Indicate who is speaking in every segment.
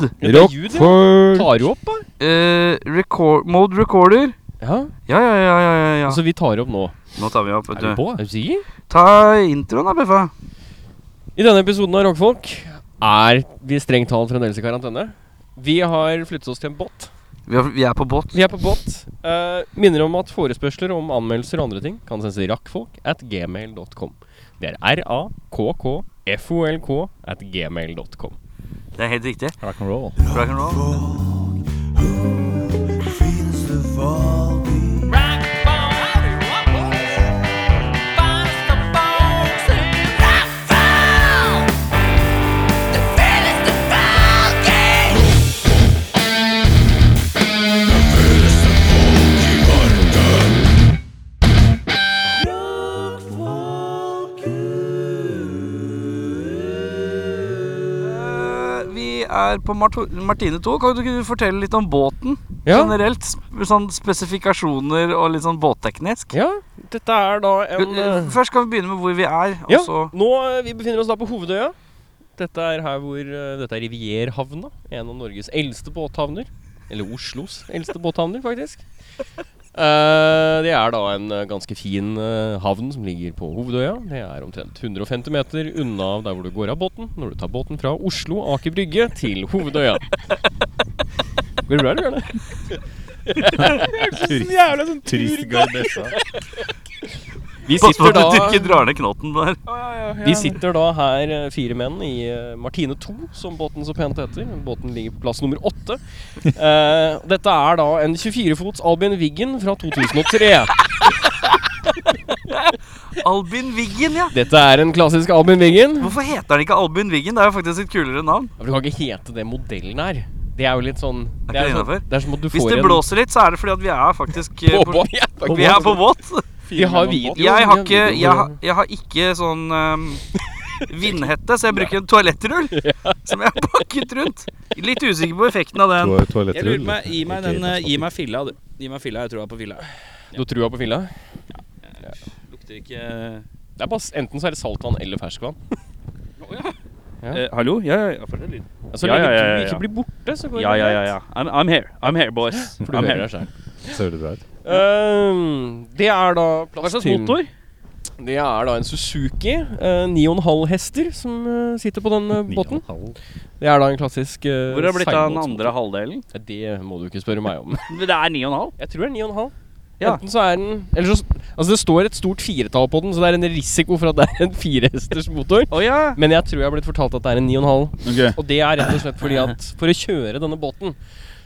Speaker 1: Ja, det er ljud, ja.
Speaker 2: Rockford
Speaker 1: Tar du opp, da?
Speaker 3: Eh, record, mode recorder.
Speaker 1: Ja.
Speaker 3: Ja, ja, ja, ja, ja, ja.
Speaker 1: Så Altså, vi tar opp nå.
Speaker 3: Nå tar vi opp, vet
Speaker 1: Er vi
Speaker 3: du.
Speaker 1: på? Er du sikker?
Speaker 3: Ta introen da, Beffa.
Speaker 1: I denne episoden av Rockfolk er vi strengt talt fremdeles i karantene. Vi har flyttet oss til en båt.
Speaker 3: Vi er, vi er på båt.
Speaker 1: Vi er på båt. Eh, minner om at forespørsler om anmeldelser og andre ting kan sendes til rakkfolk at gmail.com. Det er r-a-k-k-f-o-l-k at gmail.com.
Speaker 3: Det er helt riktig.
Speaker 2: Rock and roll.
Speaker 3: Rock and roll. Eh, vi er på Marto Martine 2. Kan du ikke fortelle litt om båten
Speaker 1: Ja.
Speaker 3: generelt? Sp- Sånn spesifikasjoner og litt sånn båtteknisk.
Speaker 1: ja, dette er da en
Speaker 3: Eh,
Speaker 1: eh,
Speaker 3: Først kan vi begynne med hvor vi er. Og
Speaker 1: Ja,
Speaker 3: så
Speaker 1: nå eh, vi befinner oss da på Hovedøya. Dette er her hvor eh, Dette er Rivierhavna. En av Norges eldste båthavner. Eller Oslos eldste båthavner, faktisk. Eh, det er da en eh, ganske fin eh, havn som ligger på Hovedøya. Det er omtrent 150 meter unna der hvor du går av båten når du tar båten fra Oslo Aker Brygge til Hovedøya. Går det bra, eller, Bjørne?
Speaker 2: Turist-
Speaker 1: Jævla sånn
Speaker 2: Turistgardessa.
Speaker 1: Vi
Speaker 3: Pass på
Speaker 1: sitter
Speaker 3: at du
Speaker 1: da
Speaker 3: ikke drar ned knotten der.
Speaker 1: Vi sitter da her, eh, fire menn, i eh, Martine 2, som båten så pent heter. Båten ligger på plass nummer åtte. Eh, dette er da en 24-fots Albin Wiggen fra 2003.
Speaker 3: Albin Wiggen, ja.
Speaker 1: Dette er en klassisk Albin Wiggen.
Speaker 3: Hvorfor heter han ikke Albin Wiggen? Det er jo faktisk et kulere navn.
Speaker 1: Ja, Du kan ikke hete det modellen her. Det er jo litt sånn
Speaker 3: Er
Speaker 1: Det er,
Speaker 3: ikke
Speaker 1: jo
Speaker 3: det
Speaker 1: sånn, det er som at du
Speaker 3: Hvis
Speaker 1: får
Speaker 3: det
Speaker 1: en
Speaker 3: blåser litt, så er det fordi at vi er faktisk eh, på-
Speaker 1: På, ja, faktisk.
Speaker 3: Vi er på båt.
Speaker 1: Vi har video.
Speaker 3: Jeg har
Speaker 1: vi
Speaker 3: ikke,
Speaker 1: video.
Speaker 3: jeg, har- jeg har ikke sånn ehm, vindhette, så jeg bruker en toalettrull som jeg har pakket rundt. Litt usikker på effekten av den.
Speaker 2: To
Speaker 4: Jeg lurer
Speaker 2: toalettrull.
Speaker 4: på meg, Gi meg
Speaker 2: Ikke
Speaker 4: den eh, Gi
Speaker 2: plastikk.
Speaker 4: meg filla, du. Gi meg filla, jeg tror jeg er på filla.
Speaker 1: Du har trua på filla?
Speaker 4: Lukter ikke eh,
Speaker 1: Det er bare, s- enten så er det saltvann eller ferskvann.
Speaker 4: eh, Hallo? Ja, ja, ja. for det er lyd.
Speaker 1: Så
Speaker 4: Ja,
Speaker 1: lenge
Speaker 4: ja, ja,
Speaker 1: du
Speaker 4: ja, ja.
Speaker 1: Altså, ikke blir borte, så går
Speaker 4: Ja, ja,
Speaker 1: det
Speaker 4: ja.
Speaker 1: greit.
Speaker 4: ja. I'm, I'm here. I'm here, boys.
Speaker 1: For du
Speaker 4: I'm here.
Speaker 1: hører deg selv.
Speaker 2: Så hører det bra ut.
Speaker 1: Ehm, det er da plass
Speaker 4: Hva slags
Speaker 1: til-
Speaker 4: motor?
Speaker 1: Det er da en Suzuki eh, 9,5 hester som eh, sitter på den eh, båten. Det er da en klassisk eh,
Speaker 4: Hvor er det blitt av den
Speaker 1: seilbåt.
Speaker 4: andre halvdelen?
Speaker 1: Det må du ikke spørre meg om.
Speaker 4: Det er 9,5.
Speaker 1: Jeg tror det er 9,5.
Speaker 4: Ja.
Speaker 1: Enten så er den Eller så Altså, det står et stort firetall på den, så det er en risiko for at det er en firehesters motor.
Speaker 4: Å ja.
Speaker 1: Men jeg tror jeg har blitt fortalt at det er en 9,5.
Speaker 2: Ok.
Speaker 1: Og det er rett og slett fordi at for å kjøre denne båten,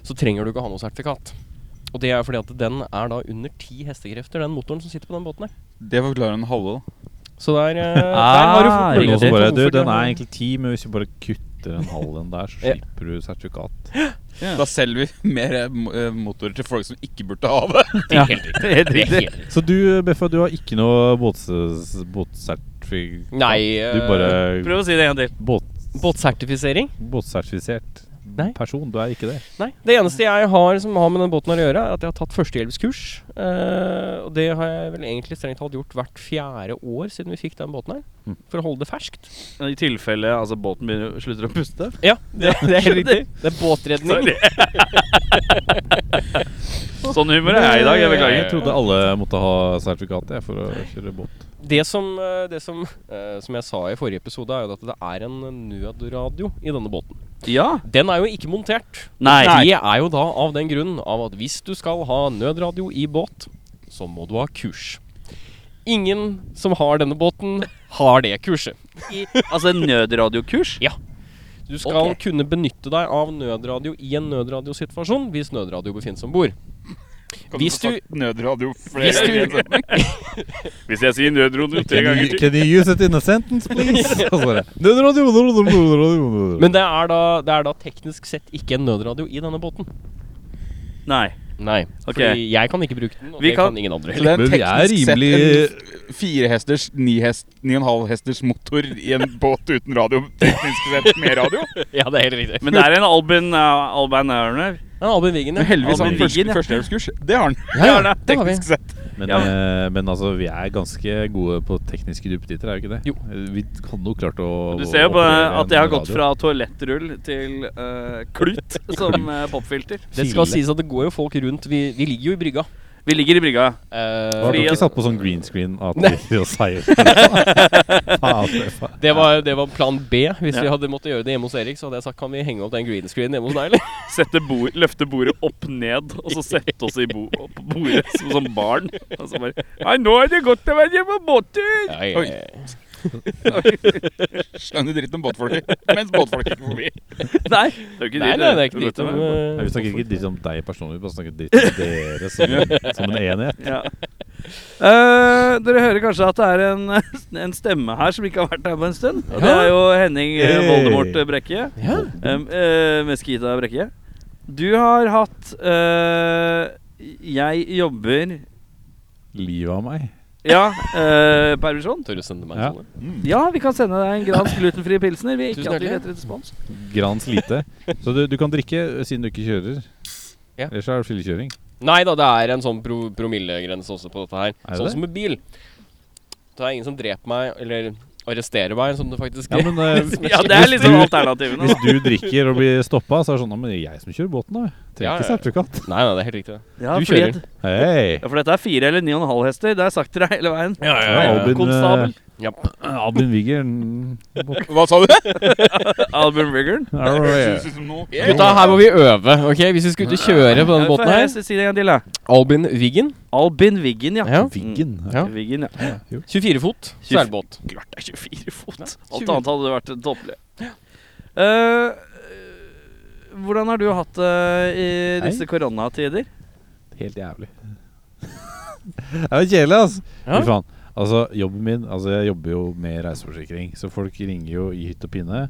Speaker 1: så trenger du ikke ha noe sertifikat. Og det er fordi at den er da under ti hestekrefter, den motoren som sitter på den båten her.
Speaker 5: Det forklarer en halve, da.
Speaker 1: Så der, eh, der
Speaker 4: Ah,
Speaker 1: har du
Speaker 2: Det
Speaker 1: fått
Speaker 2: er noen som
Speaker 1: muligheten for
Speaker 2: bare, du,
Speaker 1: hvorfor
Speaker 2: den
Speaker 1: det-
Speaker 2: er egentlig ti, men hvis vi bare kutter den halven der, så
Speaker 1: Ja.
Speaker 2: slipper du sertifikat.
Speaker 5: Da selger vi mer eh, mo- eh, motorer til folk som ikke burde ha det.
Speaker 4: ja. Helt riktig.
Speaker 2: Så du, Beffa, du har ikke noe båts- båtsertifikat?
Speaker 1: Nei,
Speaker 2: Du
Speaker 1: eh,
Speaker 2: bare
Speaker 4: Prøv å si det en gang til.
Speaker 2: båt,
Speaker 1: Båtsertifisering?
Speaker 2: båtsertifisert
Speaker 1: Nei.
Speaker 2: person? Du er ikke det?
Speaker 1: Nei. Det eneste jeg har som har med den båten her å gjøre, er at jeg har tatt førstehjelpskurs. Eh, og det har jeg vel egentlig strengt talt gjort hvert fjerde år siden vi fikk den båten her.
Speaker 2: Mm.
Speaker 1: For å holde det ferskt.
Speaker 4: I tilfelle altså, båten begynner, slutter å puste.
Speaker 1: Ja, det, det er helt riktig. Det er båtredning.
Speaker 4: Sånn humor er jeg i dag. Jeg
Speaker 2: Jeg
Speaker 4: beklager.
Speaker 2: trodde alle måtte ha sertifikat jeg, for å kjøre båt.
Speaker 1: Det som, eh, det som, eh, som jeg sa i forrige episode, er jo at det er en nødradio i denne båten.
Speaker 4: Ja.
Speaker 1: Den er jo ikke montert.
Speaker 4: Nei.
Speaker 1: Det er jo da av den grunn av at hvis du skal ha nødradio i båt, så må du ha kurs. Ingen som har denne båten, har det kurset.
Speaker 4: I, altså en nødradiokurs?
Speaker 1: Du skal
Speaker 4: Ok.
Speaker 1: kunne benytte deg av nødradio i en nødradiosituasjon hvis nødradio befinnes om bord. Hvis du
Speaker 5: Nødradio flere
Speaker 1: hvis du,
Speaker 4: Hvis jeg sier nødradio
Speaker 2: Can you, can you use it in a sentence, please? Og så bare, "Nødradio, nødradio, nødradio, nødradio."
Speaker 1: Men det er, da, det er da teknisk sett ikke en nødradio i denne båten.
Speaker 4: Nei.
Speaker 1: Nei.
Speaker 4: Ok.
Speaker 1: Fordi jeg kan ikke bruke den, og
Speaker 4: Vi
Speaker 1: det
Speaker 4: kan-
Speaker 1: kan, ingen andre
Speaker 5: Så det
Speaker 1: heller.
Speaker 5: er
Speaker 2: Men vi er
Speaker 5: teknisk sett
Speaker 2: rimelig-
Speaker 5: en f- firehesters, nihest- ni og en halv hesters motor i en båt uten radio. Teknisk sett med radio.
Speaker 1: Ja, det er helt riktig.
Speaker 4: Men det er en Albin uh, Alban Erner.
Speaker 1: Men Albin Wiggen,
Speaker 5: Men heldigvis har han
Speaker 4: Albin
Speaker 5: første,
Speaker 4: Wiggen, ja.
Speaker 5: førstehjelpskurs. Det har han.
Speaker 1: Ja, ja, det har vi.
Speaker 5: teknisk sett.
Speaker 2: Men,
Speaker 4: Ja.
Speaker 2: eh, men altså, vi er ganske gode på tekniske duppeditter, er vi ikke det?
Speaker 1: Jo.
Speaker 2: Eh, Vi hadde jo klart å
Speaker 4: Du ser jo på
Speaker 2: operere
Speaker 4: at jeg har
Speaker 2: en
Speaker 4: gått
Speaker 2: radio.
Speaker 4: fra toalettrull til eh, klut som eh, popfilter.
Speaker 1: Det skal sies at det går jo folk rundt. Vi, vi ligger jo i brygga.
Speaker 4: Vi ligger i brygga.
Speaker 1: Eh,
Speaker 2: Har du
Speaker 4: Fordi
Speaker 2: ikke
Speaker 4: at-
Speaker 2: satt på sånn green screen at
Speaker 1: Nei.
Speaker 2: vi og seier Faen,
Speaker 1: det, var, det var plan B. Hvis
Speaker 4: Ja.
Speaker 1: vi hadde måttet gjøre det hjemme hos Erik, så hadde jeg sagt kan vi henge opp den green screenen hjemme hos deg, eller?
Speaker 4: Sette bord, løfte bordet opp ned, og så sette oss i bo på bordet som, som barn. Og så bare Nei, nå er det godt å være på båttur!
Speaker 1: Nei,
Speaker 5: Oi.
Speaker 1: eh,
Speaker 5: Slang du dritt om båtfolket mens båtfolket gikk forbi?
Speaker 4: Nei, det er jo ikke
Speaker 1: nei,
Speaker 4: det.
Speaker 1: nei, det er ikke
Speaker 4: Du vet
Speaker 1: dritt om
Speaker 4: det.
Speaker 2: Nei,
Speaker 1: eh,
Speaker 2: Vi snakker ikke dritt om deg personlig, vi bare snakker dritt om dere som, som en enhet.
Speaker 4: Ja. Eh, dere hører kanskje at det er en, en stemme her som ikke har vært her på en stund. Og Det er jo Henning eh,
Speaker 2: Hey.
Speaker 4: Voldemort Brekke.
Speaker 1: ja.
Speaker 4: Um, eh, Meskita Brekke. Du har hatt eh, Jeg jobber
Speaker 2: Livet av meg.
Speaker 4: Ja, eh, permisjon.
Speaker 1: Tør du sende meg sånn
Speaker 2: Ja.
Speaker 1: sånne?
Speaker 4: Ja, vi kan sende deg en Grans glutenfri pilsner. Vi er
Speaker 1: Tusen
Speaker 4: ikke at vi
Speaker 1: hjertelig.
Speaker 4: heter respons.
Speaker 2: Grans lite. Så du, du kan drikke eh, siden du ikke kjører.
Speaker 1: Ja.
Speaker 2: Ellers er det fyllekjøring.
Speaker 1: Nei da, det er en sånn pro promillegrense også på dette her.
Speaker 2: det
Speaker 1: Sånn
Speaker 2: det?
Speaker 1: som med bil. Det er ingen som dreper meg eller arresterer meg, som det faktisk
Speaker 2: Ja,
Speaker 1: er.
Speaker 2: men eh,
Speaker 4: Ja, det er
Speaker 2: Hvis
Speaker 4: liksom
Speaker 2: du-
Speaker 4: alternativene.
Speaker 2: hvis
Speaker 4: da.
Speaker 2: du drikker og blir stoppa, så er det sånn «Ja, Men det er jeg som kjører båten, da.
Speaker 1: Ja,
Speaker 2: Trenger ikke
Speaker 1: ja.
Speaker 2: sertifikat.
Speaker 1: Nei, nei, det er helt riktig. det.
Speaker 4: Ja,
Speaker 1: du
Speaker 4: fordi
Speaker 1: kjører.
Speaker 4: at-
Speaker 2: Hei!
Speaker 4: Ja, for dette er fire eller ni og en halv hester. Det har jeg sagt til deg hele veien.
Speaker 1: Ja,
Speaker 2: Ja, Albin,
Speaker 4: Konstabel.
Speaker 1: Ja.
Speaker 2: eh, Albin Wigger mm, båt.
Speaker 5: Hva sa du?
Speaker 2: eh,
Speaker 4: Albin Riggern.
Speaker 2: Er du-
Speaker 1: Mm.
Speaker 5: Synes du som noe?
Speaker 1: Gutta, her må vi øve. ok? Hvis vi skal ut og kjøre på denne båten
Speaker 4: Får jeg
Speaker 1: her
Speaker 4: Si si det en gang til, da.
Speaker 1: Albin Wiggen.
Speaker 4: Albin Wiggen, ja.
Speaker 1: Ja.
Speaker 2: Wiggen.
Speaker 1: Ja.
Speaker 4: Wiggen, ja.
Speaker 1: 24 fot seilbåt.
Speaker 4: Klart det er 24 fot. Alt
Speaker 1: 20.
Speaker 4: annet hadde vært tåpelig. Eh, hvordan har du hatt det eh, i disse koronatider?
Speaker 2: Helt jævlig. det er jo kjedelig, ass.
Speaker 1: Ja.
Speaker 2: Fy faen. Altså, jobben min Altså, jeg jobber jo med reiseforsikring, så folk ringer jo i hytt og pinne.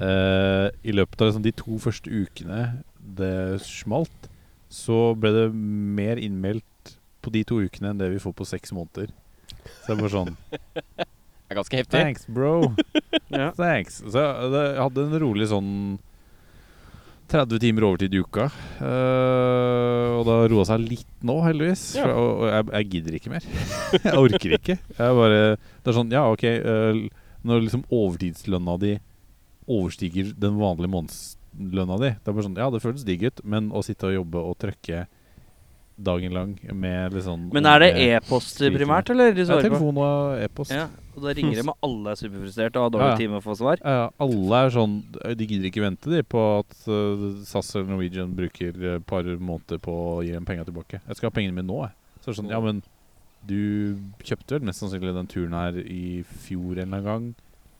Speaker 2: Eh, I løpet av liksom, de to første ukene det smalt, så ble det mer innmeldt på de to ukene enn det vi får på seks måneder. Så det er bare sånn
Speaker 1: Det er ganske heftig.
Speaker 2: Thanks, bro.
Speaker 4: Ja.
Speaker 2: Thanks. Så jeg det- jeg hadde en rolig sånn 30 timer overtid i uka. Eh, og det har roa seg litt nå, heldigvis.
Speaker 1: Ja.
Speaker 2: For, og, og jeg, jeg gidder ikke mer. jeg orker ikke. Jeg bare Det er sånn, ja, OK eh, Når liksom overtidslønna di overstiger den vanlige månedslønna di Det er bare sånn Ja, det føles digg ut, men å sitte og jobbe og trøkke dagen lang med litt sånn
Speaker 4: Men er det
Speaker 2: unge-
Speaker 4: e-post primært, eller? Du
Speaker 2: Ja,
Speaker 4: svarer på?
Speaker 2: telefon og e-post.
Speaker 4: Ja, og da ringer det med alle er superfrustrerte og har
Speaker 2: Ja, ja.
Speaker 4: dårlig tid med å få svar.
Speaker 2: Ja, ja, alle er sånn De gidder ikke vente de på at eh, SAS eller Norwegian bruker et par måneder på å gi dem penga tilbake. Jeg skal ha pengene mine nå, jeg. Så er det sånn, ja, men du kjøpte vel mest sannsynlig den turen her i fjor en eller annen gang,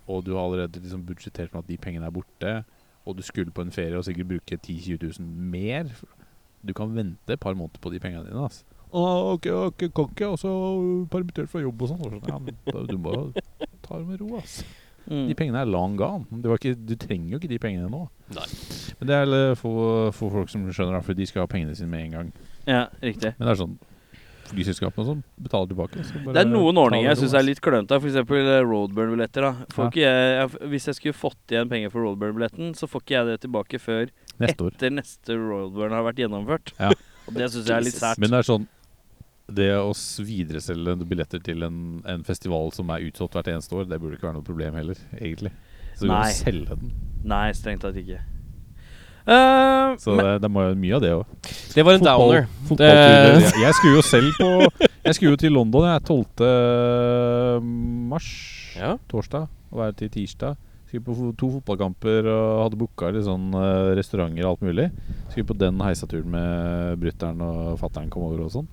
Speaker 2: og du har allerede liksom budsjettert med at de pengene er borte, og du skulle på en ferie og sikkert bruke 10 000-20 000 mer. Du kan vente et par måneder på de pengene dine, altså. Ah, ok, ok, kan ikke, og så permittert fra jobb og sånn. Og sånn, Ja, men da- du må jo ta det med ro, ass. De
Speaker 4: Mm.
Speaker 2: pengene er long gone. Det var ikke, du trenger jo ikke de pengene nå.
Speaker 1: Nei.
Speaker 2: Men det er eh, for, for folk som skjønner, da, for de skal ha pengene sine med en gang.
Speaker 4: Ja, riktig.
Speaker 2: Men det er sånn flyselskapene og sånn betaler tilbake. så bare
Speaker 4: Det er noen
Speaker 2: ta
Speaker 4: ordninger jeg
Speaker 2: det ro,
Speaker 4: syns er
Speaker 2: ass.
Speaker 4: litt klønete. F.eks. Roadburn-billetter. da får
Speaker 2: Ja.
Speaker 4: ikke jeg, jeg, Hvis jeg skulle fått igjen penger for Roadburn-billetten, så får ikke jeg det tilbake før
Speaker 2: Neste år.
Speaker 4: etter neste Roadburn har vært gjennomført.
Speaker 2: Ja.
Speaker 4: Og det syns jeg er litt
Speaker 1: Jesus.
Speaker 4: sært.
Speaker 2: Men det er sånn Det å s- videreselge billetter til en, en festival som er utsolgt hvert eneste år, det burde ikke være noe problem heller, egentlig. Så du må
Speaker 4: Nei.
Speaker 2: selge den.
Speaker 4: Nei, strengt tatt ikke. Eh,
Speaker 2: Så det, det må jo mye av det òg.
Speaker 1: Det var en
Speaker 2: Fotball-
Speaker 1: downer.
Speaker 2: Fotballturer.
Speaker 1: Det-
Speaker 4: Eh.
Speaker 2: Jeg- Jeg skulle jo selv på Jeg skulle jo til London jeg 12. mars.
Speaker 1: Ja.
Speaker 2: Torsdag og være til tirsdag. Skulle på fo- to fotballkamper og hadde booka litt sånn eh, restauranter og alt mulig. Skulle på den heisaturen med brutter'n og fatter'n kom over og sånn.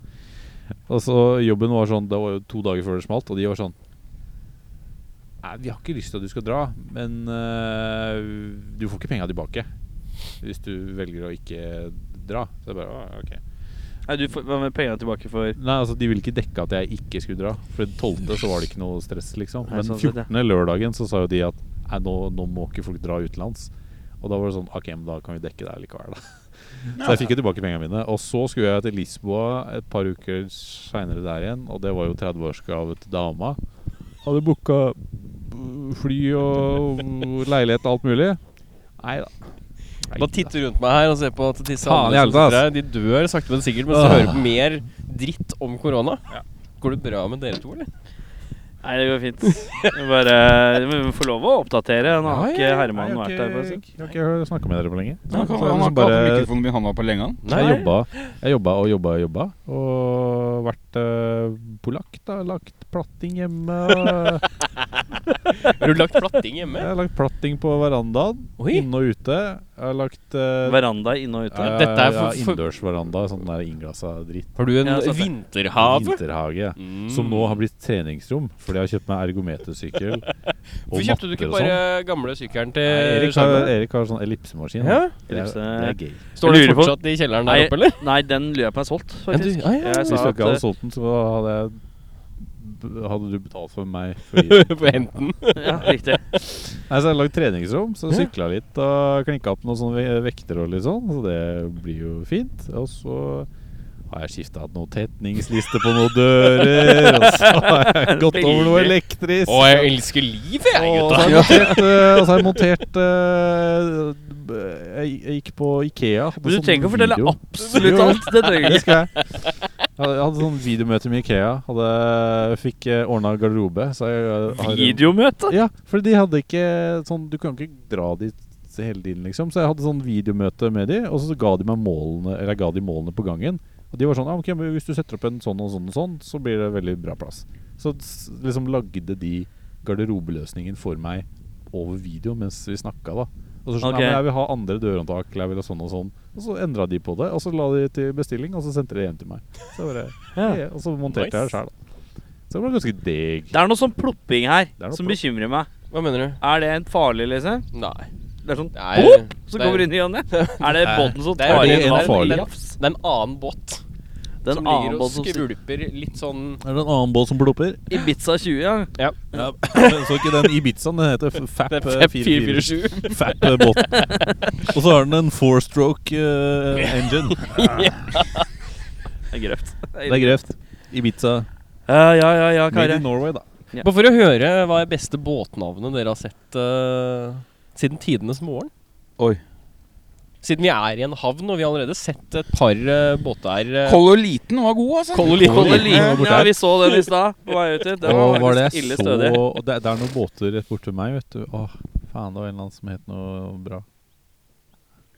Speaker 2: Og så jobben var sånn Det var jo to dager før det smalt, og de var sånn Nei, vi har ikke lyst til at du skal dra, men eh, du får ikke penga tilbake hvis du velger å ikke dra. Så jeg bare, «Å, ok
Speaker 4: Nei, du får hva med pengene tilbake for
Speaker 2: Nei, altså De ville ikke dekke at jeg ikke skulle dra. For den 12. så var det ikke noe stress, liksom.
Speaker 4: Nei,
Speaker 2: Men
Speaker 4: sånn sett, ja.
Speaker 2: 14. lørdagen så sa jo de at Nei, nå, nå må ikke folk dra utenlands. Og da var det sånn OK, men da kan vi dekke det likevel, da. Så jeg fikk jo tilbake pengene mine. Og så skulle jeg til Lisboa et par uker seinere der igjen, og det var jo 30-årsgave til dama. Hadde booka fly og leilighet og alt mulig. Nei da.
Speaker 1: Bare titter rundt meg her og ser på at disse
Speaker 2: Faen
Speaker 1: andre som
Speaker 2: jævla,
Speaker 1: sitter her, de dør sakte, men sikkert mens de
Speaker 2: Åh.
Speaker 1: hører på mer dritt om korona. Går det bra med dere to, eller?
Speaker 4: Nei, det går fint. Vi Bare Vi får lov å oppdatere. Nå har ikke Herman vært
Speaker 2: der
Speaker 4: der på en stund.
Speaker 2: Jeg har ikke snakka med dere på lenge.
Speaker 5: Han har
Speaker 2: Så
Speaker 5: ikke
Speaker 2: jeg
Speaker 5: han har
Speaker 2: liksom
Speaker 5: ikke hatt
Speaker 2: bare-
Speaker 5: mikrofonen min, han var på lenge, han.
Speaker 2: Så Jeg jobba, jeg jobba og jobba og jobba. Og vært eh, polakk, da. Lagt platting hjemme. og-
Speaker 1: Har du lagt platting hjemme?
Speaker 2: jeg har lagt platting på verandaen.
Speaker 1: Oi.
Speaker 2: Inne og ute. Jeg har lagt eh,
Speaker 4: Veranda inne og ute.
Speaker 2: ja,
Speaker 1: dette er
Speaker 2: ja,
Speaker 1: for- for-
Speaker 2: Innendørsveranda. Sånn der innglassa dritt.
Speaker 1: Har du en
Speaker 4: Ja, sant det.
Speaker 1: vinterhave?
Speaker 2: Vinterhage.
Speaker 1: Mm.
Speaker 2: Som nå har blitt treningsrom, fordi jeg har kjøpt meg ergometersykkel.
Speaker 1: Hvorfor kjøpte du ikke
Speaker 2: sånn.
Speaker 1: bare gamle sykkelen til
Speaker 2: Nei, Erik, har,
Speaker 1: Skjermen?
Speaker 2: Erik har sånn ellipsemaskin.
Speaker 1: Ja?
Speaker 2: Det, er, det
Speaker 4: Ellipse-
Speaker 2: er gøy.
Speaker 1: Står den
Speaker 4: Jeg lurer på-
Speaker 1: fortsatt i kjelleren der
Speaker 4: Nei.
Speaker 1: oppe, eller?
Speaker 4: Nei, den løp meg solgt,
Speaker 1: Ja, du-
Speaker 4: faktisk.
Speaker 1: ja, ja, ja.
Speaker 4: Jeg
Speaker 2: Hvis du
Speaker 4: sa at
Speaker 2: ikke hadde
Speaker 4: eh,
Speaker 2: solgt den, så hadde jeg b- hadde du betalt for meg for å gi den.
Speaker 1: På henten.
Speaker 4: Ja, riktig.
Speaker 2: Nei, så jeg har lagd treningsrom, så
Speaker 1: Ja.
Speaker 2: sykla litt og klinka opp noen sånne ve- vekter og litt sånn. Så det blir jo fint. Og så har jeg skifta hatt noen tetningslister på noen dører. Og så har jeg gått over noe
Speaker 4: Veldig.
Speaker 2: elektrisk.
Speaker 1: Å, jeg elsker livet, jeg,
Speaker 2: Og
Speaker 1: gutta.
Speaker 2: så har jeg montert, eh, og så har jeg montert eh, b- jeg, jeg gikk på Ikea. hadde
Speaker 4: Men du
Speaker 2: sånn
Speaker 4: trenger ikke å fortelle
Speaker 2: video.
Speaker 4: absolutt
Speaker 2: Jo, jo.
Speaker 4: alt. Det trenger du
Speaker 2: Det
Speaker 4: ikke.
Speaker 2: skal jeg. Jeg hadde- jeg hadde sånn videomøte med Ikea. Hadde, fikk eh, ordna garderobe. Så jeg, eh, har-
Speaker 4: Videomøte?
Speaker 2: Ja, for de hadde ikke sånn Du kan ikke dra dit hele tiden, liksom. Så jeg hadde sånn videomøte med de, og så ga de meg målene Eller jeg ga de målene på gangen. Og de var sånn ah, ok, men Hvis du setter opp en sånn og sånn og sånn, så blir det veldig bra plass. Så s- liksom lagde de garderobeløsningen for meg over video mens vi snakka, da. Og så sånn,
Speaker 4: Ok.
Speaker 2: ja, men jeg vil ha andre dørhåndtak, eller jeg vil ha sånn og sånn. Og så endra de på det, og så la de til bestilling, og så sendte de det hjem til meg. Så bare,
Speaker 4: Ja.
Speaker 2: og så monterte jeg det sjøl, da. Så det var ganske deg.
Speaker 4: Det er noe sånn plopping her
Speaker 2: er noe
Speaker 4: som
Speaker 2: plopp.
Speaker 4: bekymrer meg.
Speaker 1: Hva mener du?
Speaker 4: Er det en farlig, liksom?
Speaker 1: Nei.
Speaker 4: Det er sånn
Speaker 1: Nei,
Speaker 4: plopp
Speaker 1: det
Speaker 4: som
Speaker 1: er-
Speaker 4: kommer inn i Janne? Er det båten som
Speaker 1: Det er,
Speaker 4: tar
Speaker 1: det,
Speaker 2: det
Speaker 1: er,
Speaker 4: inn
Speaker 2: en
Speaker 4: vann?
Speaker 2: farlig.
Speaker 1: det, er, det er en annen båt
Speaker 4: Den
Speaker 1: som
Speaker 4: annen
Speaker 1: ligger og
Speaker 4: båt som sitter
Speaker 1: skvulper litt sånn
Speaker 2: Er det en annen båt som plopper?
Speaker 4: Ibiza 20, ja.
Speaker 1: Ja.
Speaker 2: Ja, så ikke den Ibizaen, den heter F- FAP
Speaker 1: Det er
Speaker 2: eh, 447.
Speaker 1: 447.
Speaker 2: FAP eh, båten. Og så har den en four-stroke eh, engine.
Speaker 4: Det er grøft.
Speaker 2: Det er grøft. Ibiza.
Speaker 4: Ja, ja, ja, ja
Speaker 2: Made
Speaker 4: Kare.
Speaker 2: in Norway, da.
Speaker 1: Bare for å høre hva er beste båtnavnet dere har sett eh, siden tidenes morgen?
Speaker 5: Oi.
Speaker 1: Siden vi er i en havn, og vi har allerede sett et par eh, båter eh,
Speaker 5: Kololiten var god, altså.
Speaker 1: Kololiten.
Speaker 4: Kololiten.
Speaker 2: borte
Speaker 4: Ja,
Speaker 2: her.
Speaker 4: vi så den i stad på vei ut hit. Den var
Speaker 2: Åh, var det
Speaker 4: faktisk
Speaker 2: jeg
Speaker 4: ille
Speaker 2: så
Speaker 4: stødig.
Speaker 2: og det, det er noen båter rett borte ved meg, vet du. Åh, faen, det var en eller annen som het noe bra.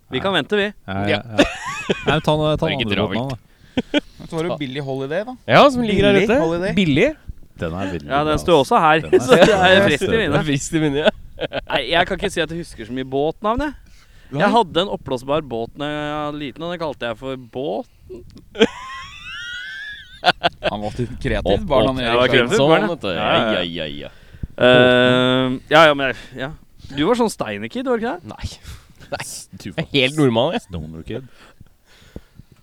Speaker 4: Vi kan vente, vi.
Speaker 2: Nei,
Speaker 1: Ja.
Speaker 2: ja. Nei, men ta, ta
Speaker 1: Var
Speaker 2: den
Speaker 1: ikke
Speaker 2: andre båten,
Speaker 1: dravelt.
Speaker 2: da.
Speaker 5: Så var det Billy Holiday, da.
Speaker 1: Ja, som ligger her
Speaker 5: Billig,
Speaker 1: ute.
Speaker 5: Holiday.
Speaker 1: Billig.
Speaker 2: Den er
Speaker 4: Ja,
Speaker 2: veldig bra, altså.
Speaker 4: den står også her,
Speaker 2: Den er-
Speaker 4: så det er
Speaker 2: den er
Speaker 4: frist i
Speaker 2: stødig.
Speaker 1: Det
Speaker 4: minnet.
Speaker 1: er frist i minnet, ja.
Speaker 4: Nei, jeg kan ikke si at jeg husker så mye båtnavn, jeg. Jeg hadde en oppblåsbar båt da jeg var liten, og den kalte jeg for båt.
Speaker 5: Han var litt kreativ. Barn han
Speaker 4: ja, det var
Speaker 5: Erik
Speaker 4: kreativ.
Speaker 5: Skjær.
Speaker 1: Sånn, vet du. Ja,
Speaker 4: Ja, ja,
Speaker 1: ja, ja, ja.
Speaker 4: Eh, ja, ja, men jeg, ja. Du var sånn Steinerkid, var du ikke det?
Speaker 1: Nei.
Speaker 2: Du,
Speaker 1: Jeg er helt nordmann, jeg.
Speaker 2: Stonewall-kid.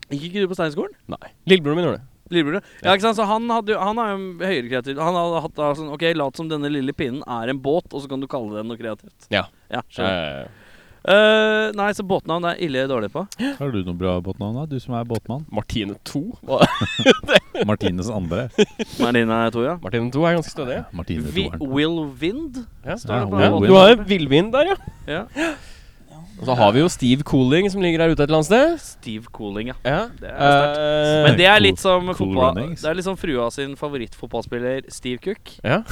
Speaker 4: Gikk ikke du på Steinerskolen?
Speaker 1: Nei. Lillebroren min gjorde det.
Speaker 4: Lillebror? Ja, ikke sant? Så han, hadde, jo- han er jo en høyere kreativ. Han hadde hatt da sånn Ok, lat som denne lille pinnen er en båt, og så kan du kalle den noe kreativt.
Speaker 1: Ja.
Speaker 4: Ja,
Speaker 1: Ja,
Speaker 4: skjønner.
Speaker 1: ja, ja.
Speaker 4: Eh, nei, så båtnavn er ille dårlig på.
Speaker 2: Har du noe bra båtnavn, da? Du som er båtmann.
Speaker 1: Martine 2.
Speaker 2: Martines andre.
Speaker 4: Marina 2, eh, ja.
Speaker 1: Martine 2 er ganske stødig.
Speaker 2: Martine
Speaker 4: Vi,
Speaker 2: toeren.
Speaker 4: Will Wind?
Speaker 1: Ja.
Speaker 4: Står det på
Speaker 2: Ja,
Speaker 1: Ja,
Speaker 2: Will
Speaker 1: du
Speaker 2: Wind.
Speaker 1: har villvin der, ja.
Speaker 4: Ja.
Speaker 1: Og så har vi jo Steve Cooling som ligger her ute et eller annet sted.
Speaker 4: Steve Cooling, ja.
Speaker 1: Ja.
Speaker 4: Det er sterkt.
Speaker 1: Eh,
Speaker 4: Men det er
Speaker 2: Cool-
Speaker 4: litt som
Speaker 2: cool
Speaker 4: fotball,
Speaker 2: runnings.
Speaker 4: Det er litt som frua sin favorittfotballspiller Steve Cook.
Speaker 1: Ja.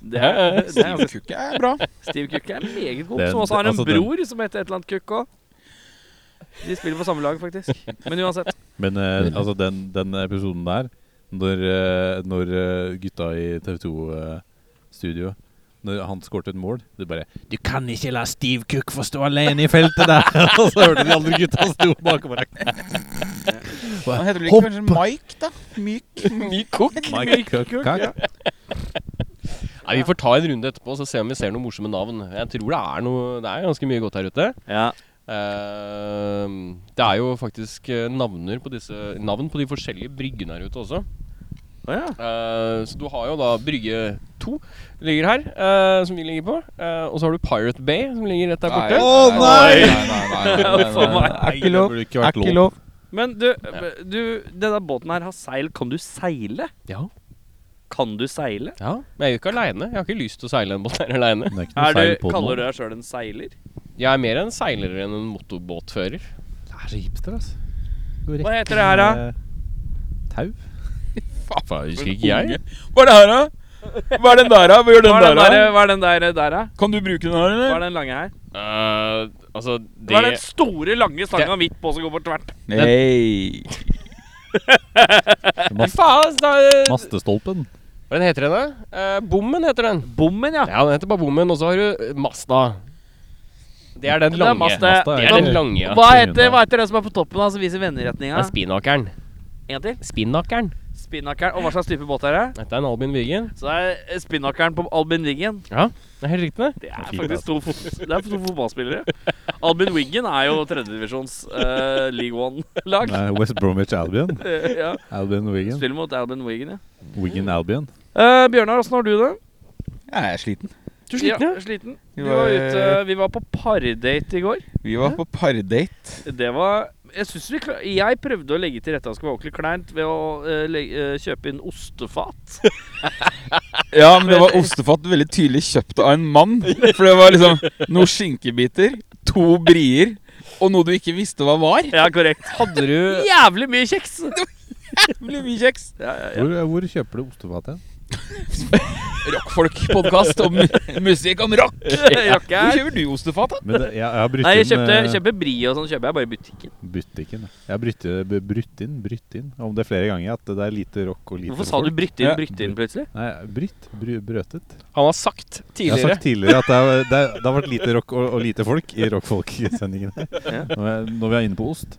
Speaker 4: Det er, det er,
Speaker 5: Steve Cook altså, er bra.
Speaker 4: Steve Cook er meget god,
Speaker 2: Den-
Speaker 4: som også har en
Speaker 2: altså den-
Speaker 4: bror som heter et eller annet Cook òg. De spiller på samme lag, faktisk. Men uansett.
Speaker 2: Men eh, altså den, den episoden der, når, eh, når eh, gutta i TV2-studio eh, når han skåret et mål Du bare 'Du kan ikke la Steve Cook få stå alene i feltet der!' og så hørte de andre gutta sto bak og bare
Speaker 5: Han heter vel ikke kanskje Mike, da? Myk.
Speaker 1: Ny kokk.
Speaker 2: Mike Cook,
Speaker 4: ja.
Speaker 1: Nei, Vi får ta en runde etterpå og se om vi ser noen morsomme navn. Jeg tror det er noe Det er ganske mye godt her ute.
Speaker 4: Ja.
Speaker 1: Eh, det er jo faktisk eh, navner på disse, navn på de forskjellige bryggene her ute også.
Speaker 4: Å ja.
Speaker 1: Eh, så du har jo da Brygge 2 ligger her, eh, som vi ligger på. Eh, og så har du Pirate Bay, som ligger rett der borte.
Speaker 5: nei! nei, nei, nei, nei,
Speaker 4: For meg.
Speaker 2: Er ikke lov. Det burde ikke vært lov.
Speaker 4: Men du, du denne båten her har seil. Kan du seile?
Speaker 1: Ja.
Speaker 4: Kan du seile?
Speaker 1: ja. Men jeg er jo ikke aleine. Jeg har ikke lyst til å seile en båt her aleine.
Speaker 2: Det er ikke noe
Speaker 4: Er
Speaker 2: feil
Speaker 4: du,
Speaker 2: på den.
Speaker 4: kaller du deg sjøl en seiler?
Speaker 1: Jeg er mer en seiler enn en motorbåtfører.
Speaker 2: Det er så hipster, altså.
Speaker 4: Hva heter det her, da?
Speaker 2: Eh, Tau.
Speaker 1: Faen, husker ikke jeg.
Speaker 5: Hva er det her, da? Hva er den der, da? Hva gjør
Speaker 4: Hva
Speaker 5: den
Speaker 4: er
Speaker 5: der,
Speaker 4: den der,
Speaker 5: da?
Speaker 4: hva er den der, der da?
Speaker 5: Kan du bruke den
Speaker 4: Hva
Speaker 5: her, eller?
Speaker 4: er den lange her?
Speaker 1: Eh, altså, det
Speaker 4: Hva er den store, lange stanga midt på som går på tvert?
Speaker 5: Nei.
Speaker 1: Faen, altså, da,
Speaker 2: Mastestolpen.
Speaker 1: Hva den heter den, da? Eh, bommen heter den.
Speaker 4: Bommen, ja.
Speaker 1: Ja, den heter bare Bommen, og så har du eh, Mazda. Det er den
Speaker 4: Det er
Speaker 1: lange.
Speaker 4: Mazda.
Speaker 1: Eh, Det er den lange, ja.
Speaker 4: Hva heter, hva heter det som er på toppen, da, som viser
Speaker 1: Det
Speaker 4: venderetninga?
Speaker 1: er Spinakeren.
Speaker 4: En gang til.
Speaker 1: Spinakeren.
Speaker 4: Spinnakeren. Og hva slags type båt er det?
Speaker 1: Dette er en Albin Wiggen.
Speaker 4: Så det er spinnakeren på Albin Wiggen.
Speaker 1: Ja, det er helt riktig, det.
Speaker 4: Det er
Speaker 2: Fy
Speaker 4: faktisk to, fot- det er to fotballspillere. Albin Wiggen er jo tredjedivisjons uh, League One-lag.
Speaker 2: Nei, West Bromwich Albion.
Speaker 4: Eh, ja.
Speaker 2: Albion Wigan.
Speaker 4: Spiller mot Albin Wiggen, ja.
Speaker 2: Wigan Albion.
Speaker 4: Eh, Bjørnar, åssen har du det?
Speaker 5: Jeg er sliten.
Speaker 1: Du er sliten, ja?
Speaker 4: sliten.
Speaker 5: Vi
Speaker 4: Du var
Speaker 5: var-
Speaker 4: ute, vi var på pardate i går.
Speaker 5: Vi var på pardate.
Speaker 4: Det var Jeg synes vi kla- Jeg prøvde å legge til rette at det skulle være ordentlig kleint ved å eh, legge, eh, kjøpe inn ostefat.
Speaker 5: Ja, men det var ostefat veldig tydelig kjøpt av en mann. For det var liksom noen skinkebiter, to brier og noe du ikke visste hva var.
Speaker 4: Ja, korrekt.
Speaker 1: Hadde du
Speaker 4: Jævlig mye kjeks!
Speaker 5: Blir mye kjeks.
Speaker 4: Ja, ja, ja.
Speaker 2: Hvor, eh, hvor kjøper du ostefat hen?
Speaker 5: Rockfolk-podkast om mu- musikk om rock.
Speaker 4: Rock
Speaker 5: Hvor
Speaker 4: er
Speaker 5: kjøper du ostefat, da?
Speaker 2: Men det, jeg, jeg har brytt
Speaker 4: Nei, jeg
Speaker 2: inn
Speaker 4: kjøpte,
Speaker 2: eh,
Speaker 4: kjøper brie og sånn kjøper jeg bare i butikken.
Speaker 2: butikken. jeg. Jeg har brytt, b- brytt inn, brytt inn. Om det er flere ganger at det er lite rock og lite
Speaker 4: Hvorfor sa du
Speaker 2: folk.
Speaker 4: brytte inn,
Speaker 5: Ja.
Speaker 4: brytte inn plutselig?
Speaker 2: Nei, brytt. Bry, brøtet.
Speaker 1: Han har sagt
Speaker 2: Jeg har
Speaker 1: tidligere
Speaker 2: sagt tidligere at det, er, det, er, det har vært lite rock og, og lite folk i rockfolk-sendingen.
Speaker 4: Ja.
Speaker 2: Når, jeg- når vi er inne på ost.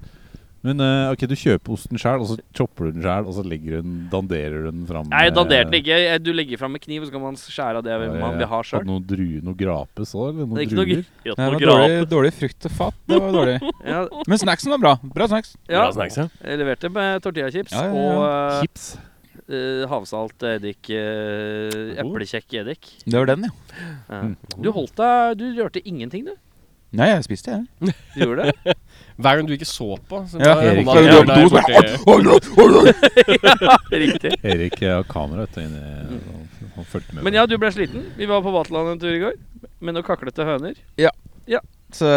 Speaker 2: Men eh, ok, du kjøper osten sjøl, og så chopper du den sjøl, og så legger du den, danderer du den fram
Speaker 4: Nei,
Speaker 2: med-
Speaker 4: da delte ikke. Jeg- Du legger fram med kniv, og så kan man skjære av det
Speaker 2: Ja, ja,
Speaker 4: man
Speaker 2: ja.
Speaker 4: vil ha
Speaker 2: Hadde
Speaker 4: sjøl.
Speaker 2: Noe, dru, noe grape så, eller
Speaker 4: Det
Speaker 2: noe
Speaker 4: er ikke noe
Speaker 2: druer?
Speaker 4: greit
Speaker 5: Nei,
Speaker 4: noe
Speaker 5: det var dårlig,
Speaker 4: grap.
Speaker 5: dårlig frukt og fat. Det var dårlig.
Speaker 4: Ja,
Speaker 5: Men snacksen var bra. Bra snacks.
Speaker 4: ja,
Speaker 1: Bra snacks, ja.
Speaker 4: jeg leverte med tortillachips
Speaker 5: Ja, ja, ja.
Speaker 4: og
Speaker 2: Chips.
Speaker 4: eh, eh, havsalt eddik. eh,
Speaker 2: God.
Speaker 4: Eplekjekk eddik.
Speaker 5: Det var den, ja.
Speaker 4: Ja.
Speaker 1: Mm.
Speaker 4: Du holdt deg Du rørte ingenting, du.
Speaker 5: Nei, jeg spiste, jeg.
Speaker 4: Du gjorde det.
Speaker 1: Hver gang du ikke så på. Så
Speaker 5: Ja,
Speaker 1: bare
Speaker 2: Erik.
Speaker 1: holdt han
Speaker 2: Ja,
Speaker 1: der
Speaker 5: du- du-
Speaker 1: borte.
Speaker 4: Riktig.
Speaker 2: Erik eh, har kamera, vet du. Inni, han, han fulgte med.
Speaker 4: Mm. Men ja, du ble sliten. Vi var på Vaterland en tur i går med noen kaklete høner.
Speaker 5: Så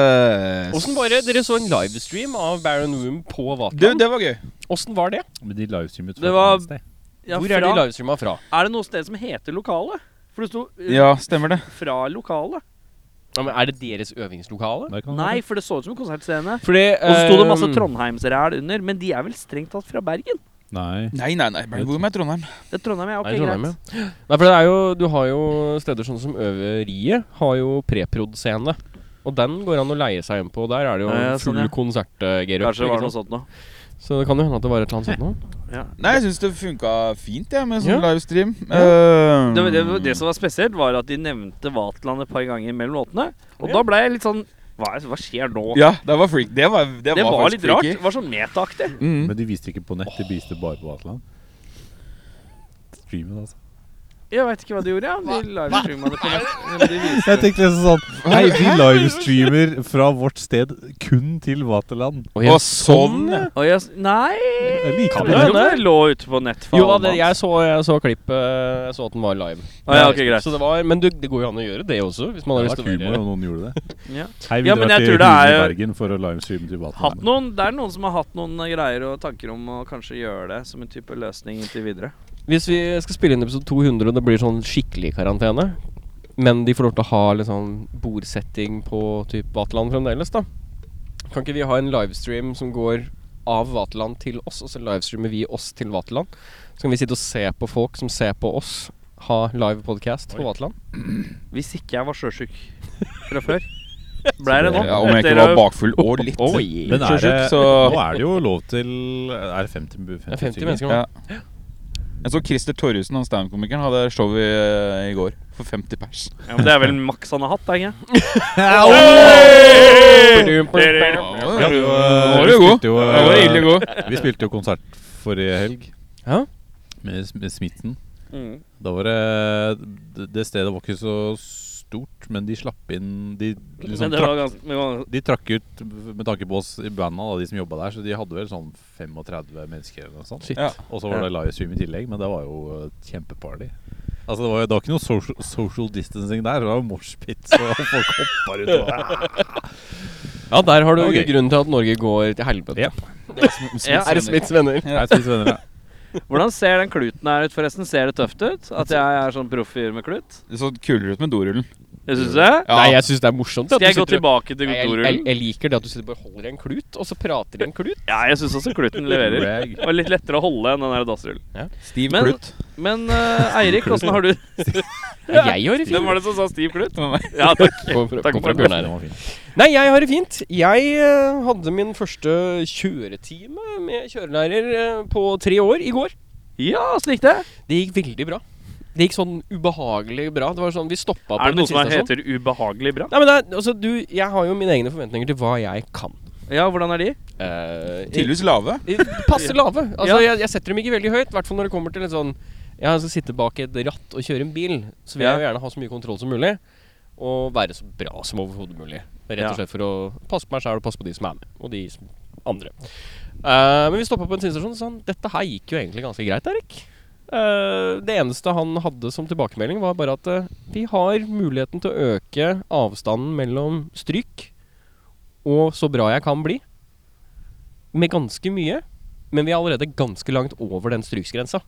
Speaker 1: Åssen var det? Dere så en livestream av Baron Room på
Speaker 5: Du,
Speaker 1: Vatland.
Speaker 5: det var gøy.
Speaker 1: Åssen var det?
Speaker 2: Men de livestreamet
Speaker 4: Det var-
Speaker 2: sted.
Speaker 4: Ja,
Speaker 1: Hvor er de
Speaker 4: fra-
Speaker 1: livestreama fra?
Speaker 4: Er det noe sted som heter lokale? For det sto eh,
Speaker 5: Ja, stemmer det.
Speaker 4: fra lokale.
Speaker 1: Ja, men er det deres øvingslokale?
Speaker 2: Der kan han
Speaker 4: Nei, for det så ut som en konsertscene.
Speaker 1: Fordi
Speaker 4: Og så sto det masse
Speaker 1: eh,
Speaker 4: Trondheimsræl under, men de er vel strengt tatt fra Bergen?
Speaker 2: være. Nei.
Speaker 5: Nei, nei, nei. Bang, Hvor med Trondheim?
Speaker 4: Det er Trondheim, ja. Ok,
Speaker 1: Nei, Trondheim,
Speaker 4: greit.
Speaker 1: ja. Nei, for det er jo Du har jo steder sånn som Øveriet har jo preprod-scene. Og den går an å leie seg inn på. Der er det jo
Speaker 4: Ja, ja,
Speaker 1: full
Speaker 4: sånn, ja.
Speaker 1: konsert, eh, Geir.
Speaker 4: Kanskje det var
Speaker 1: ikke
Speaker 4: noe
Speaker 1: sant?
Speaker 4: sånt nå.
Speaker 1: Så det kan jo hende at det var et eller annet sånt noe.
Speaker 4: Ja.
Speaker 5: Nei, jeg syns det funka fint, jeg, med sånn
Speaker 1: Ja.
Speaker 5: livestream.
Speaker 4: Det,
Speaker 5: Eh,
Speaker 4: det, det som var spesielt, var at de nevnte Vaterland et par ganger mellom låtene. Og da ble jeg litt sånn Hva, er- hva skjer nå?
Speaker 5: Ja, det var freak. Det var, det
Speaker 4: det var,
Speaker 5: faktisk
Speaker 4: litt rart.
Speaker 5: freaky.
Speaker 4: Det var sånn metaaktig.
Speaker 5: Mm.
Speaker 2: Men de viste ikke på nett, de viste bare på Atlan. Streamen, altså.
Speaker 4: Jeg veit ikke hva de gjorde, ja. De livestreama det på nett. De viste-
Speaker 2: Jeg tenkte liksom sånn Hei, vi livestreamer fra vårt sted kun til Vaterland.
Speaker 1: Og
Speaker 5: Og sånn ja.
Speaker 4: Og jeg s- Nei Jeg
Speaker 2: Jeg liker
Speaker 4: vet
Speaker 2: det.
Speaker 4: ikke om det lå ute på nett for
Speaker 1: Jo,
Speaker 4: alle
Speaker 1: det,
Speaker 4: mann.
Speaker 1: jeg så, jeg så klippet. eh, Jeg så at den var live.
Speaker 4: Ah, ja, ok, greit.
Speaker 1: Så det var, men du, det går jo an å gjøre det også, hvis man har
Speaker 2: Det
Speaker 1: lyst
Speaker 2: var
Speaker 1: til å
Speaker 2: humor
Speaker 1: være
Speaker 2: om noen gjorde det.
Speaker 4: Ja.
Speaker 2: Hei, vi
Speaker 4: Ja, men
Speaker 2: drar
Speaker 4: jeg
Speaker 2: til
Speaker 4: tror det
Speaker 2: Humor i
Speaker 4: er-
Speaker 2: Bergen for å livestreame til
Speaker 4: Hatt
Speaker 2: Vaterland.
Speaker 4: noen, det er noen som har hatt noen eh, greier og tanker om å kanskje gjøre det som en type løsning inntil videre.
Speaker 1: Hvis vi skal spille inn episode 200, og det blir sånn skikkelig karantene, men de får lov til å ha litt sånn bordsetting på typ Vaterland fremdeles, da Kan ikke vi ha en livestream som går av Vaterland til oss, og så livestreamer vi oss til Vaterland? Så kan vi sitte og se på folk som ser på oss, ha live podcast på Vaterland.
Speaker 4: Hvis ikke jeg var sjøsjuk fra før. Blei det nå?
Speaker 5: Om jeg
Speaker 4: Etter
Speaker 5: ikke
Speaker 4: å-
Speaker 5: var bakfull og litt
Speaker 1: Oi.
Speaker 2: Men er det,
Speaker 5: Sjøsjuk, så-
Speaker 2: nå er det jo lov til Er det 50, 50,
Speaker 1: Det er 50
Speaker 2: stykker?
Speaker 1: mennesker nå.
Speaker 5: ja. Jeg så Christer Torjussen, han standup-komikeren, hadde show i, i går. For 50 pers.
Speaker 4: Ja, men det er vel maks han har hatt, er det ikke?
Speaker 5: Ja,
Speaker 2: Ja,
Speaker 5: var
Speaker 2: vi
Speaker 5: jo god.
Speaker 2: spilte jo,
Speaker 5: Det var ille god.
Speaker 2: Vi spilte jo konsert forrige helg
Speaker 1: Ja.
Speaker 2: med, s- med Smitten.
Speaker 4: Mm.
Speaker 2: Da var det det- Det stedet var ikke så stort, men de slapp inn De, liksom,
Speaker 4: Men det var
Speaker 2: trakk,
Speaker 4: ganske men det var-
Speaker 2: de trakk ut, med tanke på oss i banda, da, de som jobba der, så de hadde vel sånn 35 mennesker eller noe sånt.
Speaker 1: Shit.
Speaker 5: Ja.
Speaker 2: Og så var det livestream i tillegg, men det var jo eh, kjempeparty. Altså, det var jo det var ikke noe social, social distancing der. Det var jo moshpit, så folk hoppa rundt. og-
Speaker 1: Ja, der har du
Speaker 2: Ok.
Speaker 1: grunnen til at Norge går til helvete.
Speaker 2: Ja.
Speaker 4: Ja,
Speaker 1: Er det Smiths venner?
Speaker 2: Nei, spis venner, ja.
Speaker 4: Hvordan ser den kluten her ut, forresten? Ser det tøft ut? At jeg er sånn proff fyr med klut?
Speaker 5: Det så kulere ut med dorullen.
Speaker 4: Jeg syns det.
Speaker 5: Ja.
Speaker 1: Nei, jeg syns det er morsomt. at
Speaker 4: Skal jeg gå
Speaker 1: du sitter og-
Speaker 4: tilbake til
Speaker 1: Nei, jeg, jeg,
Speaker 4: dorullen?
Speaker 1: jeg liker det at du sitter og bare holder i en klut, og så prater i en klut.
Speaker 4: Ja, jeg syns også kluten leverer.
Speaker 2: Brag.
Speaker 4: Det var litt lettere å holde enn den der dassrullen.
Speaker 5: Stiv
Speaker 4: Men-
Speaker 5: klut.
Speaker 4: Men eh, Eirik, åssen har du
Speaker 1: Ja, jeg har det
Speaker 4: Hvem var det
Speaker 1: fint.
Speaker 4: som sa stiv klut? Ja, takk.
Speaker 1: Kom fra,
Speaker 4: Takk
Speaker 1: kom
Speaker 4: for
Speaker 1: fra
Speaker 4: det.
Speaker 1: Bjørnar.
Speaker 2: Den var fin.
Speaker 1: Nei, jeg har det fint. Jeg eh, hadde min første kjøretime med kjørelærer eh, på tre år i går.
Speaker 4: Ja, åssen gikk det?
Speaker 1: Det gikk veldig bra. Det gikk sånn ubehagelig bra. Det var sånn, Vi stoppa på
Speaker 4: Er det noe som
Speaker 1: bensinstasjon.
Speaker 4: er- heter ubehagelig bra?
Speaker 1: Nei, men det, er- altså, du, Jeg har jo mine egne forventninger til hva jeg kan.
Speaker 4: Ja, hvordan er de?
Speaker 1: Uh,
Speaker 5: Tydeligvis lave.
Speaker 1: Passe lave. Altså,
Speaker 4: Ja.
Speaker 1: jeg, jeg setter dem ikke veldig høyt. I hvert fall når det kommer til et sånn Jeg skal sitte bak et ratt og kjøre en bil, så vil jeg jo gjerne ha så mye kontroll som mulig. Og være så bra som overhodet mulig. Rett
Speaker 4: Ja.
Speaker 1: og slett for å passe på meg sjæl og passe på de som er med. Og de som andre. Eh, men vi stoppa på en bensinstasjon og sa han dette her gikk jo egentlig ganske greit, Erik. Eh, det eneste han hadde som tilbakemelding, var bare at eh, vi har muligheten til å øke avstanden mellom stryk og så bra jeg kan bli med ganske mye. Men vi er allerede ganske langt over den stryksgrensa.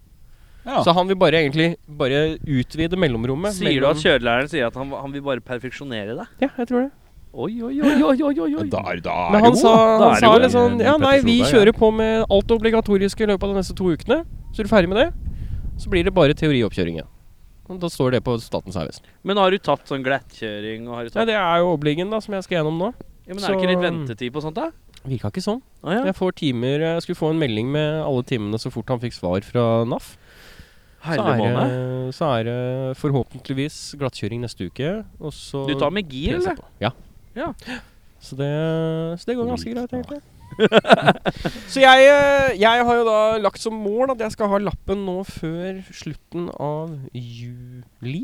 Speaker 5: Ja.
Speaker 1: Så han vil bare egentlig bare utvide mellomrommet.
Speaker 4: Sier du
Speaker 1: mellom-
Speaker 4: at kjørelæreren sier at han, han vil bare perfeksjonere deg?
Speaker 1: Ja, jeg tror det.
Speaker 4: Oi, oi, oi, oi, oi, oi, oi.
Speaker 5: Men da er da er
Speaker 1: Men
Speaker 5: det
Speaker 1: han
Speaker 5: god,
Speaker 1: sa,
Speaker 4: er
Speaker 1: han
Speaker 5: da.
Speaker 4: det
Speaker 1: sa
Speaker 4: jo
Speaker 1: litt sånn
Speaker 2: en
Speaker 1: Ja, nei, vi
Speaker 2: Petter Solberg,
Speaker 1: kjører på med alt det obligatoriske i løpet av de neste to ukene. Så er du ferdig med det, så blir det bare teorioppkjøring igjen. Og Da står det på Statens vegvesen.
Speaker 4: Men har du tatt sånn glattkjøring? Og har du
Speaker 1: Nei,
Speaker 4: tatt...
Speaker 1: det er jo obligen da, som jeg skal gjennom nå.
Speaker 4: ja, men er det
Speaker 1: så-
Speaker 4: ikke litt ventetid på sånt, da?
Speaker 1: Virka ikke sånn.
Speaker 4: Å ja.
Speaker 1: Jeg får timer Jeg skulle få en melding med alle timene så fort han fikk svar fra NAF. Så
Speaker 4: Herre
Speaker 1: er,
Speaker 4: måne.
Speaker 1: det- så er det forhåpentligvis glattkjøring neste uke. Og så
Speaker 4: Du tar med gir,
Speaker 1: presse
Speaker 4: eller?
Speaker 1: på. Ja.
Speaker 4: Ja.
Speaker 1: Så det, så det går ganske greit, egentlig. så jeg, eh, jeg har jo da lagt som mål at jeg skal ha lappen nå før slutten av juli.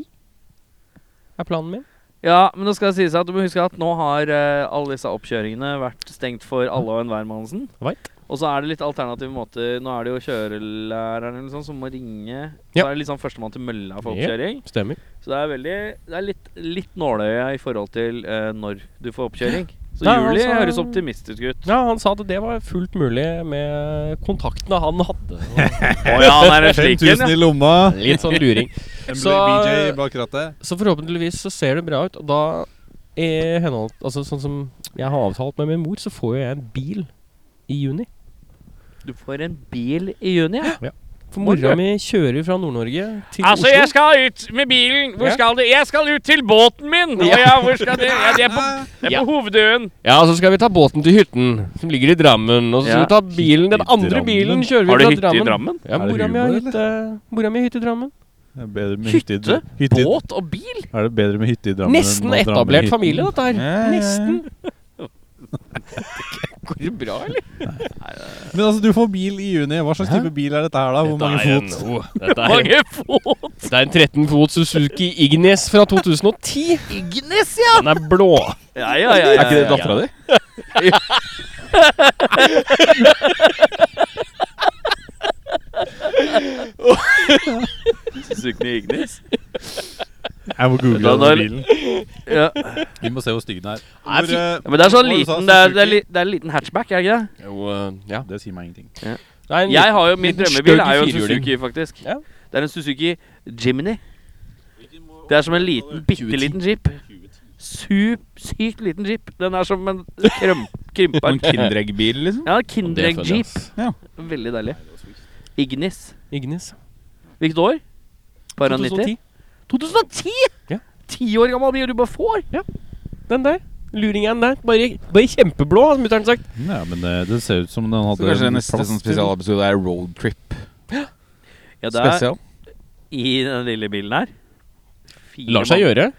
Speaker 1: Er planen min.
Speaker 4: Ja, men nå skal det sies at du må huske at nå har eh, alle disse oppkjøringene vært stengt for alle og enhver, Mannsen.
Speaker 1: Veit.
Speaker 4: Og så er det litt alternative måter. Nå er det jo kjørelæreren eller noe sånt som må ringe. Så
Speaker 1: Ja.
Speaker 4: er det liksom førstemann til mølla for
Speaker 1: Ja.
Speaker 4: oppkjøring.
Speaker 1: Stemmer.
Speaker 4: Så det er veldig Det er litt, litt nåløye i forhold til eh, når du får oppkjøring. Så
Speaker 1: Nei,
Speaker 4: juli
Speaker 1: altså-
Speaker 4: høres optimistisk ut.
Speaker 1: Ja, Han sa at det var fullt mulig med kontaktene han hadde.
Speaker 4: Å ja, han er en slik en,
Speaker 2: 5000 i
Speaker 4: ja.
Speaker 2: lomma.
Speaker 1: Og litt sånn luring. Så-
Speaker 2: BJ bak rattet.
Speaker 1: Så forhåpentligvis så ser det bra ut, og da i henhold Altså sånn som jeg har avtalt med min mor, så får jo jeg en bil i juni.
Speaker 4: Du får en bil i juni. Ja.
Speaker 1: For mora mi kjører fra Nord-Norge til
Speaker 4: Altså,
Speaker 1: Oslo.
Speaker 4: jeg skal ut med bilen. Hvor
Speaker 1: Ja.
Speaker 4: skal det? Jeg skal ut til båten min! Å
Speaker 1: Ja.
Speaker 4: ja, hvor skal det? Ja, det er på, det er
Speaker 1: Ja.
Speaker 4: på hovedøen.
Speaker 1: Ja, så skal vi ta båten til hytten, som ligger i Drammen. Og så
Speaker 4: Ja.
Speaker 1: skal vi ta bilen, den
Speaker 2: Hytte i
Speaker 1: andre
Speaker 2: Drammen?
Speaker 1: bilen kjører vi
Speaker 4: Har du
Speaker 1: fra
Speaker 4: hytte i
Speaker 1: Drammen.
Speaker 4: Drammen?
Speaker 1: Ja,
Speaker 2: Er det
Speaker 1: mora mi har
Speaker 2: humor,
Speaker 1: hytte, mora mi har hytte i Drammen.
Speaker 2: Det er bedre med hytte i-
Speaker 4: Hytte,
Speaker 2: hytte i-
Speaker 4: båt og bil?
Speaker 2: Er det bedre med hytte i Drammen enn
Speaker 1: Nesten
Speaker 2: å dra med
Speaker 1: etablert
Speaker 2: hytten?
Speaker 1: familie, dette her.
Speaker 5: Ja, ja, ja.
Speaker 1: Nesten. Går det bra, eller?
Speaker 2: Men altså, du får bil i juni. Hva slags type bil er dette her, da? Hvor mange fot?
Speaker 1: Dette er,
Speaker 4: Mange fot!
Speaker 1: det er en 13 fot Suzuki Ignis fra 2010.
Speaker 4: Ignis, ja!
Speaker 1: Den er blå.
Speaker 4: Ja, ja, ja.
Speaker 5: Er
Speaker 4: ja,
Speaker 5: ikke det
Speaker 4: ja,
Speaker 5: dattera di?
Speaker 4: Sukne Ignis.
Speaker 2: Jeg må google
Speaker 4: Da- da-
Speaker 2: den bilen.
Speaker 4: Ja.
Speaker 2: Vi må se hvor stygg den er.
Speaker 1: Nei,
Speaker 2: Hvor,
Speaker 1: fy-
Speaker 2: eh,
Speaker 4: Men det er sånn
Speaker 2: hva du sa,
Speaker 4: liten det er, det, er,
Speaker 2: Suzuki?
Speaker 4: li- det er en liten hatchback, er det ikke det?
Speaker 1: Jo, eh, ja.
Speaker 2: Det sier meg ingenting.
Speaker 1: Nei, en
Speaker 4: Jeg har jo, Min
Speaker 1: liten
Speaker 4: drømmebil
Speaker 1: stygg
Speaker 4: er jo en
Speaker 1: firehjuling.
Speaker 4: Suzuki, faktisk.
Speaker 1: Ja.
Speaker 4: Det er en Suzuki Jimny. Det er som en liten, bitte liten jeep. Sup, sykt liten jeep. Den er som en krøm, krympa
Speaker 5: Noen Sånn Kinderegg-bil, liksom?
Speaker 4: Ja,
Speaker 1: Det
Speaker 4: Kinderegg
Speaker 1: føler jeg,
Speaker 4: jeep.
Speaker 1: ass.
Speaker 4: Veldig deilig. Ignis.
Speaker 1: Ignis.
Speaker 4: Hvilket år? Bare 90?
Speaker 1: 2010.
Speaker 4: 2010!
Speaker 1: Ja.
Speaker 4: Ti år gammel bil du bare får!
Speaker 1: Den der. Luringen der. Bare, bare kjempeblå, har mutter'n sagt.
Speaker 2: Mm, Ja, men det, det ser ut som den
Speaker 5: Så
Speaker 2: hadde
Speaker 5: kanskje neste
Speaker 2: plass
Speaker 5: sånn
Speaker 2: til-
Speaker 5: spesialepisode er roadtrip
Speaker 4: Ja, det er
Speaker 5: spesial?
Speaker 4: i den lille bilen her. Fire
Speaker 1: Lar seg
Speaker 4: mann.
Speaker 1: gjøre.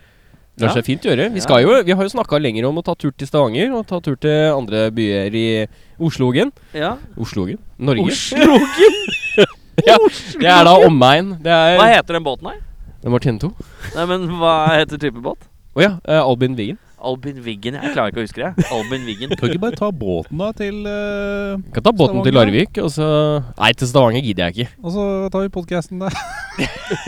Speaker 1: Lar
Speaker 4: Ja.
Speaker 1: seg fint gjøre.
Speaker 4: Ja.
Speaker 1: Vi, skal jo, vi har jo snakka lenger om å ta tur til Stavanger og ta tur til andre byer i Oslogen.
Speaker 4: Ja.
Speaker 1: Oslogen? Norge.
Speaker 4: Oslogen!
Speaker 1: Ja, det er da omegn. Det
Speaker 4: Hva
Speaker 1: er
Speaker 4: heter den båten her?
Speaker 1: Det var Tento.
Speaker 4: Nei, men hva heter type båt?
Speaker 1: Å ja. eh, Albin Wiggen.
Speaker 4: Albin Wiggen. Jeg klarer ikke å huske det. Albin Wiggen.
Speaker 2: Kan ikke bare ta båten da til eh,
Speaker 1: Kan ta båten til
Speaker 2: Stavanger.
Speaker 1: Larvik, og så Nei, til Stavanger gidder jeg ikke.
Speaker 2: Og så tar vi podkasten der.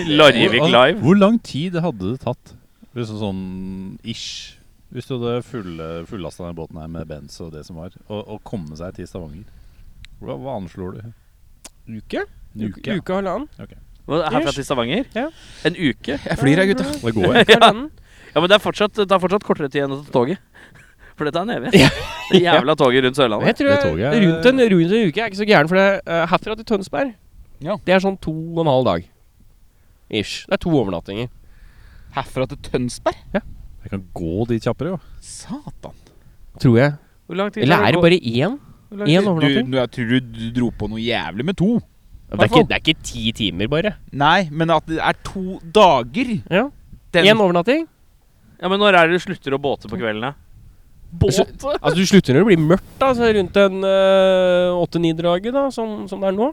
Speaker 4: Larvik Live.
Speaker 2: Hvor lang tid hadde det tatt? Hvis sånn, sånn ish. Hvis du hadde full, fullasta denne båten her med Benz og det som var, og, og komme seg til Stavanger. Hva, hva anslår du?
Speaker 1: Uke?
Speaker 2: En
Speaker 1: Uke,
Speaker 2: uke? ja.
Speaker 1: uke og halvannen.
Speaker 4: Hva, Herfra til Stavanger?
Speaker 1: Ja.
Speaker 4: En uke?
Speaker 5: Jeg flyr her, gutta.
Speaker 2: Det går, jeg.
Speaker 1: Uke og halvannen.
Speaker 4: Ja, men det er fortsatt, det er fortsatt kortere tid enn å ta toget. For dette er en evig. Det jævla toget rundt
Speaker 1: Men jeg
Speaker 4: Sørlandet.
Speaker 1: tror
Speaker 2: Det toget
Speaker 1: jeg,
Speaker 2: er-
Speaker 1: rundt, en, rundt en uke er ikke så gæren, for det eh, herfra til Tønsberg
Speaker 5: Ja.
Speaker 1: Det er sånn to og en halv dag. Ish. Det er to overnattinger.
Speaker 5: Herfra til Tønsberg?
Speaker 2: jeg kan gå dit kjappere, jo.
Speaker 5: Satan.
Speaker 1: Tror jeg.
Speaker 4: Hvor lang tid
Speaker 1: Eller
Speaker 4: tar
Speaker 1: er det
Speaker 4: å gå-
Speaker 1: bare én?
Speaker 4: hvor lang tid-
Speaker 1: Én
Speaker 5: Du,
Speaker 1: overnatting?
Speaker 5: nå, jeg tror du, du dro på noe jævlig med to.
Speaker 1: Det er, ikke, det er ikke ti timer, bare.
Speaker 5: Nei, men at det er to dager
Speaker 1: Ja.
Speaker 5: Den-
Speaker 1: Én overnatting.
Speaker 4: Ja, men når er det du slutter å båte på kveldene?
Speaker 1: Båt? Altså, du slutter når det blir mørkt, da. Så rundt en øh, åtte-ni-draget, da, som, som det er nå.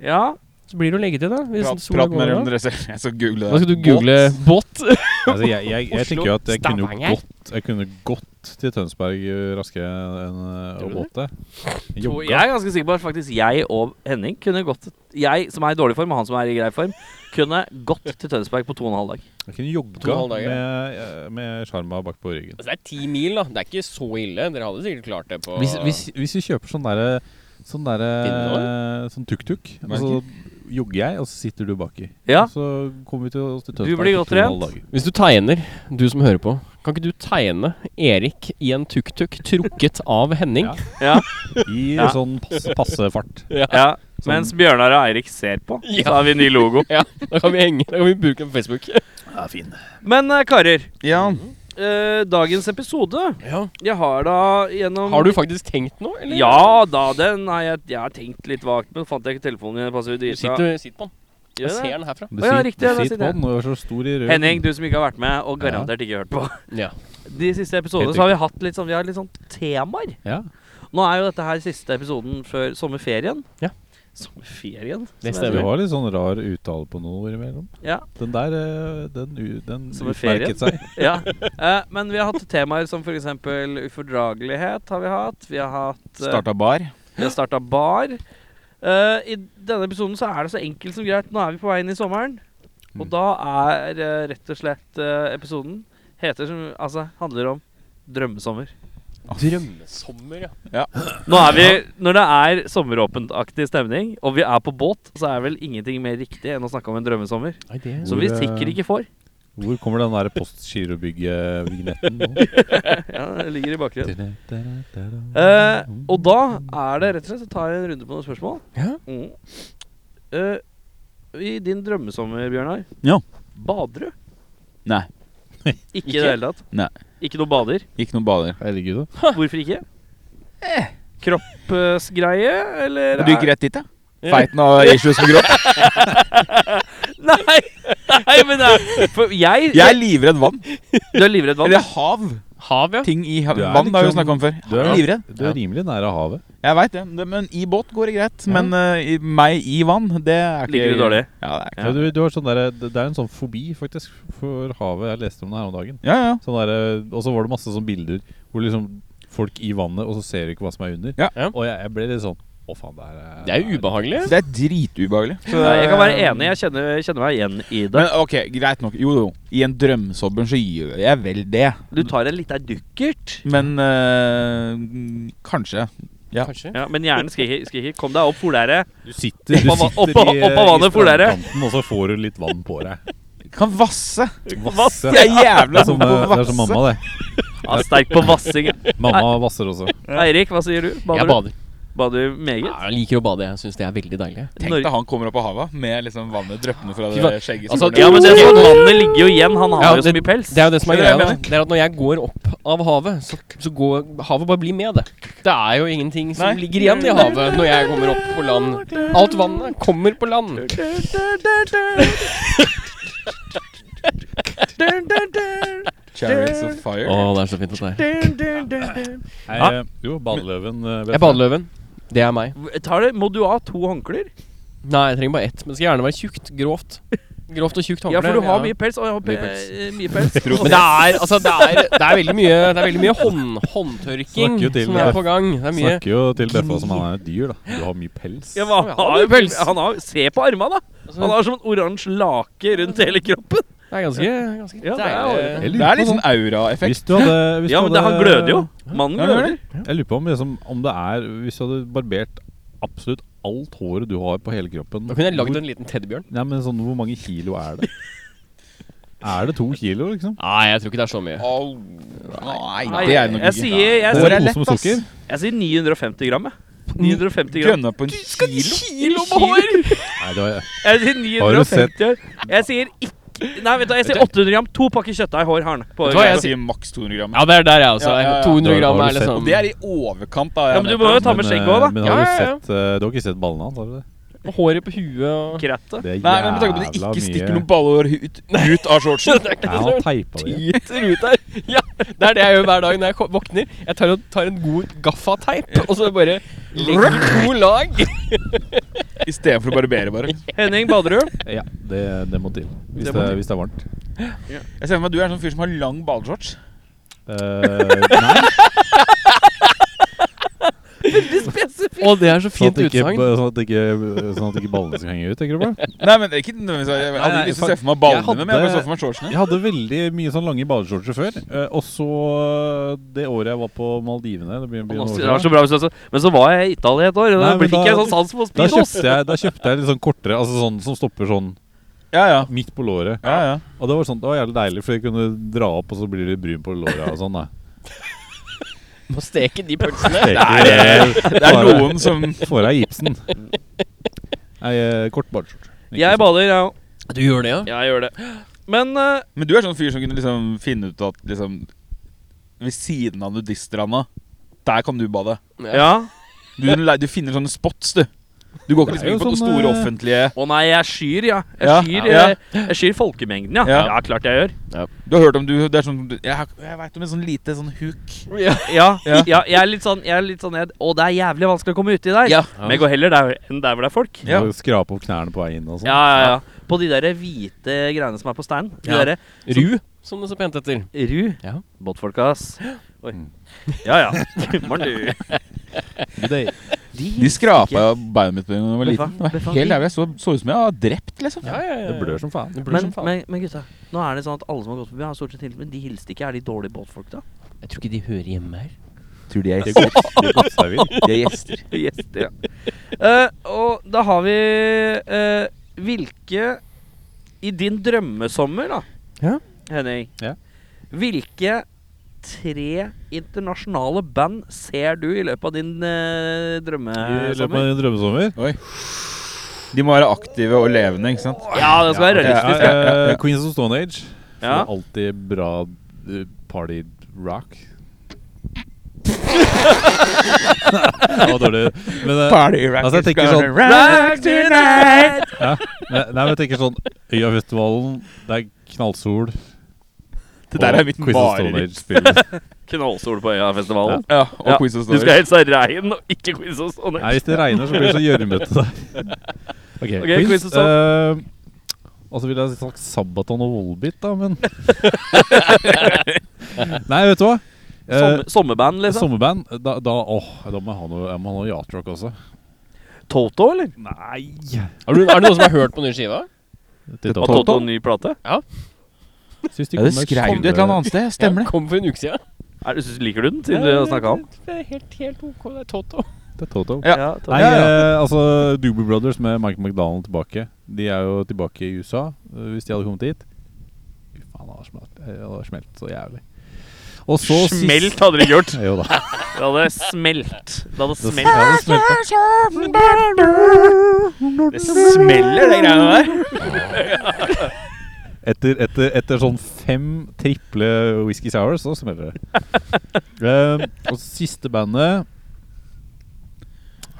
Speaker 4: Ja.
Speaker 1: Så blir det å legge til, da. Hvis
Speaker 5: Prat,
Speaker 1: sola
Speaker 5: prat med
Speaker 1: går
Speaker 5: dere om
Speaker 1: ned.
Speaker 5: dere selv. Jeg skal google det.
Speaker 1: Da skal du google båt.
Speaker 2: Altså, jeg, jeg, jeg tenker jo at jeg kunne jo
Speaker 1: Stavanger.
Speaker 2: gått, jeg kunne gått til Tønsberg eh, raskere enn eh, å
Speaker 1: Tror
Speaker 2: båte.
Speaker 4: Og
Speaker 2: Jogga.
Speaker 4: jeg er ganske sikker på at faktisk jeg og Henning kunne gått Jeg, som er i dårlig form, og han som er i grei form, kunne gått til Tønsberg på to og en halv dag.
Speaker 2: Jeg kunne
Speaker 1: To og
Speaker 2: jogga
Speaker 1: en halv dag, ja.
Speaker 2: med, eh, med sjarma bak på ryggen.
Speaker 1: Altså, det er ti mil, da. Det er ikke så ille. Dere hadde sikkert klart det på
Speaker 2: Hvis, hvis, hvis vi kjøper sånn derre Sånn derre Sånn tuk-tuk, og så jogger jeg, og så sitter du baki.
Speaker 4: Ja.
Speaker 2: Og Så kommer vi til oss til
Speaker 4: Du blir
Speaker 2: på
Speaker 4: godt
Speaker 2: to og en halv
Speaker 4: trent.
Speaker 2: dag.
Speaker 1: Hvis du tegner, du som hører på, kan ikke du tegne Erik i en tuk-tuk trukket av Henning?
Speaker 2: Ja.
Speaker 4: Ja,
Speaker 2: I
Speaker 4: Ja.
Speaker 2: sånn passe, passe fart.
Speaker 4: ja. Mens Bjørnar og Eirik ser på, så
Speaker 1: Ja.
Speaker 4: har vi ny logo.
Speaker 1: Da kan vi henge, da kan vi bruke den på Facebook.
Speaker 4: Men eh, karer,
Speaker 5: Ja.
Speaker 4: eh, dagens episode Jeg har da gjennom
Speaker 1: Har du faktisk tenkt noe, eller?
Speaker 4: Ja da, den har jeg, jeg har tenkt litt vagt, men fant jeg ikke telefonen min? Passer jo
Speaker 1: Du
Speaker 4: drita.
Speaker 1: sitter, sitter på den.
Speaker 4: Gjør
Speaker 1: Jeg
Speaker 4: det?
Speaker 1: ser den herfra.
Speaker 2: Du
Speaker 4: Å ja,
Speaker 2: sit-
Speaker 4: riktig, ja, da
Speaker 2: du sitter
Speaker 4: sitter
Speaker 2: på
Speaker 4: jeg.
Speaker 2: den, og er så stor i røven.
Speaker 4: Henning, du som ikke har vært med, og garantert ikke hørt på.
Speaker 1: Ja.
Speaker 4: De siste episodene
Speaker 2: Helt
Speaker 4: så har vi hatt litt sånn, vi har litt sånn temaer.
Speaker 2: Ja.
Speaker 4: Nå er jo dette her siste episoden før sommerferien.
Speaker 1: Ja.
Speaker 4: Sommerferien?
Speaker 1: Det
Speaker 4: som jeg
Speaker 2: Du
Speaker 1: stemmer.
Speaker 2: har litt sånn rar uttale på noe innimellom.
Speaker 4: sier. Ja.
Speaker 2: Den der, eh, den, u- den
Speaker 4: Som en ferie.
Speaker 2: utmerket seg.
Speaker 4: ja. Eh, men vi har hatt temaer som f.eks. ufordragelighet har vi hatt. Vi har hatt eh,
Speaker 5: Starta bar.
Speaker 4: Vi har starta bar. Eh, I denne episoden så er det så enkelt som greit. Nå er vi på vei inn i sommeren. Og
Speaker 2: Mm.
Speaker 4: da er eh, rett og slett eh, episoden heter som Altså handler om drømmesommer.
Speaker 1: Drømmesommer, ja.
Speaker 4: Nå er vi, Når det er sommeråpentaktig stemning, og vi er på båt, så er vel ingenting mer riktig enn å snakke om en drømmesommer.
Speaker 1: Nei, det
Speaker 4: Som vi sikkert ikke får.
Speaker 2: Hvor kommer den der postgirobygge-vignetten nå?
Speaker 4: Ja, det ligger i bakgrunnen.
Speaker 2: Eh,
Speaker 4: Eh, og da er det rett og slett å ta en runde på noen spørsmål.
Speaker 1: Ja.
Speaker 4: Mm. Eh, I din drømmesommer, Bjørnar,
Speaker 5: Ja.
Speaker 4: bader du?
Speaker 5: Nei.
Speaker 4: Ikke i det hele tatt?
Speaker 5: Nei.
Speaker 4: Ikke noe bader?
Speaker 5: Ikke noen bader.
Speaker 2: Herregud, da.
Speaker 4: Hvorfor ikke? Kroppsgreie, eller
Speaker 5: Du gikk rett dit, ja? Feiten og issues med kropp.
Speaker 4: Nei, nei, men det er For jeg,
Speaker 5: Jeg er livredd vann.
Speaker 4: Du er livredd vann?
Speaker 5: Eller hav.
Speaker 1: Hav, ja.
Speaker 5: Ting i hav.
Speaker 2: Du er
Speaker 5: Vann har vi jo
Speaker 2: liksom-
Speaker 5: snakka om før.
Speaker 2: Du
Speaker 5: Jeg
Speaker 2: er,
Speaker 5: er livredd.
Speaker 2: du er rimelig nære havet.
Speaker 5: Jeg veit det. det. Men i båt går det greit. Men eh, i, meg i vann, det er ikke
Speaker 4: Ligger du dårlig?
Speaker 5: Ja, det er ikke
Speaker 2: Ja. Du, du har sånn der, det det er en sånn fobi, faktisk, for havet. Jeg leste om det her om dagen.
Speaker 5: Ja, ja.
Speaker 2: Sånn der, og så var det masse sånne bilder hvor liksom folk i vannet, og så ser du ikke hva som er under.
Speaker 5: Ja.
Speaker 1: Ja.
Speaker 2: Og jeg, jeg ble litt sånn Å, faen, det her
Speaker 1: Det er jo ubehagelig.
Speaker 5: Så det er dritubehagelig. Så-
Speaker 4: Nei, jeg kan være enig. Jeg kjenner, jeg kjenner meg igjen i det.
Speaker 5: Men ok, greit nok. Jo, jo. I en drømmesobber så gjør jeg vel det.
Speaker 4: Du tar en liten dukkert.
Speaker 5: Men eh, kanskje. Ja.
Speaker 1: Kanskje.
Speaker 4: Ja, men hjernen skriker. skriker. Kom deg opp, folere.
Speaker 2: Du sitter, du
Speaker 4: Opp av-
Speaker 2: sitter
Speaker 4: opp av- opp av vannet for dere.
Speaker 2: strandkanten, og så får du litt vann på deg.
Speaker 5: Kan vasse.
Speaker 2: Vasse.
Speaker 5: Jeg er
Speaker 2: Det
Speaker 5: jævla
Speaker 2: er som,
Speaker 5: god
Speaker 2: eh,
Speaker 5: på å
Speaker 2: det er som
Speaker 5: vasse.
Speaker 2: mamma, det.
Speaker 4: Ja, sterk på vassing.
Speaker 2: Mamma vasser også.
Speaker 4: Eirik, hva sier du?
Speaker 1: Jeg
Speaker 4: Bader du?
Speaker 1: bader. Ah.
Speaker 4: Bader du meget?
Speaker 1: Ja, jeg liker å bade. Jeg syns det er veldig deilig.
Speaker 5: Tenk deg han kommer opp av havet med liksom vannet dryppende fra
Speaker 1: Fy faen.
Speaker 5: det skjegget.
Speaker 1: Altså,
Speaker 5: går ned.
Speaker 4: Ja, men det er sånn, vannet ligger jo igjen. Han har
Speaker 1: Ja,
Speaker 4: jo så mye pels.
Speaker 1: Det er jo det som er
Speaker 5: Skjønner
Speaker 1: greia. da
Speaker 5: du hva jeg
Speaker 1: Det er at Når jeg går opp av havet, så, så går havet bare blir med det. Det er jo ingenting som
Speaker 5: Nei.
Speaker 1: ligger igjen i havet når jeg kommer opp på land. Alt vannet kommer på land.
Speaker 5: Chariots of fire.
Speaker 1: Å, det er så fint at det er.
Speaker 2: Nei,
Speaker 4: Ja.
Speaker 2: eh, Jo, badeløven. eh, vet
Speaker 1: Jeg er badeløven. Det er meg.
Speaker 4: Tar det, må du ha to håndklær?
Speaker 1: Nei, jeg trenger bare ett. Men det skal gjerne være tjukt. Grovt. Grovt og tjukt håndkle.
Speaker 4: Ja, for du har mye pels. Å, jeg har pe
Speaker 1: Mye pels.
Speaker 4: eh, mye pels.
Speaker 1: Men det er, altså, det er, det er veldig mye, det er veldig mye hånd, håndtørking
Speaker 2: Snakker jo til
Speaker 1: som er
Speaker 2: deg.
Speaker 1: på gang. Det er mye
Speaker 2: Snakker jo til Beffa som han er et dyr, da. Du har mye pels.
Speaker 4: Ja, men han har jo pels. Altså- Han har, se på armene, da. Han har som en oransje lake rundt hele kroppen.
Speaker 1: Det er ganske, ganske
Speaker 4: Ja, det er
Speaker 1: deilig.
Speaker 2: Jeg
Speaker 5: Det
Speaker 2: lurer
Speaker 5: er
Speaker 2: på
Speaker 5: litt
Speaker 2: sånn-
Speaker 5: sånn aura-effekt.
Speaker 2: Hvis du hadde hvis
Speaker 4: Ja,
Speaker 2: du
Speaker 4: men det,
Speaker 2: hadde-
Speaker 4: han gløder jo. Mannen
Speaker 5: Ja, han gjør
Speaker 4: gløder.
Speaker 2: Jeg lurer på om, liksom, om det er Hvis du hadde barbert absolutt alt håret du har på hele kroppen
Speaker 1: Da kunne jeg lagd
Speaker 2: hvor-
Speaker 1: en liten teddybjørn.
Speaker 2: Nei, men sånn, Hvor mange kilo er det? er det to kilo, liksom?
Speaker 1: Nei, jeg tror ikke det er så mye.
Speaker 5: Au. Nei,
Speaker 4: Nei,
Speaker 5: det er noe
Speaker 4: jeg sier, jeg,
Speaker 2: Hår
Speaker 4: sier,
Speaker 2: er
Speaker 5: lett,
Speaker 2: pose med
Speaker 5: ass.
Speaker 2: sukker?
Speaker 4: jeg sier 950 gram, jeg. 950 gram.
Speaker 5: Gønna på en kilo?
Speaker 4: Kilo med hår!
Speaker 2: Nei, det var,
Speaker 4: Jeg sier
Speaker 2: Har du sett-
Speaker 4: 950 Jeg sier ikke Nei, vet du, hva, jeg sier 800 gram. To pakker kjøttdeig hår har han. På
Speaker 1: Vet du hva,
Speaker 5: Jeg
Speaker 1: jeg
Speaker 5: sier maks 200 gram.
Speaker 1: Ja, det er der jeg også.
Speaker 5: Ja, ja, ja.
Speaker 1: 200
Speaker 2: Da
Speaker 1: gram
Speaker 2: har
Speaker 1: er
Speaker 2: du sett.
Speaker 1: liksom
Speaker 5: Og det er i overkant, da.
Speaker 4: Ja, men du må jo ta med
Speaker 2: Men,
Speaker 4: skjegget òg,
Speaker 2: eh,
Speaker 4: da.
Speaker 2: Men har
Speaker 1: Ja, ja, ja.
Speaker 2: du sett eh, Du har ikke sett ballene hans, har du det?
Speaker 1: Håret på huet og
Speaker 4: Krettet.
Speaker 2: Det er
Speaker 5: Nei, men med tanke på at du
Speaker 2: jævla
Speaker 5: ikke stikker
Speaker 2: mye.
Speaker 5: noen ballehår ut, ut av shortsen.
Speaker 1: Det er ikke
Speaker 2: Nei,
Speaker 1: det
Speaker 2: han
Speaker 1: som
Speaker 2: teipa det.
Speaker 1: biter ut her. Ja, det er det jeg gjør hver dag når jeg ko- våkner. Jeg tar, og, tar en god gaffateip, og så bare legger to lag.
Speaker 5: Istedenfor å barbere, bare.
Speaker 4: Henning Baderud.
Speaker 2: Ja, det, det må til. Hvis
Speaker 4: Det
Speaker 2: det,
Speaker 4: må til.
Speaker 2: hvis det er varmt.
Speaker 5: Jeg ser for meg at du er en sånn fyr som har lang ballshorts.
Speaker 2: Eh, nei,
Speaker 1: Og det er så
Speaker 2: sånn at
Speaker 1: fint
Speaker 2: ikke,
Speaker 1: utsagn.
Speaker 2: sånn at ikke, sånn at ikke ballene skal henge ut, tenker du på?
Speaker 5: Nei, men det er ikke nødvendigvis Jeg hadde
Speaker 2: Nei,
Speaker 5: ikke lyst til å
Speaker 2: fuck.
Speaker 5: se for meg ballene,
Speaker 2: Jeg
Speaker 5: men jeg bare
Speaker 2: hadde-
Speaker 5: så for meg shortsene.
Speaker 2: Jeg hadde veldig mye sånn lange badeshortser før. eh, Og så eh, det året jeg var på Maldivene det begynner å bli noen år
Speaker 4: Det var så
Speaker 2: siden.
Speaker 4: bra hvis du også- Men så var jeg i Italia et år, og
Speaker 2: Nei,
Speaker 4: da
Speaker 2: men
Speaker 4: fikk
Speaker 2: da-
Speaker 4: jeg sånn sans for
Speaker 2: da
Speaker 4: speedos.
Speaker 2: kjøpte, jeg, da kjøpte jeg litt sånn kortere, altså sånn som stopper sånn
Speaker 5: Ja, ja.
Speaker 2: midt på låret.
Speaker 5: ja, ja.
Speaker 2: Og det var sånn, det var jævlig deilig, for jeg kunne dra opp, og så blir det brun på låra og sånn. da
Speaker 1: Må steke de pølsene.
Speaker 2: Steker-
Speaker 5: Det er noen som
Speaker 2: Får deg gipsen. Nei, eh, kort badeshorts. Ikke
Speaker 4: Jeg
Speaker 2: sånn.
Speaker 4: bader, ja.
Speaker 1: Du gjør det, ja?
Speaker 4: Jeg gjør det. Men eh,
Speaker 5: Men du er sånn fyr som kunne liksom finne ut at liksom Ved siden av nudiststranda, der kan du bade.
Speaker 4: Ja.
Speaker 5: Du, du finner sånne spots, du. Du går ikke
Speaker 2: Det er
Speaker 5: liksom inn på
Speaker 2: jo
Speaker 5: noen
Speaker 2: sånn,
Speaker 5: store
Speaker 2: eh,
Speaker 5: offentlige
Speaker 4: Å nei, jeg skyr, ja.
Speaker 5: Ja,
Speaker 4: Jeg skyr,
Speaker 5: ja.
Speaker 4: Jeg, jeg skyr folkemengden, ja.
Speaker 5: Ja.
Speaker 4: Ja, klart jeg gjør.
Speaker 5: Du har hørt om du Det er sånn Jeg, har- jeg veit om en sånn lite sånn huk.
Speaker 4: Ja, ja.
Speaker 5: Ja.
Speaker 4: jeg er litt sånn, jeg er litt sånn jeg, Å, det er jævlig vanskelig å komme uti der.
Speaker 5: Ja.
Speaker 4: Men jeg går heller der enn der hvor det er folk.
Speaker 5: Ja.
Speaker 2: Må Skrape opp knærne på vei inn og sånn.
Speaker 4: Ja, ja, ja. På de der hvite greiene som er på steinen. De
Speaker 1: Ja.
Speaker 4: derre
Speaker 1: Ru, som det så pent heter.
Speaker 4: ru.
Speaker 1: Ja.
Speaker 4: Båtfolka, ass. Oi.
Speaker 5: Mm.
Speaker 4: Ja, ja. Morn, du.
Speaker 2: Det,
Speaker 5: De skrapa beinet mitt da jeg
Speaker 4: Beffa,
Speaker 5: var liten. Det
Speaker 4: beffa,
Speaker 5: var helt
Speaker 4: de-
Speaker 5: jævlig. Jeg så, så ut som jeg var drept, liksom.
Speaker 1: Ja, ja, ja.
Speaker 2: det blør som faen.
Speaker 1: Det blør
Speaker 4: Men,
Speaker 1: som faen.
Speaker 4: men, men gutta, nå er det sånn at alle som har gått forbi, har stort sett hilst, men de hilste ikke. Er de dårlige båtfolk, da?
Speaker 1: Jeg tror ikke de hører hjemme her.
Speaker 5: Tror de er
Speaker 2: Det går- det går seg vilt.
Speaker 5: De er gjester.
Speaker 4: Gjester, ja. Eh, og da har vi eh, Hvilke I din drømmesommer, da,
Speaker 1: Ja.
Speaker 4: Henning
Speaker 2: Ja.
Speaker 4: Hvilke tre internasjonale band ser du i løpet av din eh,
Speaker 2: I løpet
Speaker 4: drømmesommer?
Speaker 2: av en drømmesommer
Speaker 5: De må være aktive og levende, ikke sant?
Speaker 4: Ja, det skal være
Speaker 5: Ja,
Speaker 4: realistisk.
Speaker 5: ja, ja, ja.
Speaker 2: Eh, Queens of Stone Age. For
Speaker 4: Ja.
Speaker 2: det er alltid bra eh, party rock. Det var dårlig. Men, eh,
Speaker 5: Party
Speaker 2: Altså, jeg tenker sånn-
Speaker 5: Rock tonight!
Speaker 2: ja. men- Nei, men jeg tenker sånn Øyafestivalen, det er knallsol.
Speaker 5: Det der er mitt
Speaker 2: Queens of Stone
Speaker 5: mareritt.
Speaker 2: Age spiller.
Speaker 4: Knallsol på Øyafestivalen.
Speaker 5: Ja, og
Speaker 4: Ja,
Speaker 5: Queens of
Speaker 4: Du
Speaker 5: Stone
Speaker 4: skal
Speaker 5: Age.
Speaker 4: helst ha regn og ikke quiz og sånn.
Speaker 2: Nei, eh, hvis det regner, så blir det så gjørmete der. Ok,
Speaker 4: Ok, Queens of
Speaker 2: eh, og så ville jeg sagt Sabaton og Volbit, da, men Nei, vet du hva? Eh,
Speaker 4: Sommer, sommerband, liksom.
Speaker 2: Sommerband? Da, da, åh, da må jeg ha noe, jeg må ha noe yacht-rock også.
Speaker 4: Toto, eller?
Speaker 2: Nei
Speaker 1: Er det noen som har hørt på den nye skiva?
Speaker 4: Har Toto en ny plate?
Speaker 2: Syns de
Speaker 5: Ja,
Speaker 2: kom
Speaker 5: det
Speaker 2: med
Speaker 5: skrev du et eller annet annet sted. Stemmer det.
Speaker 1: Kom for en uke siden.
Speaker 4: Er, du- liker du den, siden du har snakket om den?
Speaker 1: Det er helt, helt ok. Det er Toto.
Speaker 2: Det er Toto.
Speaker 5: Ja.
Speaker 4: Toto.
Speaker 2: Nei,
Speaker 5: Ja, ja.
Speaker 2: eh, altså Doobie Brothers med Mike McDonald tilbake. De er jo tilbake i USA, eh, hvis de hadde kommet hit. Fy faen, det hadde smelt, eh, det hadde smelt så jævlig. Og så sist-
Speaker 4: Smelt hadde det ikke gjort.
Speaker 2: Jo da.
Speaker 4: Det hadde smelt. Det hadde
Speaker 2: Det,
Speaker 4: smelt.
Speaker 2: ja, det smelte.
Speaker 4: Det smeller, de greiene der.
Speaker 2: Etter, etter, etter sånn fem triple Whisky Sours, så smeller det. Eh, og siste bandet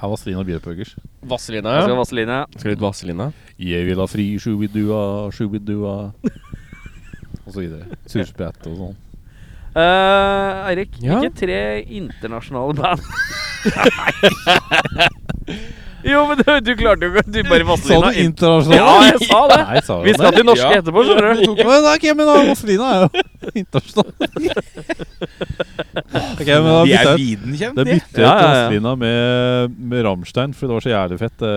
Speaker 2: Her var Strina Bjørpøgers.
Speaker 1: Vazelina.
Speaker 4: Jeg skal ha vaseline.
Speaker 1: Skal litt vaselina.
Speaker 2: Jeg vil ha fri shubidua, shubidua Og så videre. Surspett og sånn.
Speaker 4: Eh, Eirik,
Speaker 1: Ja?
Speaker 4: ikke tre internasjonale band. Jo, men du, du klarte jo ikke Du bare
Speaker 2: Sa
Speaker 4: vaselina
Speaker 2: du
Speaker 4: inn.
Speaker 2: internasjonal?
Speaker 4: Ja, jeg sa det!
Speaker 2: Nei, sa du
Speaker 4: Vi skal
Speaker 2: det?
Speaker 4: til norske
Speaker 5: Ja.
Speaker 4: etterpå, skjønner du.
Speaker 2: Men da, ok, men da, Vazelina er jo internasjonal. Ok, men da bytter
Speaker 5: De er
Speaker 2: jeg ut-
Speaker 5: viden kjent,
Speaker 2: da
Speaker 5: de.
Speaker 4: Ja,
Speaker 2: bytter jeg ut
Speaker 4: ja, ja.
Speaker 2: Vazelina med, med Rammstein, for det var så jævlig fett eh,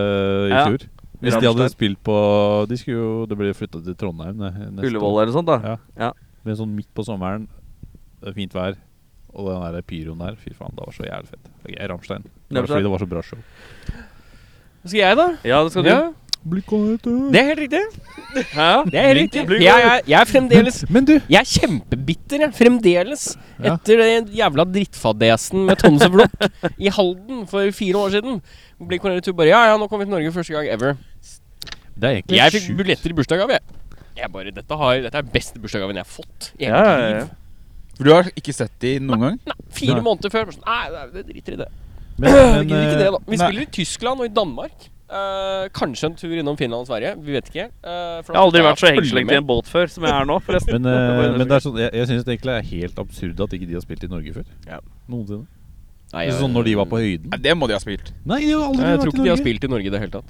Speaker 2: i
Speaker 4: Ja.
Speaker 2: fjor. Hvis de hadde
Speaker 4: Rammstein.
Speaker 2: spilt på De skulle jo Det ble flytta til Trondheim ne- neste år.
Speaker 4: Ullevål eller noe sånt, da.
Speaker 2: Men sånn midt på sommeren, det er fint vær, og den der pyroen der Fy faen, det var så jævlig fett. Ok, Rammstein. Det var
Speaker 4: Rammstein.
Speaker 2: fordi det var så bra show.
Speaker 1: Skal jeg, da?
Speaker 4: Ja, det skal du.
Speaker 1: Ja,
Speaker 2: Men
Speaker 1: det er helt riktig.
Speaker 4: Hæ?
Speaker 1: Det er helt riktig. Jeg, er- jeg er fremdeles
Speaker 2: du,
Speaker 1: Jeg er kjempebitter, jeg. Fremdeles.
Speaker 2: Ja.
Speaker 1: Etter den jævla drittfadesen med Thomas og Blokk i Halden for fire år siden. Blir Cornelia Tube bare Ja, ja, nå kom vi til Norge første gang ever.
Speaker 2: det er egentlig
Speaker 1: Jeg fikk
Speaker 2: sjukt.
Speaker 1: billetter i bursdagsgave, jeg. Jeg bare Dette, har, dette er beste bursdagsgaven jeg har fått. i hele
Speaker 4: Ja, ja,
Speaker 1: mitt
Speaker 4: ja.
Speaker 1: liv.
Speaker 5: For du har ikke sett de noen gang?
Speaker 1: Fire
Speaker 2: Nei.
Speaker 1: måneder før. bare sånn, Nei, nei, det driter i det.
Speaker 2: Men,
Speaker 1: Vi gidder ikke det, da.
Speaker 4: eh,
Speaker 1: Vi
Speaker 2: nei.
Speaker 1: spiller i Tyskland og i Danmark. Eh, kanskje en tur innom Finland og Sverige. Vi vet ikke. Eh, for
Speaker 4: Jeg har aldri
Speaker 1: da-
Speaker 4: vært så
Speaker 1: følg
Speaker 4: hengslengt
Speaker 1: med.
Speaker 4: i en båt før som jeg er nå, forresten.
Speaker 2: Men,
Speaker 4: Det
Speaker 2: eh,
Speaker 4: var
Speaker 2: men det er sånn, jeg, jeg syns egentlig det er helt absurd at ikke de har spilt i Norge før.
Speaker 5: Ja.
Speaker 2: Noensinne.
Speaker 1: Nei, jeg-
Speaker 2: Sånn når de var på høyden.
Speaker 5: Nei, det må de ha spilt.
Speaker 2: Nei, de har aldri
Speaker 1: Jeg
Speaker 2: vært
Speaker 1: tror
Speaker 2: i
Speaker 1: ikke de har
Speaker 2: Norge.
Speaker 1: spilt i Norge i det hele tatt.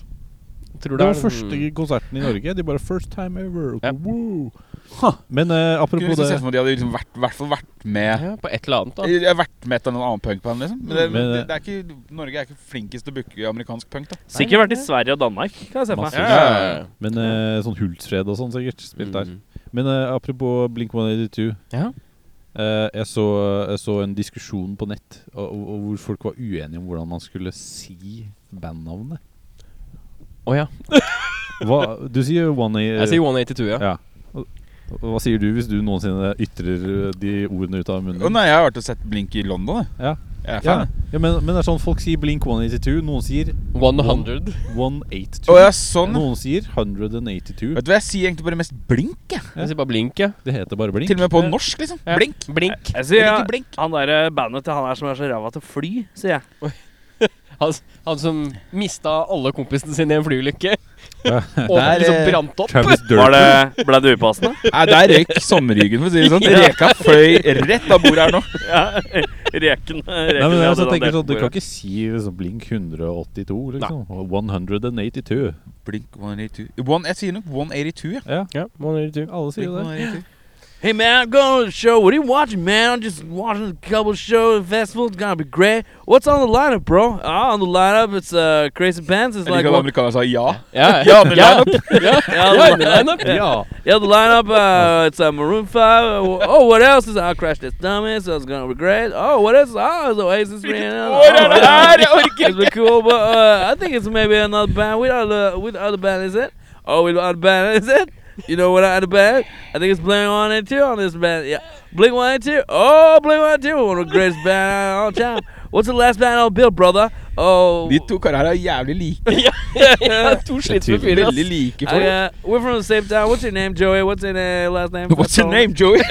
Speaker 1: Jeg Tror
Speaker 2: Det var
Speaker 1: er-
Speaker 2: første konserten i Norge. De bare 'First time ever'.
Speaker 1: Ja.
Speaker 2: Wow. Men eh,
Speaker 5: Kunne
Speaker 2: apropos
Speaker 5: liksom
Speaker 2: det
Speaker 5: sett for meg at de hadde liksom vært, hvert fall vært med
Speaker 1: Ja, på et eller annet, da.
Speaker 5: Jeg har vært med et eller annet punkband, liksom. Men, det,
Speaker 2: Men,
Speaker 5: det, det er ikke, Norge er ikke flinkest til å booke amerikansk punk, da.
Speaker 4: Sikkert vært i Sverige og Danmark, kan jeg se for meg.
Speaker 2: Masse.
Speaker 5: ja, ja.
Speaker 2: Men eh, sånn Hultsfred og sånn, sikkert. Spilt der.
Speaker 1: Mm.
Speaker 2: Men eh, apropos Blink 182.
Speaker 1: Ja.
Speaker 2: Eh, jeg, så, jeg så en diskusjon på nett og, og, og hvor folk var uenige om hvordan man skulle si bandnavnet.
Speaker 1: Å ja.
Speaker 2: Hva, du sier One
Speaker 1: Jeg sier 182, ja.
Speaker 2: Ja. Hva sier du hvis du noensinne ytrer eh, de ordene ut av munnen?
Speaker 5: Å nei, jeg har vært og sett Blink i London, jeg.
Speaker 2: Ja.
Speaker 5: Jeg er
Speaker 2: ja.
Speaker 5: fan. jeg.
Speaker 2: ja men, men det er sånn folk sier Blink 182. Noen sier
Speaker 1: 100.
Speaker 2: 182.
Speaker 5: Å ja, sånn.
Speaker 2: Noen sier 182.
Speaker 5: Vet du hva, jeg sier egentlig bare mest blink, jeg.
Speaker 1: Jeg sier bare blink, jeg.
Speaker 2: Det heter bare Blink.
Speaker 5: Til og med på norsk, liksom.
Speaker 1: Ja.
Speaker 5: Blink.
Speaker 1: Blink.
Speaker 4: Jeg
Speaker 5: Jeg
Speaker 4: sier
Speaker 5: liker
Speaker 4: ja,
Speaker 5: blink.
Speaker 4: han der eh, bandet til han her som er så ræva til å fly, sier jeg.
Speaker 1: Han, han som mista alle kompisene sine i en flyulykke.
Speaker 2: Ja.
Speaker 1: Og
Speaker 5: Der,
Speaker 1: liksom
Speaker 5: eh,
Speaker 1: brant opp.
Speaker 2: Travis
Speaker 4: Var
Speaker 2: Durton.
Speaker 4: det, ble det upassende?
Speaker 5: Nei, der røyk sommerryggen, for å si det sånn. Reka fløy rett av bordet her nå.
Speaker 4: Ja, reken. reken vi
Speaker 2: Nei, men jeg
Speaker 4: hadde
Speaker 2: også
Speaker 4: dandert
Speaker 2: tenker
Speaker 4: på
Speaker 2: sånn, Du kan
Speaker 4: bordet.
Speaker 2: ikke si liksom, Blink 182, liksom. 182.
Speaker 5: Blink 182 One, Jeg sier nok 182, ja.
Speaker 1: Ja,
Speaker 2: Ja, alle sier
Speaker 5: Blink
Speaker 2: jo det.
Speaker 5: 182.
Speaker 4: Hey man, I'm going to the show. What are you watching, man? I'm just watching a couple shows. Festival's gonna be great. What's on the lineup, bro? Ah, on the lineup, it's uh, Crazy Pants. It's
Speaker 5: Jeg
Speaker 4: like
Speaker 5: liker at
Speaker 4: one,
Speaker 5: amerikanerne sa ja.
Speaker 1: Ja,
Speaker 5: Ja, men
Speaker 1: ja,
Speaker 5: lineup.
Speaker 1: ja,
Speaker 4: yeah,
Speaker 1: ja,
Speaker 4: the lineup.
Speaker 1: lineup. ja.
Speaker 4: yeah, the lineup. Uh, it's uh, Maroon Five. Uh, wh- oh, what else is? I crashed this dummy, so it's gonna be great. Oh, what else? Oh, it's Oasis. Man. Oh,
Speaker 5: What are
Speaker 4: yeah.
Speaker 5: the-
Speaker 4: It's been cool, but uh, I think it's maybe another band. We other, with other band is it? Oh, with other band is it? You know what other band? I think it's Blink One and Two on this band. Yeah, Blink One and Two. Oh, Blink One and Two, one of the greatest band of all time. What's the last band on Bill, brother? Oh,
Speaker 5: De to karene er jævlig like.
Speaker 1: ja. To slitne fyrer. ass.
Speaker 5: Veldig like
Speaker 4: I,
Speaker 5: folk.
Speaker 4: uh, we're from the same town. What's your name, Joey? What's your uh, last name?
Speaker 5: What's your
Speaker 4: Tell me.
Speaker 5: name, Joey?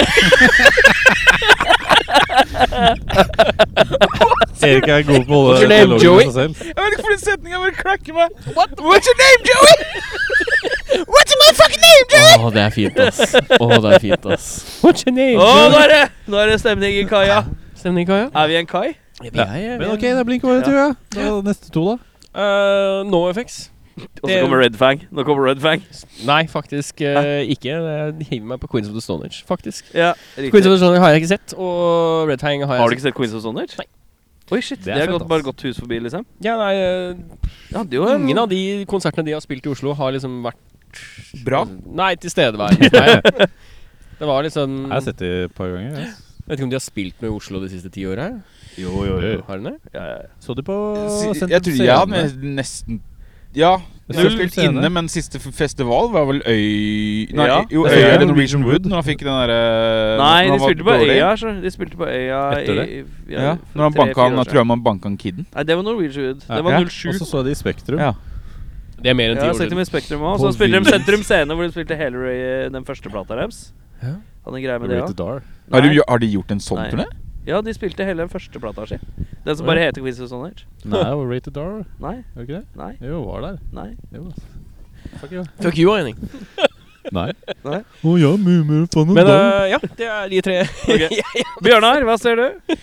Speaker 2: Erik er god på å
Speaker 5: What's your
Speaker 2: holde
Speaker 5: name,
Speaker 2: dialogen
Speaker 5: Joey?
Speaker 2: med seg selv.
Speaker 5: Jeg vet ikke for den setninga bare cracker meg. What's your name, Joey? What's your motherfucking name, Joey?
Speaker 1: Å, det er fint, ass. Å, det er fint, ass. What's your name?
Speaker 4: Å, nå er det Nå er det stemning i kaia.
Speaker 1: Stemning, Kaja?
Speaker 4: Er vi en kai?
Speaker 2: Men ok, det er Blink 182, ja. Da, neste to, da?
Speaker 1: Eh, no effects.
Speaker 4: Og så kommer Red Fang. Nå kommer Red Fang.
Speaker 1: Nei, faktisk eh, ikke. Jeg hiver meg på Queens of the Stone Age, faktisk.
Speaker 4: Ja,
Speaker 1: Queens
Speaker 4: riktig.
Speaker 1: of the Stone Age har jeg ikke sett, og Red Hang har jeg
Speaker 4: Har du ikke sett Queens of Stone Age?
Speaker 1: Nei.
Speaker 4: Oi, shit.
Speaker 2: Det
Speaker 4: Det
Speaker 2: er
Speaker 4: har
Speaker 2: fett,
Speaker 4: gått, bare
Speaker 2: ass.
Speaker 4: gått hus forbi, liksom.
Speaker 1: Ja, nei, eh,
Speaker 4: Ja, det var
Speaker 1: ingen av de konsertene de har spilt i Oslo, har liksom vært
Speaker 5: Bra.
Speaker 1: Nei, tilstedeværende. Nei. Det var liksom
Speaker 2: Jeg har sett det et par ganger. Yes.
Speaker 1: Jeg vet ikke om de har spilt noe i Oslo de siste ti åra?
Speaker 4: Jo,
Speaker 2: jo.
Speaker 1: Har de det?
Speaker 4: Ja, ja, ja.
Speaker 2: Så du på
Speaker 5: Jeg
Speaker 2: Sentrum
Speaker 5: jeg tror jeg
Speaker 2: Scene?
Speaker 5: hadde nesten
Speaker 2: Jeg
Speaker 5: Ja. Jeg har
Speaker 2: synes
Speaker 5: spilt
Speaker 2: scene.
Speaker 5: inne, men siste f- festival var vel Øy... Nei,
Speaker 4: Ja.
Speaker 2: Jeg
Speaker 5: jo, Øya
Speaker 2: synes det.
Speaker 5: eller Norwegian Wood, når han fikk den derre
Speaker 4: Nei,
Speaker 5: når
Speaker 4: de
Speaker 5: han var
Speaker 4: spilte på
Speaker 5: dårlig.
Speaker 4: Øya. skjønner du. De spilte på Øya
Speaker 2: Etter
Speaker 4: i-
Speaker 2: det?
Speaker 4: i-
Speaker 5: Ja,
Speaker 4: for
Speaker 5: når han
Speaker 4: tre,
Speaker 5: banka han,
Speaker 4: fire år
Speaker 5: da tror
Speaker 4: siden.
Speaker 5: jeg man banka han kiden.
Speaker 4: Nei, det var Norwegian.
Speaker 2: Ja.
Speaker 4: Det var
Speaker 5: Ja.
Speaker 4: 07.
Speaker 2: Og så så de Spektrum.
Speaker 5: Ja.
Speaker 1: Det er mer enn
Speaker 4: Ja,
Speaker 1: ti
Speaker 4: jeg
Speaker 1: år
Speaker 4: har sett dem
Speaker 1: siden.
Speaker 4: i Spektrum òg.
Speaker 2: På
Speaker 4: Så spilte de
Speaker 2: Vinyl.
Speaker 4: Sentrum Scene, hvor de spilte Hellary, den første plata deres.
Speaker 1: Ja.
Speaker 4: Hadde en greie med det òg.
Speaker 2: Rated R.
Speaker 5: Har,
Speaker 4: Nei.
Speaker 5: du, har de gjort en sånn
Speaker 4: Nei.
Speaker 5: turné?
Speaker 4: Ja, de spilte hele den første plata si. Den som
Speaker 2: Oi.
Speaker 4: bare heter Queens of Stone Age.
Speaker 2: Nei, det var Rated R,
Speaker 4: Nei,
Speaker 2: var det ikke det?
Speaker 4: nei,
Speaker 2: Jo, var der.
Speaker 4: nei.
Speaker 2: Jo. Fuck you.
Speaker 1: Fuck you, Eining.
Speaker 2: Nei.
Speaker 4: Nei.
Speaker 2: Å ja, mumer, faen
Speaker 1: eh, Men eh, ja, det er de tre.
Speaker 4: Ok. Bjørnar, hva ser du?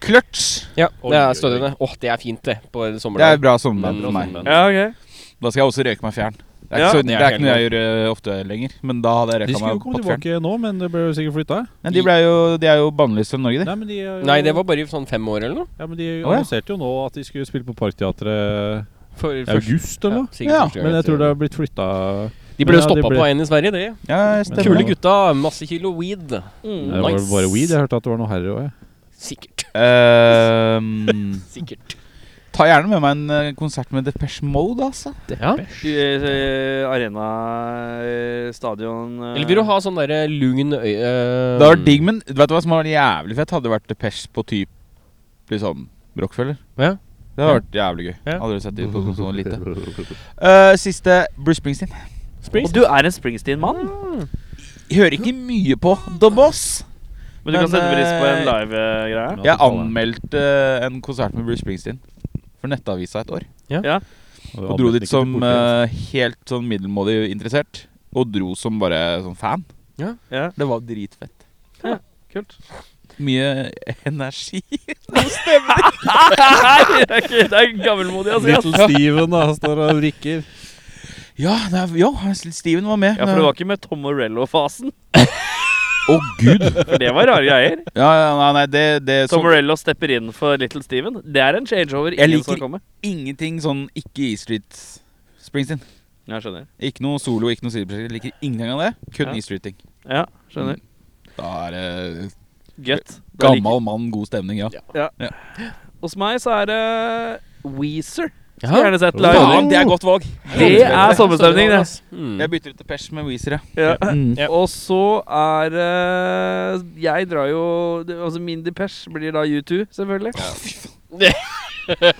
Speaker 5: Clutch.
Speaker 1: Ja,
Speaker 2: Oi,
Speaker 1: det
Speaker 2: oi, oi.
Speaker 1: er stødende. Åh, det er fint, det. På en
Speaker 5: Det er
Speaker 1: sommerdag.
Speaker 5: bra sommerband
Speaker 1: Bra
Speaker 5: for meg.
Speaker 1: sommerband.
Speaker 4: Ja, ok.
Speaker 5: Da skal jeg også røyke meg fjern. Det er,
Speaker 4: Ja,
Speaker 5: ikke, så,
Speaker 1: det
Speaker 5: det
Speaker 1: er
Speaker 5: er
Speaker 1: helt
Speaker 5: ikke noe jeg gjør eh, ofte lenger. Men da hadde jeg
Speaker 2: De
Speaker 5: røyka
Speaker 2: skulle jo
Speaker 5: meg
Speaker 2: komme
Speaker 5: på fjern.
Speaker 2: tilbake nå, men det ble jo sikkert flytta.
Speaker 5: Men de, ble jo, de er jo bannlyst fra Norge, de.
Speaker 2: Nei, men de, er jo-
Speaker 1: Nei, det var bare i sånn fem år eller noe.
Speaker 2: ja, men de
Speaker 5: Å, ja.
Speaker 2: annonserte jo nå at de skulle spille på Parkteatret
Speaker 1: For
Speaker 2: i august eller noe.
Speaker 1: sikkert
Speaker 5: Ja,
Speaker 1: første gang,
Speaker 2: Men jeg tror det har blitt flytta
Speaker 1: De ble jo
Speaker 2: Men ja, de
Speaker 1: stoppa
Speaker 2: ble-
Speaker 1: på veien i Sverige, det.
Speaker 5: Ja, stemmer.
Speaker 1: Kule
Speaker 2: Ja.
Speaker 1: gutta, masse kilo weed.
Speaker 5: Mm.
Speaker 4: Mm.
Speaker 2: Det var
Speaker 1: Nice.
Speaker 2: bare weed. Jeg hørte at det var noe herre òg.
Speaker 1: Sikkert.
Speaker 5: Ehm,
Speaker 1: Sikkert.
Speaker 5: ta gjerne med meg en eh, konsert med Depeche Mode, altså.
Speaker 1: Ja.
Speaker 4: Eh, Arena eh, Stadion eh.
Speaker 1: Eller vil du ha sånn derre lugn øy... eh,
Speaker 5: Det hadde vært digg, men vet du hva som hadde vært jævlig fett? Hadde det vært Depeche på typ liksom Rockefeller.
Speaker 1: Ja.
Speaker 5: Det hadde vært jævlig gøy.
Speaker 1: Ja.
Speaker 5: Aldri sett dem på sånn lite. Eh, siste Bruce Springsteen.
Speaker 4: Og du er en Springsteen-mann?
Speaker 5: Jeg hører ikke mye på The Boss.
Speaker 4: Men du
Speaker 5: Men,
Speaker 4: kan sette pris på en
Speaker 5: eh,
Speaker 4: live-greie?
Speaker 5: Jeg anmeldte eh, en konsert med Bruce Springsteen for Nettavisa et år. Og dro dit som eh, helt sånn middelmådig interessert. Og dro som bare sånn fan.
Speaker 4: Ja,
Speaker 5: Det var dritfett.
Speaker 4: kult.
Speaker 5: Mye energi.
Speaker 4: Nei, det er ikke- det er gammelmodig altså. å si. ass.
Speaker 2: Little Steven da, står og vrikker.
Speaker 5: Ja, det er, ja Steven var med.
Speaker 4: Ja, for det var ikke med Tom Morello-fasen.
Speaker 5: Å, gud!
Speaker 4: For det var rare geier.
Speaker 5: Ja, ja, nei, nei, det, det så,
Speaker 4: Tom Morello stepper inn for Little Steven. Det er en changeover.
Speaker 5: Jeg
Speaker 4: Ingen
Speaker 5: liker-
Speaker 4: skal komme.
Speaker 5: Ingenting sånn ikke E Street Springsteen.
Speaker 4: Ja, skjønner.
Speaker 5: Ikke noe solo, ikke noe sideprosjekt. Liker ingenting av det.
Speaker 4: Ja.
Speaker 5: Kun E Street-ting.
Speaker 4: Ja, skjønner.
Speaker 5: Da er det
Speaker 4: Mm. Gøtt. Da liker-
Speaker 5: gammal mann, god stemning, ja.
Speaker 4: Hos meg så er det Weezer. Skulle
Speaker 1: Ja.
Speaker 4: gjerne sett
Speaker 2: Ja,
Speaker 4: live.
Speaker 5: Faen, det er godt valg.
Speaker 4: Det er sommerstemning, det.
Speaker 1: Mm.
Speaker 5: Jeg bytter ut Depeche med Weezer, ja.
Speaker 4: Ja.
Speaker 5: Mm.
Speaker 1: Ja.
Speaker 4: Og så er eh, Jeg drar jo det- Altså min depeche blir da U2, selvfølgelig. Eh,
Speaker 1: Det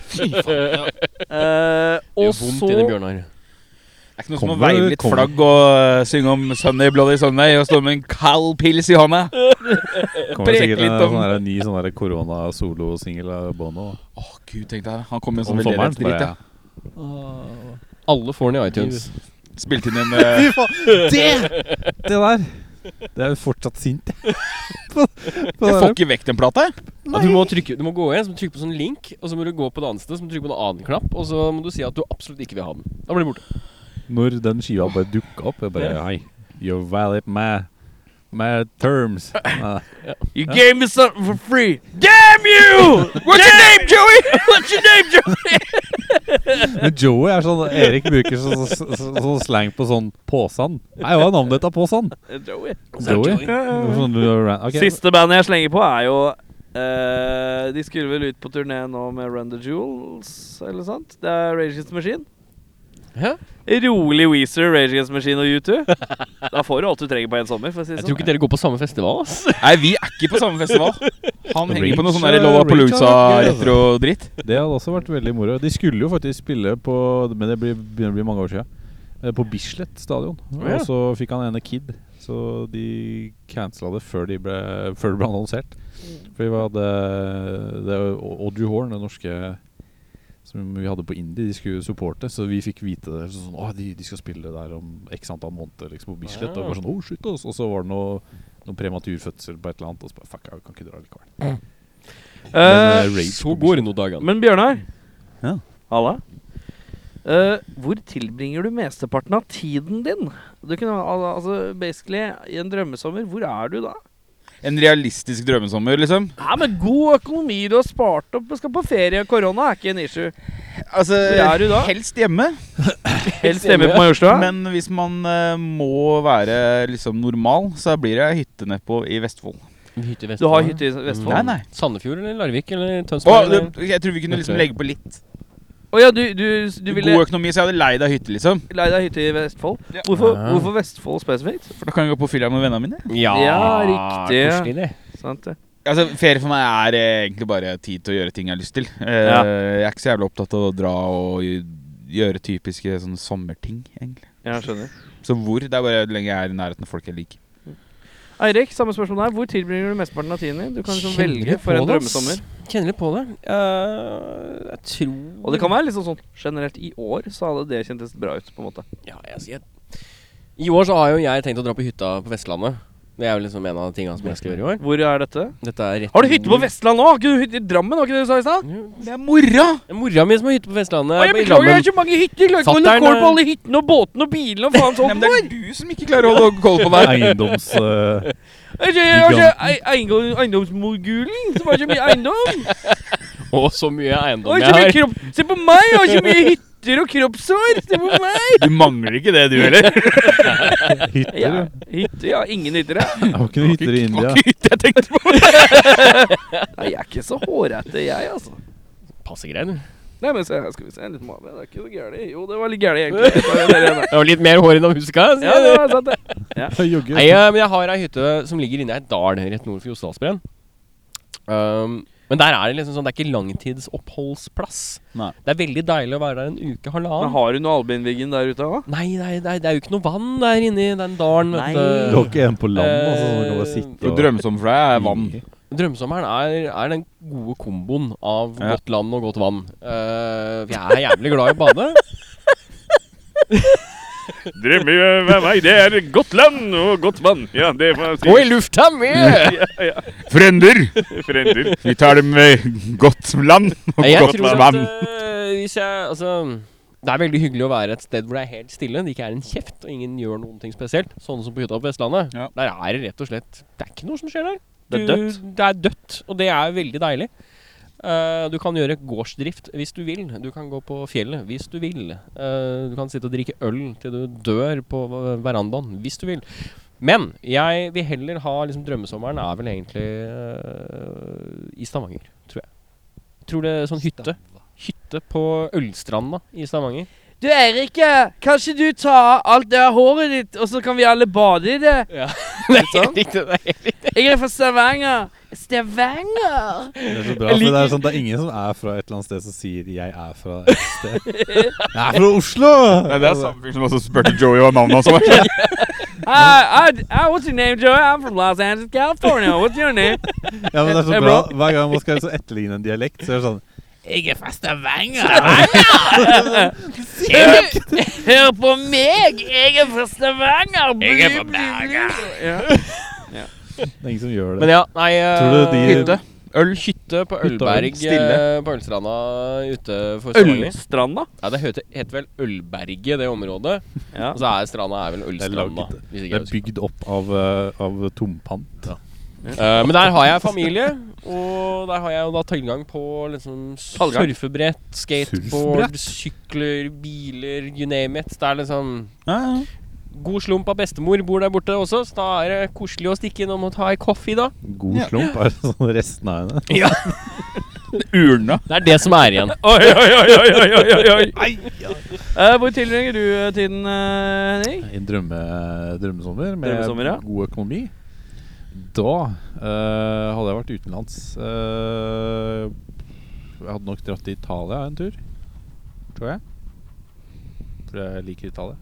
Speaker 4: og
Speaker 1: gjør vondt inni
Speaker 4: så
Speaker 1: Bjørnar.
Speaker 5: Det er ikke noe som å
Speaker 2: Kommer,
Speaker 5: veive litt
Speaker 2: kommer.
Speaker 5: flagg og øh, synge om Sunday Bloody Sunday og stå med en kald pils i hånda.
Speaker 2: Kommer
Speaker 5: Prek
Speaker 2: sikkert en
Speaker 5: litt om-
Speaker 2: sånn her ny sånn her korona-solosingel av Bono. da.
Speaker 5: Åh, gud, tenkte jeg. Han kom med en sånn
Speaker 2: Om sommeren. så
Speaker 5: veldedighetsdritt.
Speaker 2: Bare,
Speaker 5: Ja.
Speaker 2: ja.
Speaker 1: Alle får den i iTunes.
Speaker 5: Spilte inn en øh,
Speaker 2: Det! Det der. Det er jo fortsatt sint, jeg. På- på
Speaker 5: Jeg
Speaker 2: det
Speaker 5: får
Speaker 2: der.
Speaker 5: ikke vekk den plata, jeg.
Speaker 1: Ja, du, må trykke, du må gå igjen, så må du trykke på sånn link, og så må du gå på det andre stedet, så må du trykke på en annen knapp, og så må du si at du absolutt ikke vil ha den. Da blir den borte.
Speaker 2: Når den skiva bare dukka opp, jeg bare Hei, you're valid my, my terms. Nei,
Speaker 4: You gave me something for free.
Speaker 5: Damn you! What's your name, Joey? What's your name, Joey?
Speaker 2: Men Joey er sånn Erik bruker så, så, så, sånn slang på sånn påsan. Nei, hva er navnet ditt av påsan?
Speaker 4: Joey.
Speaker 2: Joey? Sånn, uh, ok.
Speaker 4: Siste bandet jeg slenger på, er jo eh, De skulle vel ut på turné nå med Run the Jewels, eller sant? Det er Rage Against the Machine.
Speaker 1: Hæ?
Speaker 4: Rolig Weezer, Rage Against the Machine og U2. Da får du alt du trenger på én sommer. for å si
Speaker 1: Jeg
Speaker 4: det
Speaker 1: tror
Speaker 4: sånn.
Speaker 1: ikke dere går på samme festival, ass.
Speaker 5: Nei, vi er ikke på samme festival. Han henger på noe sånn der
Speaker 2: Reach, øh, Reach, øh,
Speaker 5: Lollapalooza-retro-dritt.
Speaker 2: Det hadde også vært veldig moro. De skulle jo faktisk spille på Men det blir- begynner å bli mange år siden. eh, På Bislett stadion.
Speaker 1: ja.
Speaker 2: Og så fikk han ene kid. Så de cancela det før, de ble, før det ble annonsert. For vi hadde Det er Au- Audrey Horn, den norske som vi hadde på Indie, de skulle supporte. Så vi fikk vite det. Så sånn, Å, de, de skal spille der om x antall måneder liksom, på Bislett. Og, vi var sånn, oh, shit, ass. og så var det noe, noe prematur fødsel på et eller annet. Og så bare fuck, jeg kan ikke dra likevel.
Speaker 4: Eh,
Speaker 2: Men, eh, Rage
Speaker 1: Så
Speaker 2: på
Speaker 1: går det noen dager.
Speaker 4: Men Bjørnar.
Speaker 2: Ja.
Speaker 4: Halla. Eh, hvor tilbringer du mesteparten av tiden din? Du kunne, al- altså, basically, I en drømmesommer, hvor er du da?
Speaker 5: En realistisk drømmesommer, liksom.
Speaker 4: Nei, men God økonomi, du har spart opp, du skal på ferie, korona er ikke en issue.
Speaker 5: Altså,
Speaker 4: Hvor er du da?
Speaker 5: Helst hjemme.
Speaker 4: Helst hjemme på Majorstua.
Speaker 5: Men hvis man øh, må være liksom normal, så blir det hytte nedpå i Vestfold.
Speaker 1: Hytte i
Speaker 4: Du
Speaker 1: Vestfold,
Speaker 4: har
Speaker 1: ja.
Speaker 4: hytte i Vestfold?
Speaker 5: Nei, nei.
Speaker 1: Sandefjord eller Larvik eller
Speaker 5: Å,
Speaker 1: Tønsberg? eller?
Speaker 5: det- jeg tror vi kunne liksom
Speaker 2: Dette-
Speaker 5: legge på litt.
Speaker 4: Å ja, du, du, du ville
Speaker 5: God økonomi, så jeg hadde leid av hytte, liksom.
Speaker 4: leie deg hytte i Vestfold?
Speaker 5: Ja.
Speaker 4: Hvorfor,
Speaker 1: Ja.
Speaker 4: hvorfor Vestfold spesifikt?
Speaker 5: For da kan jeg gå på fylla med vennene mine.
Speaker 1: Ja,
Speaker 4: Ja, riktig, ja.
Speaker 1: Koselig, det.
Speaker 4: Sant det?
Speaker 5: Altså, Ferie for meg er eh, egentlig bare tid til å gjøre ting jeg har lyst til. Eh,
Speaker 4: Ja.
Speaker 5: Jeg er ikke så jævlig opptatt av å dra og gjøre typiske sånne sommerting, egentlig.
Speaker 4: Ja, skjønner.
Speaker 5: Så hvor? Det er bare så lenge jeg er i nærheten av folk jeg liker.
Speaker 4: Eirik, samme spørsmål der. Hvor tilbringer du mesteparten av tiden din? Du kan liksom
Speaker 1: Kjenner
Speaker 4: velge
Speaker 1: litt
Speaker 4: for
Speaker 1: på
Speaker 4: en
Speaker 1: det, ass.
Speaker 4: drømmesommer.
Speaker 1: Kjenner litt på det. Eh, jeg tror
Speaker 4: Og det kan være liksom sånn generelt i år, så hadde det kjentes bra ut, på en måte.
Speaker 1: Ja, jeg, jeg, I år så har jo jeg tenkt å dra på hytta på Vestlandet. Det er vel liksom en av tingene som jeg skal gjøre i år.
Speaker 4: Hvor er dette?
Speaker 1: Dette er rett
Speaker 4: Har du hytte på Vestland nå? Har ikke du hytte i Drammen? Var ikke det du sa i stad?
Speaker 1: Jo,
Speaker 5: Det er mora!
Speaker 1: det er Mora mi som har hytte på Vestlandet.
Speaker 4: Å, Jeg
Speaker 1: på
Speaker 4: beklager, det
Speaker 1: Drammen.
Speaker 4: er så mange hytter! Jeg klarer ikke å holde
Speaker 1: Fatteren,
Speaker 4: kål på
Speaker 1: eh,
Speaker 4: alle hyttene og båtene og bilene og faen
Speaker 5: Nei,
Speaker 4: sånn.
Speaker 5: men det er du som ikke klarer å holde koll på det.
Speaker 2: Eiendoms... eh,
Speaker 4: Jeg ser- jeg ser ei- eiendom- Eiendomsmogulen som har så mye eiendom.
Speaker 1: Å, så mye
Speaker 4: Og
Speaker 1: eiendom
Speaker 4: så
Speaker 1: jeg
Speaker 4: mye
Speaker 1: har.
Speaker 4: kropp... Se på meg! Jeg har så mye hytter og kroppshår! Se på meg!
Speaker 5: Du mangler ikke det, du heller.
Speaker 2: hytter.
Speaker 4: Ja,
Speaker 2: ja.
Speaker 4: hytter, ja. Ingen hytter, jeg.
Speaker 2: Det var ikke noen hytter i India.
Speaker 5: Jeg tenkte på
Speaker 4: Nei, jeg er ikke så hårete, jeg, altså.
Speaker 1: Passe grei, du.
Speaker 4: Nei, men se her, skal vi se. Litt mage. Det er ikke så gærent. Jo, det var litt gærent, egentlig. Det var det ene.
Speaker 1: Det var litt mer hår enn jeg huska. sier
Speaker 4: Ja,
Speaker 1: jeg.
Speaker 4: det var sant, det.
Speaker 2: Jogge.
Speaker 1: Nei, eh, men jeg har ei hytte som ligger inne i ei dal rett nord for Jostedalsbreen. Um, men der er det liksom sånn Det er ikke langtidsoppholdsplass.
Speaker 2: Nei.
Speaker 1: Det er veldig deilig å være der en uke,
Speaker 4: Men
Speaker 1: halvannen.
Speaker 4: har du noe Albinviggen der ute òg?
Speaker 1: Nei, nei, nei, det er jo ikke noe vann der inne i den dalen.
Speaker 4: Nei.
Speaker 1: Vet
Speaker 2: Du har
Speaker 1: du.
Speaker 2: ikke en på land, altså, som kan bare
Speaker 5: Det
Speaker 2: sitte
Speaker 5: du drømmer som Eh, for deg, er vann.
Speaker 1: Drømmesommeren er, er den gode komboen av
Speaker 5: Ja.
Speaker 1: godt land og godt vann. Eh, for jeg er jævlig glad i å bade.
Speaker 6: Drømmer med meg, det er godt land og godt vann. Ja, det var
Speaker 1: Gå i lufta med!
Speaker 5: Frender!
Speaker 6: Frender.
Speaker 5: Vi tar dem med godt land og
Speaker 1: Jeg
Speaker 5: godt
Speaker 1: tror at
Speaker 5: vann.
Speaker 1: eh, hvis jeg Altså det er veldig hyggelig å være et sted hvor det er helt stille. Det ikke er en kjeft, og ingen gjør noen ting spesielt. Sånne som på hytta på Vestlandet.
Speaker 5: Ja.
Speaker 1: Der er det rett og slett Det er ikke noe som skjer der.
Speaker 4: Det er
Speaker 1: Du-
Speaker 4: dødt.
Speaker 1: Det er dødt, og det er veldig deilig. Eh, du kan gjøre gårdsdrift hvis du vil. Du kan gå på fjellet hvis du vil. Eh, du kan sitte og drikke øl til du dør på v- verandaen hvis du vil. Men jeg vil heller ha liksom, Drømmesommeren er vel egentlig eh, i Stavanger, tror jeg. Tror det er sånn hytte. Hytte på Ølstranda i Stavanger.
Speaker 4: Du, Erik, eh, kanskje du tar av alt det her håret ditt, og så kan vi alle bade i det?
Speaker 1: Nei, riktig, nei.
Speaker 4: Jeg er fra Stavanger. Stavanger!
Speaker 2: Det er så bra, for det er, sånn, det er ingen som er fra et eller annet sted som sier 'jeg er fra et sted'. 'Jeg er fra Oslo!' Altså,
Speaker 5: Nei, det er samme fyr som også spurte Joey hva navnet hans var.
Speaker 4: Uh, I, I, what's your name, Joey? I'm from Los Angeles, California. What's your name?
Speaker 2: Ja, men det er
Speaker 4: Eh,
Speaker 2: så bra.
Speaker 4: bro.
Speaker 2: Hver gang man skal liksom etterligne en dialekt, så er det sånn
Speaker 4: Jeg er fra Stavanger. Hør på meg! Jeg er fra Stavanger! Jeg er fra Bergen. Ja.
Speaker 2: Det er ingen som gjør det.
Speaker 1: Men ja, nei eh,
Speaker 2: Tror du de-
Speaker 1: Hytte. Øl, hytte på
Speaker 2: Hytta, øl.
Speaker 1: Ølberg
Speaker 5: Stille.
Speaker 1: eh, på Ølstranda ute for Stavanger.
Speaker 4: Ølstranda?
Speaker 1: Ja, det heter, heter vel Ølberget, det området.
Speaker 4: Ja.
Speaker 1: Og så er stranda er vel Ølstranda.
Speaker 2: laget-
Speaker 1: Hvis
Speaker 2: det
Speaker 1: ikke jeg
Speaker 2: er
Speaker 1: husker.
Speaker 2: bygd opp av, eh, av tompant.
Speaker 1: Eh, men der har jeg familie, og der har jeg jo da tilgang på liksom
Speaker 4: Tilgang?
Speaker 1: surfebrett, skateboard, sykler, biler, you name it. Det er liksom God slump av bestemor bor der borte også, så da er det koselig å stikke innom og ta ei kaffe, da.
Speaker 2: God slump er det sånn resten av henne.
Speaker 5: Urna.
Speaker 1: Det er det som er igjen.
Speaker 4: Oi, oi, oi, oi, oi, oi, oi, oi. Eh, hvor tilbringer du eh, tiden, eh, Henning?
Speaker 2: En drømme, drømmesommer med
Speaker 4: Drømmesommer, ja.
Speaker 2: god økonomi. Da eh, hadde jeg vært utenlands. Eh, jeg hadde nok dratt til Italia en tur, tror jeg. For jeg liker Italia.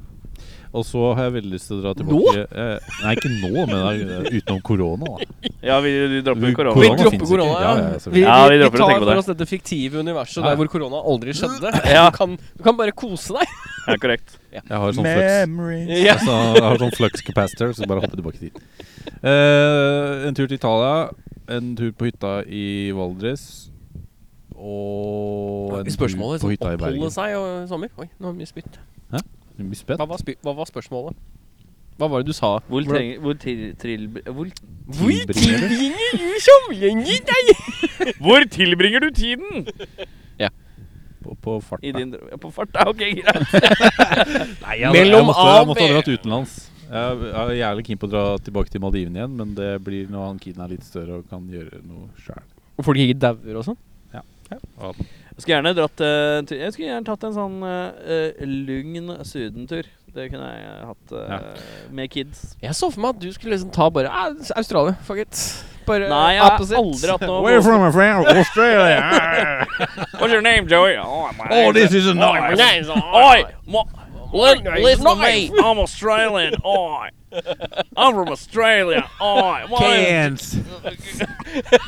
Speaker 2: Og så har jeg veldig lyst til å dra tilbake Eh, Nei, ikke nå, men eh, utenom korona. da
Speaker 4: Ja, vi dropper
Speaker 1: Vi
Speaker 2: korona
Speaker 1: dropper
Speaker 2: finnes ikke.
Speaker 1: korona, ja.
Speaker 2: Ja, ja,
Speaker 1: vi, vi,
Speaker 2: selvfølgelig.
Speaker 4: Ja, vi
Speaker 1: vi
Speaker 4: dropper å
Speaker 1: tar
Speaker 4: tenke på det.
Speaker 1: for oss dette fiktive universet
Speaker 2: Ja.
Speaker 1: der hvor korona aldri skjedde.
Speaker 4: Ja.
Speaker 1: Du, kan, du kan bare kose deg.
Speaker 4: Ja, korrekt.
Speaker 2: Jeg har sånn flux.
Speaker 5: Memories.
Speaker 1: Ja.
Speaker 2: Altså, jeg har sånn flux capacitor, så bare hoppe tilbake dit. Eh, en tur til Italia, en tur på hytta i Valdres og en
Speaker 1: Spørsmålet
Speaker 2: tur
Speaker 1: er
Speaker 2: på
Speaker 1: sånn,
Speaker 2: hytta i
Speaker 1: oppholde
Speaker 2: Bergen.
Speaker 1: seg i sommer. Oi, nå har vi spytt.
Speaker 2: Mye spett.
Speaker 1: Hva var, spy hva var spørsmålet? Hva var det du sa?
Speaker 4: Hvor, trenger, hvor, til, til, hvor
Speaker 2: Tilbringer du?
Speaker 1: du sommergjengen deg?
Speaker 6: Hvor tilbringer du tiden?
Speaker 2: På, på fart.
Speaker 4: I din drøm- ja, På farta, ok, greit.
Speaker 2: Nei, jeg,
Speaker 1: Mellom
Speaker 2: jeg måtte, jeg
Speaker 1: A og
Speaker 2: måtte ha
Speaker 1: B.
Speaker 2: dratt utenlands. Jeg jeg er jævlig keen på å dra tilbake til Maldivene igjen, men det blir når han kiden er litt større og kan gjøre noe sjæl.
Speaker 1: Og folk ikke dauer og sånn?
Speaker 4: Jeg skulle gjerne dratt eh, til- Jeg skulle gjerne tatt en sånn eh, eh, lugn sydentur. Det kunne jeg hatt eh, med kids.
Speaker 1: Jeg så for meg at du skulle liksom ta bare "Ah, Australia, fuck it. Bare
Speaker 4: Nei, jeg har
Speaker 1: opposite."
Speaker 4: aldri hatt noe
Speaker 2: Where from, my friend? Australia!
Speaker 6: What's your name, Joey? Oh, my
Speaker 2: Oh, this is a nice
Speaker 6: Oi! Listen to me. I'm Australian. Oi. I'm from Australia. Oi. My name's-
Speaker 2: Cans!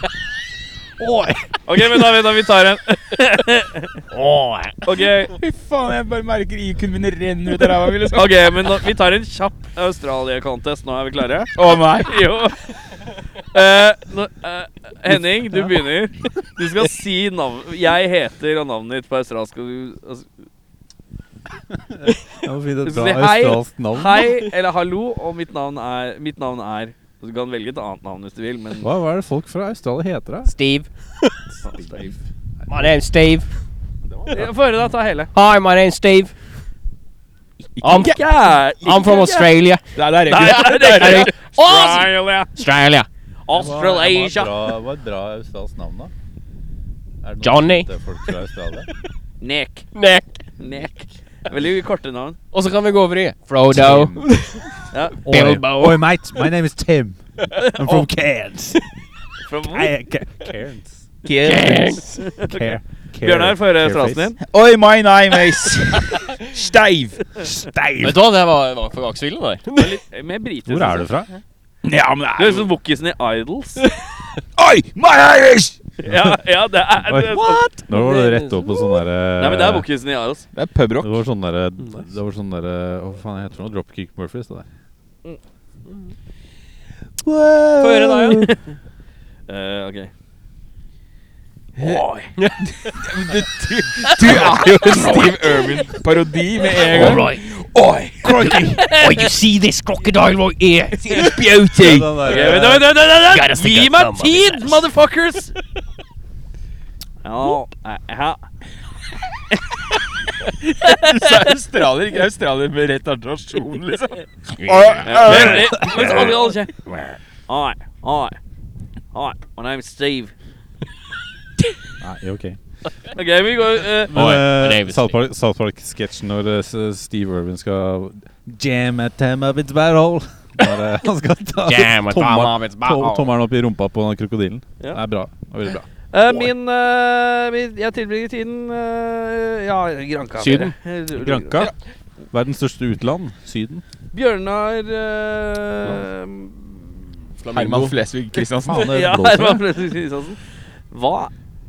Speaker 4: OK, men da, da vi tar en. OK,
Speaker 5: Fy faen, jeg bare merker IQ-en min renner ut av ræva mi. liksom.
Speaker 4: ok, men da, vi tar en kjapp Australia-contest. Nå er vi klare?
Speaker 5: Å nei!
Speaker 4: Jo. Eh, nå, eh, Henning, du begynner. Du skal si navn Jeg heter og navnet ditt på australsk. og du- altså,
Speaker 2: Jeg må finne
Speaker 4: Så
Speaker 2: et bra
Speaker 4: si hei.
Speaker 2: australsk navn.
Speaker 4: Hei eller hallo, og mitt navn er Mitt navn er og Du kan velge et annet navn hvis du vil, men
Speaker 2: Hva, hva er det folk fra Australia heter, da?
Speaker 1: Steve. My name's Steve.
Speaker 4: Ja, Få høre, da. Ta hele.
Speaker 1: Hi, my name's Steve. I'm,
Speaker 4: Yeah,
Speaker 1: I'm from Australia.
Speaker 5: Nei, det er
Speaker 4: Nei,
Speaker 5: ikke
Speaker 4: det er
Speaker 1: Er
Speaker 4: ikke
Speaker 1: det- Australia.
Speaker 4: Australasia.
Speaker 2: Hva er bra australsk navn, da? Er det noen
Speaker 1: Johnny.
Speaker 2: kjente Folk fra Australia?
Speaker 4: Nek.
Speaker 1: Nick.
Speaker 4: Nek. Veldig korte navn.
Speaker 1: Og så kan vi gå over i Frodo.
Speaker 4: Ja.
Speaker 1: Bilbo.
Speaker 2: Oi, mate. My name is Tim. I'm from Cairns.
Speaker 4: Fra hvor?
Speaker 2: I- Ca- Cairns.
Speaker 1: Yes.
Speaker 2: Cair-
Speaker 4: Bjørnar, få høre
Speaker 2: Cairface.
Speaker 4: australsken din.
Speaker 5: Oi, my name is Steiv.
Speaker 1: Vet du hva, det var, var for vaksvillen, det.
Speaker 4: Det er litt Mer brite.
Speaker 2: Hvor er du fra?
Speaker 5: Ja, men
Speaker 4: Du sånn-
Speaker 5: det
Speaker 4: høres
Speaker 5: er
Speaker 4: ut som Wookisen i Idols.
Speaker 5: Oi, my name is
Speaker 4: ja, ja, det er, det er sånn.
Speaker 2: What? Nå var det rett opp på sånn derre
Speaker 4: Nei, men det er Wookisen i Idols.
Speaker 5: Det er pubrock.
Speaker 2: Det var sånn derre Det var sånn derre Hva faen jeg heter det? nå? Dropkick Murphys, det der.
Speaker 1: Få høre da, ja.
Speaker 4: Eh, ok.
Speaker 5: Du er jo en Steve Irwin-parodi med en gang. Oi,
Speaker 1: Oh, you see this crocodile right here?
Speaker 5: beauty.
Speaker 2: Den Sånn der,
Speaker 4: Ok, vent, vent, vent, vent, vent.
Speaker 1: Gotta stick
Speaker 4: Gi
Speaker 1: out
Speaker 4: meg
Speaker 1: some of
Speaker 4: tid,
Speaker 1: this.
Speaker 4: motherfuckers! Ja, eh, ja.
Speaker 5: Så er australier, ikke australier med retardasjon, liksom.
Speaker 4: Veldig. Men så alle- alle kje- Oi, oi, oi. My name's Steve.
Speaker 2: Nei, ok.
Speaker 4: Ok, vi går eh,
Speaker 2: Men,
Speaker 1: Oi,
Speaker 2: eh,
Speaker 1: det er visst
Speaker 2: South Park- South Park-sketsjen når eh, s- Steve Irwin skal Jam at time of its barrel. Når eh, han skal ta
Speaker 1: Jam at time
Speaker 2: tommer-
Speaker 1: of its barrel.
Speaker 2: to- tommelen opp i rumpa på den krokodilen.
Speaker 4: Ja.
Speaker 2: Det er bra. Det er veldig bra.
Speaker 4: eh, min, eh, min Jeg tilbringer tiden eh, Ja, Granka. Eh,
Speaker 1: Syden.
Speaker 4: dere.
Speaker 2: Granka. Verdens største utland. Syden.
Speaker 4: Bjørnar eh,
Speaker 5: Herman Flesvig Kristiansen.
Speaker 2: Faen, det
Speaker 4: Ja,
Speaker 2: blåser.
Speaker 4: Herman Flesvig Kristiansen. Hva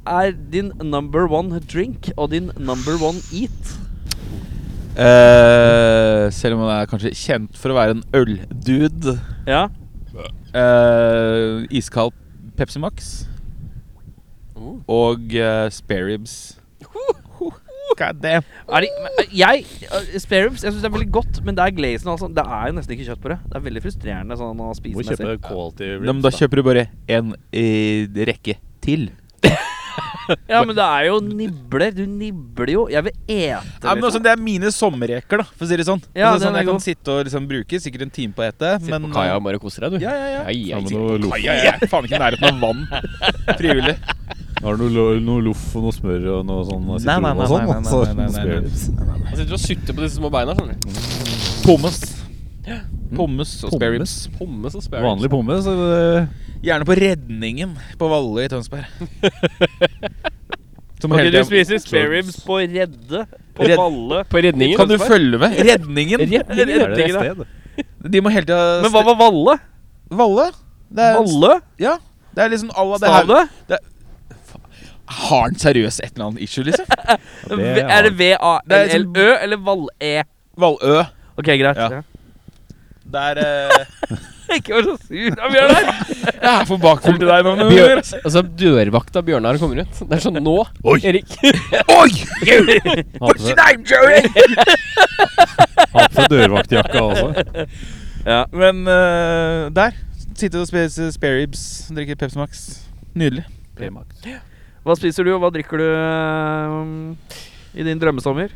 Speaker 4: er din number one drink og din number one eat?
Speaker 5: Eh, selv om han er kanskje kjent for å være en øldude.
Speaker 4: Ja.
Speaker 5: Uh, iskald Pepsi Max.
Speaker 1: Oh.
Speaker 5: Og uh, spareribs. God damn.
Speaker 4: Er de, men, jeg uh, Spareribs jeg syns det er veldig godt, men det er glazen. Altså. Det er jo nesten ikke kjøtt på det. Det er veldig frustrerende sånn å
Speaker 2: Må
Speaker 4: spise
Speaker 2: kjøpe
Speaker 4: messig.
Speaker 2: quality
Speaker 5: Ja, men da kjøper du bare en eh, rekke til.
Speaker 4: Ja, men det er jo nibler. Du nibler jo. Jeg vil ete.
Speaker 5: Ja, men altså, også,
Speaker 4: liksom.
Speaker 5: det er mine sommerreker, da, for å si det sånn.
Speaker 4: Ja,
Speaker 5: altså,
Speaker 4: den
Speaker 5: sånn
Speaker 4: er
Speaker 5: jeg kan
Speaker 4: god.
Speaker 5: sitte og liksom bruke sikkert en time på å ete.
Speaker 1: Sitt
Speaker 5: Men eh,
Speaker 1: på kaia og bare koser deg, du.
Speaker 5: Ja, ja, ja.
Speaker 1: Nei,
Speaker 2: Ja,
Speaker 1: jeg
Speaker 2: men
Speaker 1: sitter
Speaker 2: noe loff.
Speaker 5: Ai, ai, ai. Faen ikke i nærheten av vann. Frivillig.
Speaker 2: Har du noe, lo- noe loff og noe smør og noe sånn eh,
Speaker 5: Nei, nei,
Speaker 2: sitron og
Speaker 5: nei,
Speaker 2: sånn?
Speaker 5: nei, nei,
Speaker 2: så-
Speaker 5: nei, nei, nei, nei.
Speaker 2: Spirits.
Speaker 1: jeg sitter og sutter på disse små beina. skjønner du.
Speaker 5: Pommes. Pommes og
Speaker 2: Pommes?
Speaker 5: spareribs.
Speaker 1: Pommes og spareribs.
Speaker 2: Vanlig pommes? Eller?
Speaker 5: Gjerne på Redningen på Valle i Tønsberg. Som
Speaker 4: Ok,
Speaker 5: hele
Speaker 4: du
Speaker 5: tiden-
Speaker 4: spiser spareribs på Redde, på
Speaker 5: Redd-
Speaker 4: Valle
Speaker 1: På redningen.
Speaker 5: Kan du følge med? Redningen!
Speaker 2: Er det et
Speaker 4: Redningen, da.
Speaker 2: sted?
Speaker 5: De må hele tida
Speaker 4: Men hva var Valle?
Speaker 5: Valle? Det er,
Speaker 4: Valle?
Speaker 5: Ja. Det er liksom alla det
Speaker 4: Stav
Speaker 5: her.
Speaker 4: det?
Speaker 5: Har han seriøst et eller annet issue, liksom?
Speaker 2: Ja, det
Speaker 4: V- Er det
Speaker 5: Det er
Speaker 4: V-A-L-L-Ø eller Valle-E?
Speaker 5: Valø.
Speaker 4: Ok, greit.
Speaker 5: Ja.
Speaker 4: Ja.
Speaker 5: Der eh,
Speaker 4: Ikke vær så sur da, Bjørnar.
Speaker 5: Jeg er for bakfull til deg nå. men-
Speaker 1: Bjør, altså Dørvakta Bjørnar kommer ut. Det er sånn nå, Erik.
Speaker 5: Oi! You!
Speaker 2: Har på seg-
Speaker 5: name, Joey?
Speaker 2: har på seg altså. dørvaktjakka også.
Speaker 5: Men eh, der. Sitter og spiser spareribs, drikker Pepsi Max. Nydelig.
Speaker 4: Hva spiser du, og hva drikker du ehm, i din drømmesommer?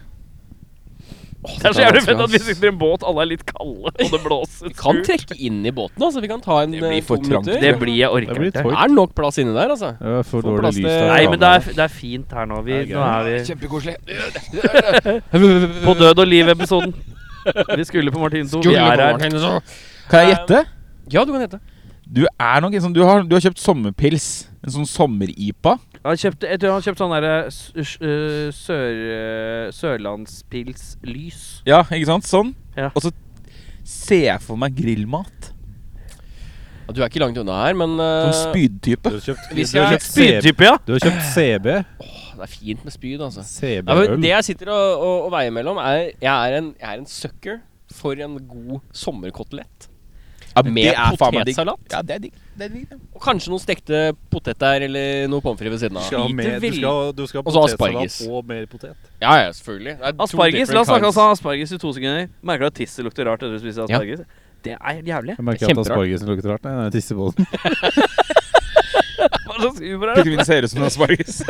Speaker 4: det er så jævlig fett at vi sitter i en båt, alle er litt kalde, og det blåser.
Speaker 1: Vi kan trekke inn i båten, altså. Vi kan ta en
Speaker 5: Det blir
Speaker 1: eh,
Speaker 5: for
Speaker 1: to
Speaker 5: trangt.
Speaker 1: minutter.
Speaker 4: Det blir jeg orker
Speaker 2: Det blir
Speaker 4: ikke.
Speaker 2: tøyt.
Speaker 1: Det er nok plass inni der, altså.
Speaker 2: Det er for
Speaker 1: Får plass
Speaker 2: dårlig lys
Speaker 1: til-
Speaker 2: der.
Speaker 4: Nei, men det er, det er fint her nå. Vi, nå er vi
Speaker 5: Kjempekoselig.
Speaker 4: på Død og liv-episoden. Vi skulle på Martin 2. Vi er her.
Speaker 5: Kan jeg gjette?
Speaker 1: Ja, du kan hete.
Speaker 5: Du er nok en sånn Du har, du har kjøpt sommerpils. En sånn sommer-IPA.
Speaker 4: Han kjøpte, jeg tror han kjøpte sånn derre s- s- øh, sør, øh, Sørlandspils-lys.
Speaker 5: Ja, ikke sant? Sånn.
Speaker 4: Ja.
Speaker 5: Og så ser jeg for meg grillmat.
Speaker 1: Ja, Du er ikke langt unna her, men eh,
Speaker 5: Sånn spydtype.
Speaker 2: Du har kjøpt,
Speaker 1: Hvis
Speaker 2: du har
Speaker 1: jeg-
Speaker 2: kjøpt, CB,
Speaker 4: Spydtype, ja.
Speaker 2: du har kjøpt CB.
Speaker 1: Det er fint med spyd, altså. Ja, men
Speaker 2: CB-øl.
Speaker 1: det jeg sitter og, og, og veier mellom, er jeg er, en, jeg er en sucker for en god sommerkotelett.
Speaker 5: Ja,
Speaker 1: Med
Speaker 5: det er faen meg digg.
Speaker 1: potetsalat?
Speaker 5: Ja, det er digg. Det er digg. det.
Speaker 1: Og kanskje noen stekte poteter eller noe pommes frites ved siden
Speaker 2: Du
Speaker 1: av.
Speaker 2: skal ha mer- du
Speaker 1: Lite
Speaker 2: skal ha- du skal ha
Speaker 1: Og så
Speaker 2: potetsalat
Speaker 1: asparges.
Speaker 2: og mer potet.
Speaker 1: Ja, ja, selvfølgelig. Det er to
Speaker 4: Asparges.
Speaker 1: different
Speaker 4: La oss snakke
Speaker 1: kinds.
Speaker 4: om asparges i to sekunder. Merker du at tisset lukter rart etter du spiser
Speaker 1: Ja.
Speaker 4: asparges? Det er helt jævlig.
Speaker 2: Jeg merker at
Speaker 1: Kjemperart.
Speaker 2: aspargesen lukter rart. Nei, nei, tisse på den.
Speaker 4: Hva slags humor er det?
Speaker 5: Pikken min ser ut som en asparges.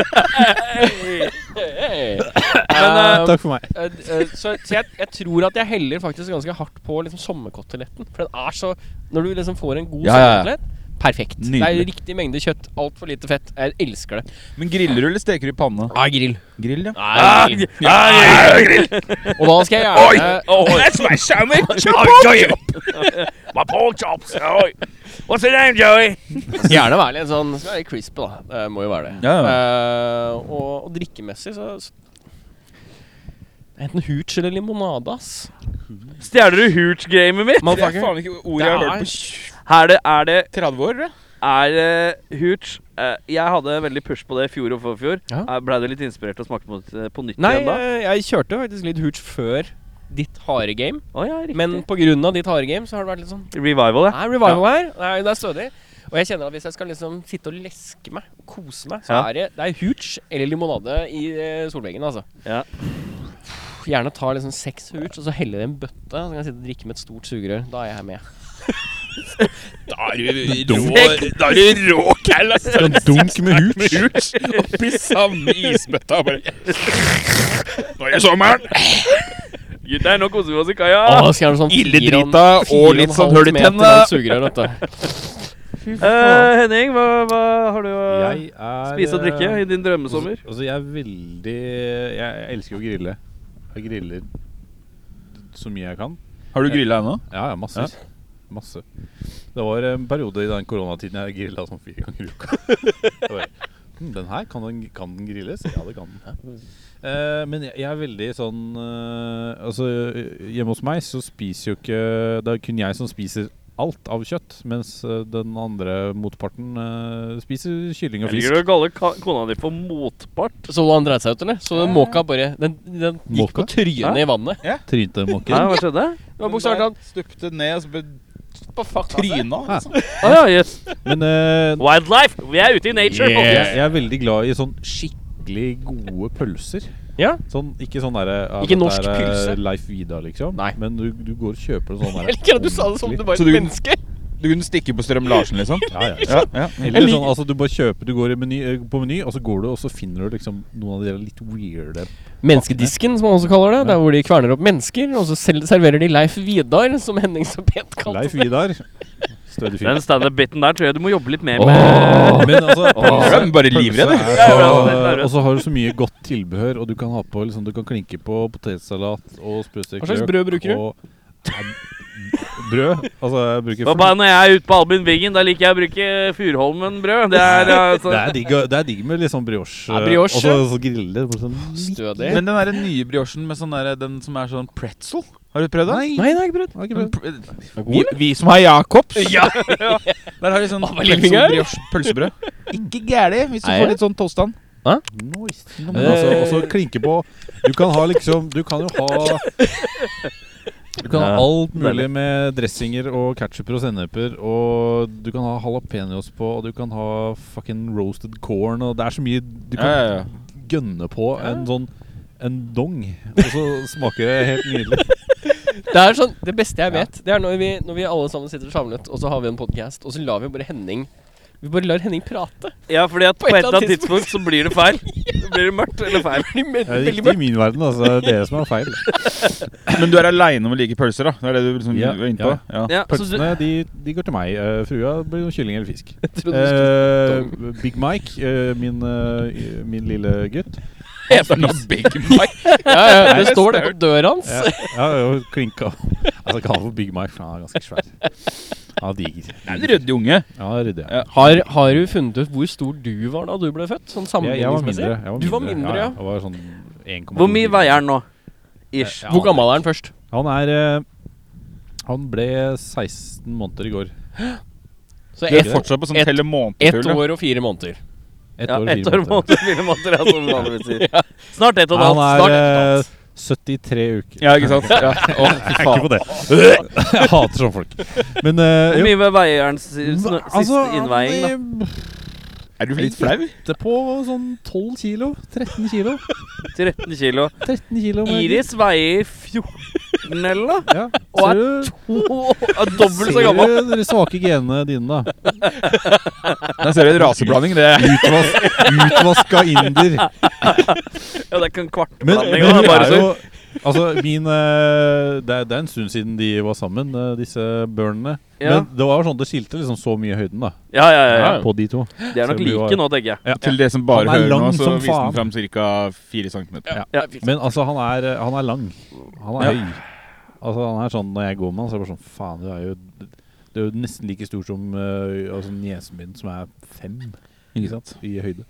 Speaker 1: Hey. Um,
Speaker 2: Takk for meg.
Speaker 1: eh, eh, så så jeg, jeg tror at jeg heller faktisk ganske hardt på liksom sommerkoteletten. For den er så Når du liksom får en god
Speaker 5: Ja, ja, ja.
Speaker 1: sommerkotelett Perfekt. Det
Speaker 5: Nydelig.
Speaker 1: er riktig mengde kjøtt. Altfor lite fett. Jeg elsker det.
Speaker 5: Men griller du, eller steker du i panne?
Speaker 1: Nei, grill.
Speaker 5: Grill, ja.
Speaker 1: Nei, grill. Ah! Og da skal jeg gjerne
Speaker 4: Eh,
Speaker 6: that's my sandwich. oh, Joey. My pork chops. Oh. What's your name, Joey?
Speaker 1: Gjerne være litt sånn Skal være litt crisp, da. Det må jo være det.
Speaker 5: Ja,
Speaker 1: Eh, og, og drikkemessig så, så Enten hooch eller limonade, ass.
Speaker 4: Stjeler du hooch-gamet mitt?
Speaker 5: Det er faen ikke ordet jeg har
Speaker 1: Det er-
Speaker 5: hørt på tj-
Speaker 4: Er det, er det
Speaker 5: 30 år. det.
Speaker 4: Er det hooch? Eh, jeg hadde veldig push på det i fjor og forfjor.
Speaker 1: Ja.
Speaker 4: Eh, Blei du litt inspirert og smakte på, det på nytt
Speaker 1: Nei,
Speaker 4: igjen da?
Speaker 1: eh, jeg kjørte faktisk litt hooch før ditt harde game.
Speaker 4: Å ja, riktig.
Speaker 1: Men pga. ditt harde game så har det vært litt sånn
Speaker 4: Revival, ja.
Speaker 1: Nei, revival her. Nei, det er stødig. Og jeg kjenner at hvis jeg skal liksom sitte og leske meg, kose meg, så
Speaker 4: Ja.
Speaker 1: er det, det er hooch eller limonade i eh, solveggen, altså.
Speaker 4: Ja.
Speaker 1: Gjerne ta liksom seks hooch, og så helle det i en bøtte. Så kan jeg sitte og drikke med et stort sugerør. Da er jeg med.
Speaker 5: Da
Speaker 4: eh,
Speaker 5: er du rå kall, ass.
Speaker 2: En dunk med hooch.
Speaker 5: Oppi samme isbøtta og bare Nå er det sommeren!
Speaker 4: Gutter, nå koser vi oss i kaia!
Speaker 1: Å, så gjerne sånn
Speaker 5: Ille
Speaker 1: fire og en-
Speaker 5: drita og
Speaker 1: fire en
Speaker 5: litt sånn
Speaker 1: halv
Speaker 5: hull i
Speaker 1: meter
Speaker 5: tennene.
Speaker 1: langt Sugerør, dette.
Speaker 4: Eh, Henning, hva, hva har du å
Speaker 2: Jeg er
Speaker 4: spise og drikke
Speaker 2: eh,
Speaker 4: i din drømmesommer?
Speaker 2: Altså, altså, jeg er veldig Jeg, jeg elsker jo å grille. Jeg griller så mye jeg kan.
Speaker 5: Har du grilla ennå?
Speaker 2: Ja, ja, masse. Masse. Det var en periode i den koronatiden jeg grilla sånn fire ganger i uka. Jeg bare, hm, den her, kan den, kan den grilles? Ja, det kan den. Eh, men jeg, jeg er veldig sånn eh, Altså, hjemme hos meg så spiser jo ikke Det er kun jeg som spiser alt av kjøtt, mens eh, den andre motparten eh, spiser kylling og
Speaker 4: Ligger du
Speaker 2: fisk.
Speaker 4: og kaller ka- kona di for motpart?
Speaker 1: Så han dreit seg ut, eller? Så måka bare Den, den gikk
Speaker 2: Måka?
Speaker 1: på trynet i vannet.
Speaker 4: Hæ,
Speaker 2: Trynemåker.
Speaker 4: hva skjedde?
Speaker 1: Det var bokstavelig talt
Speaker 5: Stupte ned altså, og så ble
Speaker 1: på fuck
Speaker 5: tryna. Liksom.
Speaker 4: Å ja, yes.
Speaker 2: Men eh,
Speaker 4: Wildlife! Vi er ute i nature,
Speaker 2: jeg,
Speaker 4: folkens!
Speaker 2: jeg er veldig glad i sånn skikkelig gode pølser.
Speaker 1: Ja.
Speaker 2: Sånn, ikke sånn derre ja,
Speaker 1: Ikke
Speaker 2: dette
Speaker 1: norsk
Speaker 2: er, eh,
Speaker 1: pølse.
Speaker 2: Leif Vidar, liksom.
Speaker 1: Nei.
Speaker 2: Men du, du går og kjøper en sånn derre
Speaker 1: Jeg liker at du sa det som om du
Speaker 2: ordentlig-
Speaker 1: var et
Speaker 5: Så du-
Speaker 1: menneske.
Speaker 5: Du kunne stikke på Strøm Larsen, liksom?
Speaker 2: ja, ja.
Speaker 5: Ja, ja.
Speaker 2: Eller sånn, altså Du bare kjøper, du går i meny, eh, på Meny, og så går du og så finner du liksom noen av de der litt weirde
Speaker 1: Menneskedisken, som man også kaller det. Der hvor de kverner opp mennesker, og så sel- serverer de Leif Vidar, som Henning så pent kalte
Speaker 2: Leif
Speaker 1: det.
Speaker 2: Vidar. Stødig fyr.
Speaker 4: Den standup-biten der tror jeg du må jobbe litt mer
Speaker 2: Åh,
Speaker 4: med.
Speaker 2: Men altså
Speaker 5: Jeg
Speaker 2: pølse-
Speaker 5: ble bare livredd. jeg.
Speaker 2: pølse er så- Og så har du så mye godt tilbehør, og du kan ha på liksom, Du kan klinke på potetsalat og sprøstekt
Speaker 1: Hva slags brød bruker du?
Speaker 2: og- Nei, Brød? Altså, jeg bruker
Speaker 4: Hva bare når jeg er ute på Albin Wiggen, da liker jeg å bruke Furholmen-brød. Det er altså
Speaker 2: Det er digg, å- det er digg med litt sånn brioche.
Speaker 1: Ja, brioche.
Speaker 2: Og så- så grille det. bare Sånn.
Speaker 1: Stødig.
Speaker 5: Men den der nye briochen med sånn der, den som er sånn pretzel, har du prøvd det?
Speaker 1: Nei, det er ikke brød.
Speaker 2: Har ikke
Speaker 5: Men
Speaker 2: prøvd.
Speaker 5: pr- Vi, vi som har Jacobs, der har de sånn
Speaker 1: var lillefingeren?
Speaker 5: pretzel-brioche pølsebrød. Ikke gæli hvis du
Speaker 1: Nei,
Speaker 5: får
Speaker 1: ja.
Speaker 5: litt sånn tostan.
Speaker 2: Nice. Men altså, og så klinke på Du kan ha liksom Du kan jo ha Du kan ha
Speaker 4: Ja,
Speaker 2: alt mulig med dressinger og ketchup og senneper, og du kan ha jalapeños på, og du kan ha fucking roasted corn, og det er så mye Du kan
Speaker 5: Ja, ja, ja.
Speaker 2: gønne på en sånn en dong, og så smaker det helt nydelig.
Speaker 1: Det er sånn, det beste jeg vet, det er når vi, når vi alle sammen sitter samlet, og så har vi en podcast, og så lar vi bare Henning Vi bare lar Henning prate.
Speaker 4: Ja, fordi at på et eller annet tidspunkt så blir det feil. Så blir det mørkt eller feil.
Speaker 1: Det blir
Speaker 2: Det er
Speaker 1: veldig
Speaker 2: riktig i min verden, altså. Det er dere som har feil.
Speaker 5: Men du er aleine om å like pølser, da? Det er det du liksom
Speaker 2: Ja,
Speaker 5: er inne
Speaker 2: ja.
Speaker 5: på? Ja.
Speaker 4: Ja, så du,
Speaker 2: Pølsene de, de går til meg. Eh, frua blir noe kylling eller fisk.
Speaker 1: mørkt.
Speaker 2: Eh, Big Mike, eh, min, eh, min lille gutt
Speaker 5: Heter den Big Mike?
Speaker 1: Ja, ja, det står det på døra hans.
Speaker 2: Ja, ja, jo, klinka Altså, kall for Big Mike, for han er ganske svær. Han er diger.
Speaker 5: Det er en ryddig unge.
Speaker 2: Ja, ryddig. Ja.
Speaker 5: Ja.
Speaker 1: Har, har du funnet ut hvor stor du var da du ble født? Sånn
Speaker 2: Jeg, jeg var
Speaker 1: sammenligningsmessig?
Speaker 2: mindre. Jeg
Speaker 1: Du var mindre, ja.
Speaker 2: Jeg var sånn 1,2
Speaker 4: hvor mye
Speaker 2: kilo.
Speaker 4: veier den nå? Ish.
Speaker 2: Ja,
Speaker 1: Hvor gammel er han først?
Speaker 2: Han er eh, Han ble 16 måneder i går.
Speaker 1: Så
Speaker 5: Du er
Speaker 1: ett
Speaker 5: fortsatt på sånn
Speaker 1: ett-
Speaker 5: telle
Speaker 1: ett
Speaker 5: måneder-tull.
Speaker 1: år og fire måneder.
Speaker 2: Ett
Speaker 4: Ja,
Speaker 2: år og
Speaker 4: ett
Speaker 2: fire
Speaker 4: år
Speaker 2: måneder.
Speaker 4: måned og fire måneder, ja, som vanligvis sier. Snart ett og et
Speaker 2: Han
Speaker 4: halvt. Snart ett og et halvt.
Speaker 2: er eh, 73 uker.
Speaker 5: Ja, ikke sant? Ja. Å, fy
Speaker 2: Jeg er ikke
Speaker 5: faen.
Speaker 2: på det. Jeg hater sånne folk. Men eh,
Speaker 4: Hvor
Speaker 2: jo. altså,
Speaker 4: mye var veierens siste innveiing, da?
Speaker 2: da?
Speaker 5: Er du litt flau?
Speaker 2: på sånn 12 kilo. 13 kilo.
Speaker 4: 13 kilo.
Speaker 2: 13 kilo med-
Speaker 4: Iris veier 14 eller noe?
Speaker 2: Ja.
Speaker 4: Og er
Speaker 2: Ser du,
Speaker 4: Oh, er dobbelt så
Speaker 2: ser
Speaker 4: gammel.
Speaker 2: du de svake genene dine, da?
Speaker 5: Der ser du en raseblanding. Det er
Speaker 2: Utvas, utvaska inder.
Speaker 4: Ja, det er ikke en kvart
Speaker 2: Men,
Speaker 4: blanding.
Speaker 2: men
Speaker 4: da,
Speaker 2: hun
Speaker 4: bare
Speaker 2: er
Speaker 4: så-
Speaker 2: jo Altså, min eh, det, er, det er en stund siden de var sammen, eh, disse børnene.
Speaker 4: Ja.
Speaker 2: Men det var sånn det skilte liksom så mye i høyden da
Speaker 4: Ja, ja, ja, ja.
Speaker 2: på de to.
Speaker 4: De er nok
Speaker 2: Så vi var-
Speaker 4: like nå, tenker jeg.
Speaker 5: til det som bare
Speaker 2: Han er
Speaker 5: hører nå,
Speaker 2: lang
Speaker 5: så
Speaker 2: som
Speaker 5: viser
Speaker 2: faen.
Speaker 5: den fram ca. 4 cm.
Speaker 2: Men altså, han er, eh, han er lang. Han er høy. Altså, han er sånn når jeg går med han, så er det bare sånn Faen, du er jo Du er jo nesten like stor som eh, altså, niesen min, som er fem ikke sant? i høyde.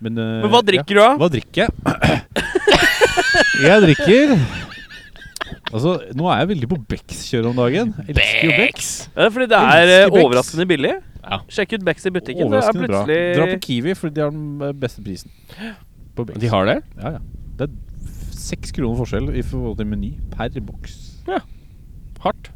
Speaker 2: Men, eh,
Speaker 4: Men hva
Speaker 2: ja.
Speaker 4: drikker du av?
Speaker 2: Hva drikker jeg? jeg drikker Altså, nå er jeg veldig på Bex-kjøret om dagen. Jeg Elsker jo Bex.
Speaker 4: Ja, fordi det er eh,
Speaker 2: Elsker Becks.
Speaker 4: overraskende billig.
Speaker 1: Ja.
Speaker 4: Sjekk ut Becks i butikken. Det er
Speaker 2: Overraskende bra. Dra på
Speaker 4: plutselig
Speaker 2: Kiwi, for de har den eh, beste prisen. På Bex.
Speaker 1: De har det?
Speaker 2: Ja, ja. Det er f- seks kroner forskjell i forhold til meny per boks.
Speaker 1: Hardt.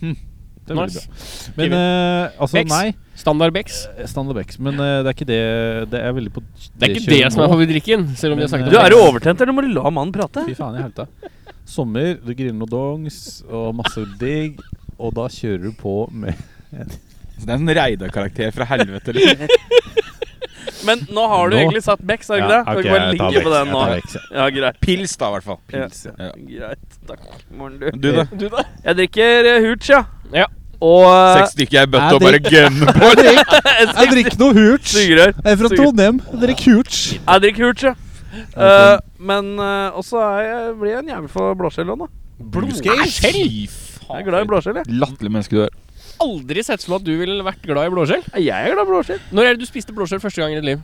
Speaker 2: Det er
Speaker 1: Nice.
Speaker 2: veldig bra. Men eh, altså,
Speaker 1: Bex.
Speaker 2: nei.
Speaker 1: Standard Bex.
Speaker 2: Standard Bex. Men eh, det er ikke det Det er veldig på
Speaker 1: Det er ikke det som er favorittdrikken. Selv om de har sagt
Speaker 2: Men,
Speaker 1: det.
Speaker 4: Du er jo overtent, eller må du la mannen prate?
Speaker 2: Fy faen i helta. Sommer, du griller noe dongs og masse digg, og da kjører du på med
Speaker 5: Så det er en sånn Reidar-karakter fra helvete. Liksom.
Speaker 4: Men nå har du
Speaker 2: Nå-
Speaker 4: egentlig satt Becks, har du ikke det? Kan du ikke bare ligge på den nå? Ja, greit.
Speaker 5: Pils, da, i hvert fall.
Speaker 4: Pils,
Speaker 5: ja.
Speaker 4: Greit. Takk. Morgen, du.
Speaker 5: Du, da?
Speaker 1: Du da?
Speaker 4: Jeg drikker eh, Hooch, ja.
Speaker 1: Ja.
Speaker 4: Og eh,
Speaker 5: Seks stykker i ei
Speaker 2: er
Speaker 5: bøtte og bare gønner på.
Speaker 2: Jeg drikker noe hurt.
Speaker 4: sugerør.
Speaker 2: Jeg er fra
Speaker 4: Sugerør.
Speaker 2: Trondheim. Jeg drikker hurt.
Speaker 4: Jeg drikker Hooch, ja. Eh, men eh, også er jeg, blir jeg en jævel for blåskjell òg, da.
Speaker 5: Fy
Speaker 4: Jeg er
Speaker 5: faen.
Speaker 4: glad i blåskjell, jeg.
Speaker 5: Latterlig menneske du er.
Speaker 1: Aldri sett for meg at du ville vært glad i blåskjell.
Speaker 4: Nei, Jeg er glad i blåskjell.
Speaker 1: Når er det du spiste blåskjell første gang i ditt liv?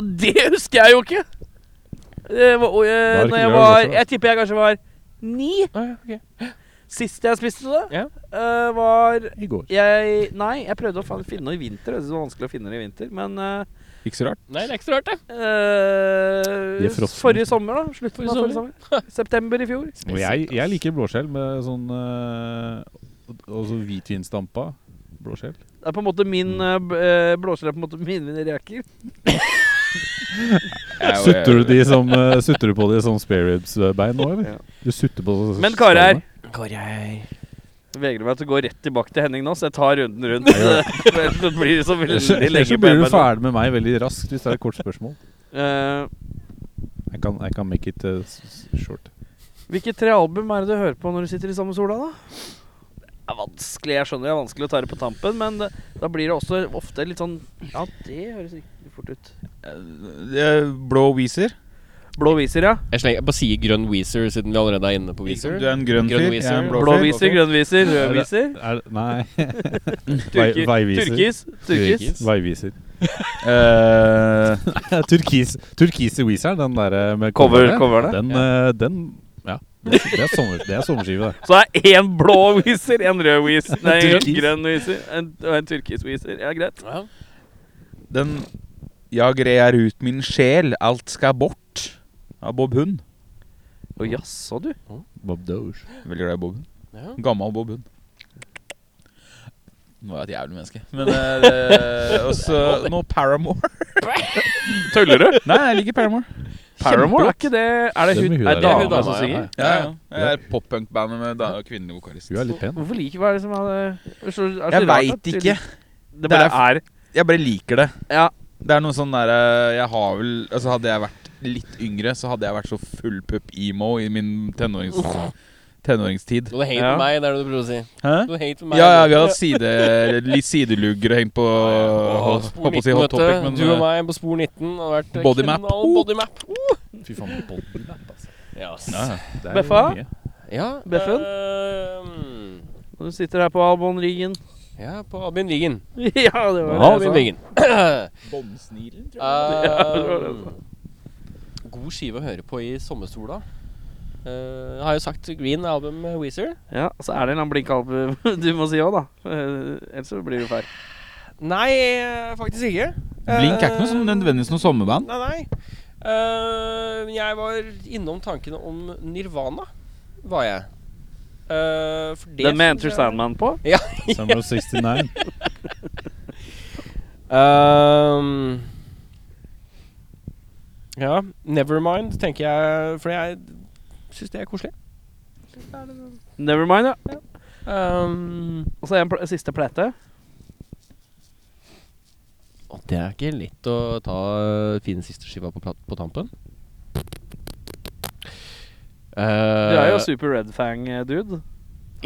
Speaker 4: Det husker jeg jo ikke. Det var, og, eh,
Speaker 2: Da er det
Speaker 4: når
Speaker 2: ikke
Speaker 4: jeg
Speaker 2: glad i
Speaker 4: var
Speaker 2: blåskjell, da.
Speaker 4: Jeg tipper jeg kanskje var ni.
Speaker 1: Ah, ja, ok.
Speaker 4: Sist jeg spiste det,
Speaker 1: Ja.
Speaker 4: eh, var
Speaker 2: I går.
Speaker 4: jeg Nei, jeg prøvde å faen finne noe i vinter. Jeg synes Det var vanskelig å finne det i vinter, men eh,
Speaker 5: Ikke så rart.
Speaker 1: Nei, det er ikke så rart, det.
Speaker 2: De er
Speaker 4: eh,
Speaker 2: frosne.
Speaker 4: Forrige sommer, da. Slutten av
Speaker 1: Forrige
Speaker 4: forrige sommer. September i fjor.
Speaker 2: Og jeg, jeg liker blåskjell med sånn eh, og- Og så hvitvinsdampa blåskjell.
Speaker 4: Det er på en måte
Speaker 2: Mm.
Speaker 4: min eh, b- eh, Blåskjell er på en måte mine reker.
Speaker 5: Jeg-
Speaker 2: Sutter du, de som, eh, sutter du på de som spare ribs-bein nå, eller?
Speaker 4: Ja.
Speaker 2: Du sutter på
Speaker 4: Men Karer,
Speaker 2: stallene?
Speaker 4: Jeg vegrer meg til å gå rett tilbake til Henning nå, så jeg tar runden rundt. Ellers så blir det så
Speaker 2: Ellers
Speaker 4: veldig
Speaker 2: ellers så
Speaker 4: lenge
Speaker 2: blir du
Speaker 4: på
Speaker 2: ferdig med meg veldig raskt hvis det er et kort spørsmål.
Speaker 4: uh,
Speaker 2: Jeg kan, jeg kan make it eh, s- s- short.
Speaker 4: Hvilke tre album er det du hører på når du sitter i samme sola, da? Det er vanskelig, jeg skjønner det er vanskelig å ta det på tampen, men det, da blir det også ofte litt sånn Ja, det høres riktig fort ut.
Speaker 5: Eh, Blå Weezer.
Speaker 4: Blå viser, ja.
Speaker 1: Jeg, slenger, jeg bare sier grønn Weezer, siden vi allerede er inne på
Speaker 5: Ikke
Speaker 1: Weezer.
Speaker 5: sant? Du er en grønn
Speaker 1: Grønn
Speaker 5: fyr.
Speaker 1: Weezer.
Speaker 5: jeg er en
Speaker 1: Blå
Speaker 4: Blå
Speaker 5: fyr.
Speaker 4: viser,
Speaker 5: Ok.
Speaker 4: grønn viser, rød viser.
Speaker 2: Er, nei
Speaker 4: Turki, turkis. Turkis.
Speaker 2: Veiviser.
Speaker 5: Eh,
Speaker 2: Turkis Turkis i Weezer, den der eh, med
Speaker 4: Cover-
Speaker 2: coveret.
Speaker 4: coverne.
Speaker 2: Den, eh, den Ja. Det er, det er, sommer, det er sommerskive, det.
Speaker 4: Så det er én blå viser, én rød viser, nei, en
Speaker 2: Turkis.
Speaker 4: grønn viser en, og en turkis viser. Ja, greit.
Speaker 1: Ja.
Speaker 5: Den Jeg greier ut min sjel, alt skal bort. Av Bob Hund.
Speaker 4: Å jaså, du.
Speaker 2: Bob Doge.
Speaker 5: Veldig glad i Bob Hund.
Speaker 1: Ja.
Speaker 5: Gammal Bob Hund. Nå er jeg et jævlig menneske. Men eh, det- Og så nå Paramore.
Speaker 4: Tuller du?
Speaker 5: Nei, jeg liker Paramore.
Speaker 4: Paramore, er ikke det Er det
Speaker 2: Det er
Speaker 4: hun
Speaker 2: med hun
Speaker 4: er
Speaker 2: der,
Speaker 1: ja.
Speaker 4: dame
Speaker 1: Hun dama,
Speaker 4: som
Speaker 1: ja,
Speaker 4: synger?
Speaker 5: Ja, ja. Jeg er poppunkbandet med da, kvinnelig vokalist.
Speaker 2: Hun er litt pen.
Speaker 4: Hvorfor liker hva er det som er det- er så- er så
Speaker 5: Jeg
Speaker 4: rart at
Speaker 5: veit
Speaker 4: du-
Speaker 5: ikke.
Speaker 4: Det bare er
Speaker 5: Jeg bare liker det.
Speaker 4: Ja.
Speaker 5: Det er noe sånn derre Jeg har vel Altså Hadde jeg vært litt yngre, så hadde jeg vært så fullpupp emo i min tenårings, tenåringstid.
Speaker 1: Du hadde hate
Speaker 4: Ja.
Speaker 1: meg, det er det du prøver å si.
Speaker 5: Hæ?
Speaker 1: Du hadde hate meg.
Speaker 5: Ja, ja, vi hadde hatt side, litt sidelugger hengt på holdt-
Speaker 1: Spor
Speaker 5: holdt på å si
Speaker 1: 19,
Speaker 5: hot
Speaker 1: vet
Speaker 5: topic,
Speaker 1: du.
Speaker 5: men
Speaker 1: Du og
Speaker 5: eh,
Speaker 1: meg på spor 19 hadde vært eh,
Speaker 5: Bodymap.
Speaker 1: knall Bodymap.
Speaker 2: Fy faen, Bob
Speaker 1: Ja, ass.
Speaker 5: eh, ja, ja.
Speaker 2: Det er
Speaker 4: Beffa?
Speaker 2: mye.
Speaker 1: ja
Speaker 4: Beffen?
Speaker 1: ehm,
Speaker 4: Og du sitter her på Albon Riggen.
Speaker 1: ja, på Albin Wiggen.
Speaker 4: ja, det var det.
Speaker 1: Albin
Speaker 4: jeg sa.
Speaker 1: Wiggen.
Speaker 5: Båndsnilen,
Speaker 1: Ehm,
Speaker 5: tror jeg.
Speaker 4: det var det jeg
Speaker 1: god skive å høre på i sommersola. Eh, jeg har jo sagt Green Album med Weezer.
Speaker 4: Ja, Så er det en eller annen blinkalp du må si òg, da. Eh, Ellers så blir du feil.
Speaker 1: Nei, eh, faktisk ikke.
Speaker 5: Blink er ikke noe sånn
Speaker 1: Eh,
Speaker 5: nødvendigvis noe sommerband.
Speaker 1: Nei, nei. Eh, jeg var innom tankene om Nirvana, var jeg. Eh, for det
Speaker 4: Den med Enter
Speaker 1: synes jeg-
Speaker 4: Sandman på?
Speaker 2: Summer of 69.
Speaker 1: Ehm, ja, Nevermind tenker jeg, for jeg syns det er koselig.
Speaker 4: Nevermind, ja.
Speaker 1: Ehm,
Speaker 4: Og så en pl siste plate.
Speaker 1: og det er ikke lett å ta fin siste skiva på, plat- på tampen.
Speaker 4: Du er jo super Red eh, Fang-dude.
Speaker 1: Eh,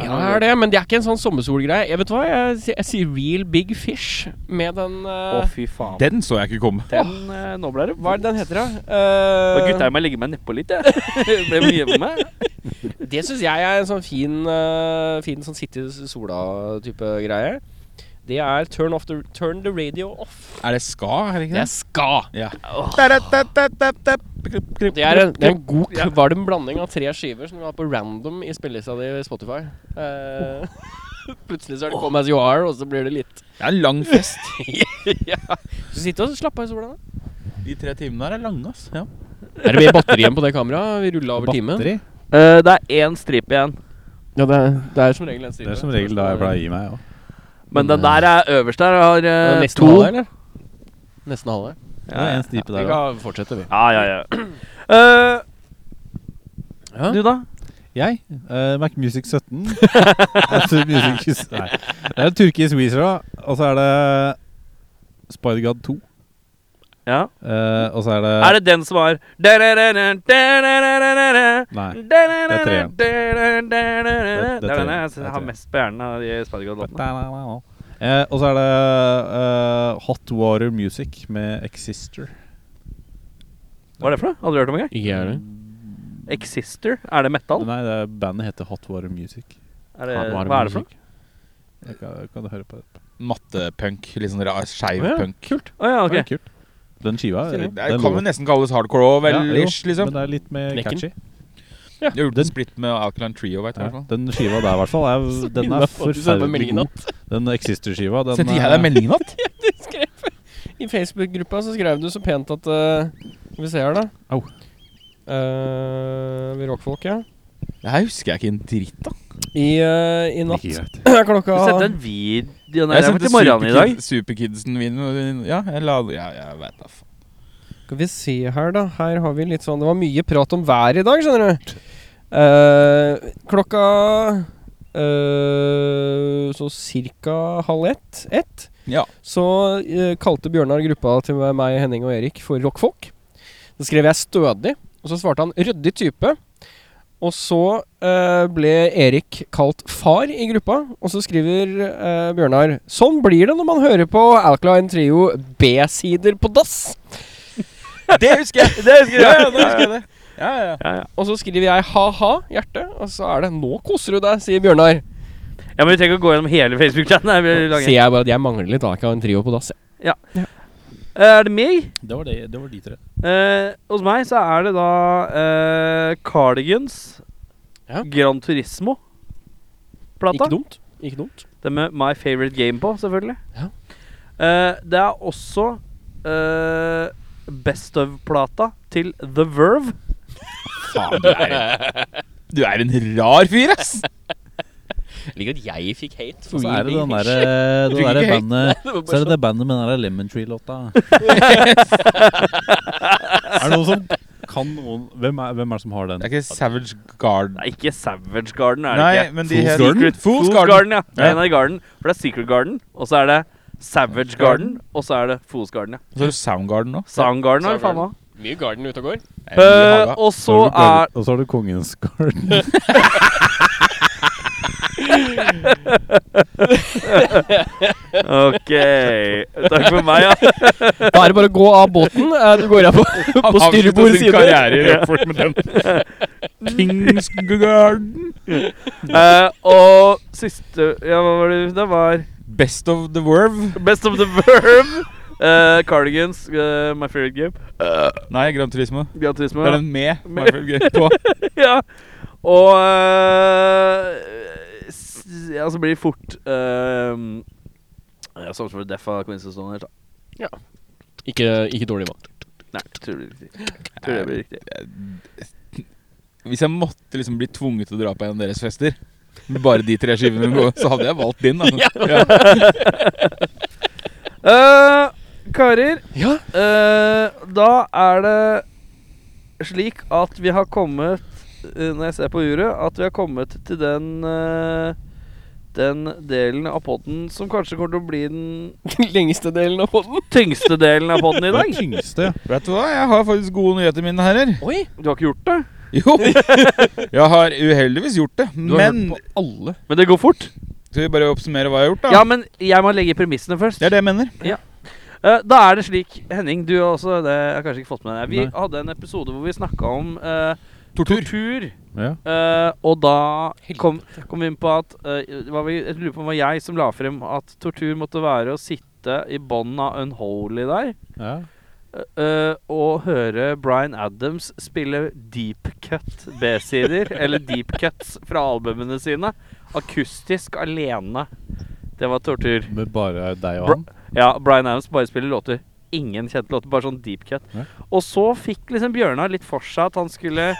Speaker 1: Ja, jeg er det, men det er ikke en sånn sommersolgreie. Jeg vet du hva, jeg, si- jeg sier Real Big Fish med den
Speaker 4: Å,
Speaker 1: eh,
Speaker 4: fy faen.
Speaker 5: Den så jeg ikke komme.
Speaker 4: Den, eh, nå ble det
Speaker 1: Hva er det den heter, da?
Speaker 4: Og
Speaker 1: Eh,
Speaker 4: gutta jeg må legge meg nedpå litt, jeg. Det ble mye på meg.
Speaker 1: Eh, det syns jeg er en sånn fin, eh, fin sånn sitte i sola-type greie. Det er turn, off the, turn the radio off.
Speaker 5: Er det ska? Er det ikke
Speaker 1: Det er
Speaker 5: det?
Speaker 1: ska.
Speaker 5: Ja.
Speaker 1: Det er en, det er en god kvalm blanding av tre skiver som du har på random i spillelista di i Spotify. Eh, plutselig så er det Come As You Are, og så blir det litt
Speaker 5: Det er en lang fest.
Speaker 1: ja. Så sitt og slapp av i sola. da.
Speaker 5: De tre timene der er lange, ass. Ja.
Speaker 1: Er det mer batteri igjen på det kameraet? Vi rulla over timen.
Speaker 2: Batteri.
Speaker 4: Eh, det er én stripe igjen.
Speaker 1: Ja, det er, det er som regel Eh, en
Speaker 2: Det er som regel da jeg pleier å gi meg. Ja.
Speaker 4: Men den der er øverst der har eh,
Speaker 1: Nesten
Speaker 4: to.
Speaker 1: halve, eller? Nesten halve.
Speaker 2: Det er en
Speaker 1: Vi
Speaker 2: stripe der også.
Speaker 1: kan fortsette, vi.
Speaker 4: Ja, ja, ja. Eh,
Speaker 1: Ja.
Speaker 4: Du, da?
Speaker 2: Jeg, eh, Mac Music 17. Mac Music 17. Nei. Det er Turkis Weezer, da. Og så er det Spider-God 2.
Speaker 4: Ja.
Speaker 2: eh, og så er det
Speaker 4: Er det den som har Det
Speaker 2: Nei.
Speaker 4: er
Speaker 2: tre.
Speaker 4: Det
Speaker 2: Det er
Speaker 4: er den
Speaker 2: tre.
Speaker 4: jeg
Speaker 2: Det er
Speaker 4: jeg har
Speaker 2: tre.
Speaker 4: mest på hjernen av de Spider-God-låtene.
Speaker 2: Eh, og så er det eh, Hot Water Music med Exister.
Speaker 4: Hva er det for noe? Aldri hørt om engang.
Speaker 1: Ikke jeg heller.
Speaker 4: Exister? Er det metal?
Speaker 2: Nei, det er, bandet heter Hot Water Music.
Speaker 4: Er det, hva er det for noe?
Speaker 2: Jeg kan, jeg kan høre på det.
Speaker 5: Mattepunk. Litt sånn rar, skeiv
Speaker 1: Ja,
Speaker 5: punk. Kult.
Speaker 4: Å ja, ok.
Speaker 2: Det er kult. Den skiva
Speaker 5: Det
Speaker 2: den
Speaker 5: kan
Speaker 2: lå-
Speaker 5: vel nesten kalles hardcore òg, vel?
Speaker 2: Ja, jo,
Speaker 5: ish, liksom.
Speaker 2: Men det er litt mer
Speaker 1: Knekken.
Speaker 2: catchy.
Speaker 5: Jeg har gjort
Speaker 2: den-
Speaker 5: en splitt med Alkaline Trio, veit du.
Speaker 2: Ja,
Speaker 5: i hvert fall.
Speaker 2: den skiva der, i hvert fall, er, den er forferdelig god. Den Exister-skiva, den eh,
Speaker 5: Sendte jeg
Speaker 2: er-
Speaker 5: deg meldingen att?
Speaker 1: I Facebook-gruppa så skrev du så pent at eh, Skal vi se her, da.
Speaker 2: Au.
Speaker 1: Eh, vi rockfolk, ja.
Speaker 5: Det her husker jeg ikke en dritt av.
Speaker 1: I, eh, i natt
Speaker 2: Like greit.
Speaker 1: er klokka
Speaker 4: Du sendte en video når jeg var til morgenen i dag.
Speaker 5: Superkid- Superkidsen min Ja, jeg la Ja, jeg veit da faen.
Speaker 1: Skal vi se her, da. Her har vi litt sånn Det var mye prat om været i dag, skjønner du. Eh, klokka eh, Så cirka halv ett. Ett.
Speaker 5: Ja.
Speaker 1: Så eh, kalte Bjørnar gruppa til meg, Henning og Erik for rockfolk. Så skrev jeg 'stødig', og så svarte han 'ryddig type'. Og så eh, ble Erik kalt far i gruppa, og så skriver eh, Bjørnar 'Sånn blir det når man hører på Alkaline Trio B-sider på dass'.
Speaker 5: Det husker jeg!
Speaker 4: Det husker jeg.
Speaker 5: Ja, ja, det husker jeg det. Ja, ja.
Speaker 4: Ja, ja.
Speaker 1: Og så skriver jeg ha-ha, hjerte, og så er det 'nå koser du deg', sier Bjørnar.
Speaker 4: ja, men Vi trenger ikke å gå gjennom hele Facebook-chatten.
Speaker 1: Sier jeg bare at jeg mangler litt Alkaline Trio på dass. jeg.
Speaker 4: Eh, Er det meg?
Speaker 2: Det var, det, det var de tre.
Speaker 4: Eh, hos meg så er det da eh, Cardigans,
Speaker 1: Ja.
Speaker 4: Gran Turismo-plata.
Speaker 1: Ikke dumt. Ikke dumt.
Speaker 4: Det med My Favorite Game på, selvfølgelig.
Speaker 1: Ja.
Speaker 4: Eh, det er også eh, Best of-plata til The Verve.
Speaker 5: Faen, du er Du er en rar fyr, ass!
Speaker 1: Jeg liker at jeg fikk hate.
Speaker 2: Så er det den derre det
Speaker 5: Fikk
Speaker 2: derre
Speaker 5: ikke helt-
Speaker 2: bandet
Speaker 1: det var bare
Speaker 2: Så er
Speaker 4: sånn.
Speaker 2: det det bandet med den der Lemon Tree-låta. er det noen som kan noen hvem er, hvem er det som har den?
Speaker 5: Det er ikke Savage Garden.
Speaker 4: Nei, ikke Savage Garden. er det
Speaker 5: Nei,
Speaker 4: ikke
Speaker 5: men de
Speaker 2: Fools
Speaker 5: het
Speaker 2: Garden?
Speaker 5: Secret- Fools
Speaker 4: Garden,
Speaker 5: Garden.
Speaker 4: ja. Det er
Speaker 5: Ja.
Speaker 4: en av de Garden, for det er Secret Garden, og så er det Savage Garden, og så er det Fools Garden. ja
Speaker 5: Så er det Soundgarden nå.
Speaker 4: Sound Garden har vi faen meg.
Speaker 1: Mye Garden ute og går.
Speaker 5: Det er mye
Speaker 4: Eh,
Speaker 5: haga.
Speaker 4: og så
Speaker 2: har du Gar-
Speaker 4: er
Speaker 2: Og så har du Kongens Garden.
Speaker 4: OK. Takk for meg, ja.
Speaker 1: Da er det bare å gå av båten. eh, Du går av på, på
Speaker 5: Avslutter
Speaker 1: styrbord
Speaker 5: sin
Speaker 1: side.
Speaker 5: karriere i Rockford med den. Kings Garden.
Speaker 4: Eh, og siste Ja, hva var det? Det var
Speaker 5: Best of the Verve.
Speaker 4: Best of the Verve. Eh, cardigans, eh, My Favorite Game.
Speaker 5: Nei, Gran Turismo.
Speaker 4: Gran Turismo.
Speaker 5: Det er den med. i hvert fall, gøy på.
Speaker 4: ja. Og eh, s- Ja, så blir det fort uh, ja, Samme som for Deff av Quincy Stone sånn her, da.
Speaker 1: Ikke, ikke dårlig valg.
Speaker 4: Nei, jeg tror det blir riktig. Jeg Tror det blir riktig.
Speaker 5: Hvis jeg måtte liksom bli tvunget til å dra på en av deres fester med bare de tre skivene, gode, så hadde jeg valgt din. Altså.
Speaker 4: Eh, karer,
Speaker 1: Ja.
Speaker 4: eh, da er det slik at vi har kommet eh, Når jeg ser på uret, at vi har kommet til den eh, den delen av podden som kanskje kommer til å bli den
Speaker 1: Lengste delen av podden.
Speaker 4: tyngste delen av podden i
Speaker 2: Det er
Speaker 4: dag.
Speaker 2: det tyngste.
Speaker 5: Vet du hva, jeg har faktisk gode nyheter, mine herrer.
Speaker 1: Oi!
Speaker 4: Du har ikke gjort det?
Speaker 5: Jo, jeg har uheldigvis gjort det.
Speaker 1: Du har
Speaker 5: Men
Speaker 1: hørt på alle.
Speaker 4: Men det går fort.
Speaker 5: skal vi bare oppsummere hva jeg har gjort, da?
Speaker 4: Ja, men jeg må legge premissene først.
Speaker 5: Det er det jeg mener.
Speaker 4: Eh, da er det slik Henning, du har også det har jeg kanskje ikke fått med deg. Vi
Speaker 2: Nei.
Speaker 4: hadde en episode hvor vi snakka om eh,
Speaker 5: Tortur.
Speaker 4: tortur.
Speaker 2: Ja.
Speaker 4: Eh, og da kom, kom vi inn på at eh, det var, vel- Jeg lurer på om det var jeg som la frem at tortur måtte være å sitte i bånn av Unholy der
Speaker 2: Ja.
Speaker 4: eh, eh, og høre Bryan Adams spille deep cut B-sider, eller deep cuts fra albumene sine, akustisk alene. Det var tortur.
Speaker 2: Med bare deg og
Speaker 4: Bra.
Speaker 2: han.
Speaker 4: Ja, Bryan Adams bare spiller låter. Ingen kjente låter, bare sånn deep cut.
Speaker 2: Ja.
Speaker 4: Og så fikk liksom Bjørnar litt for seg at han skulle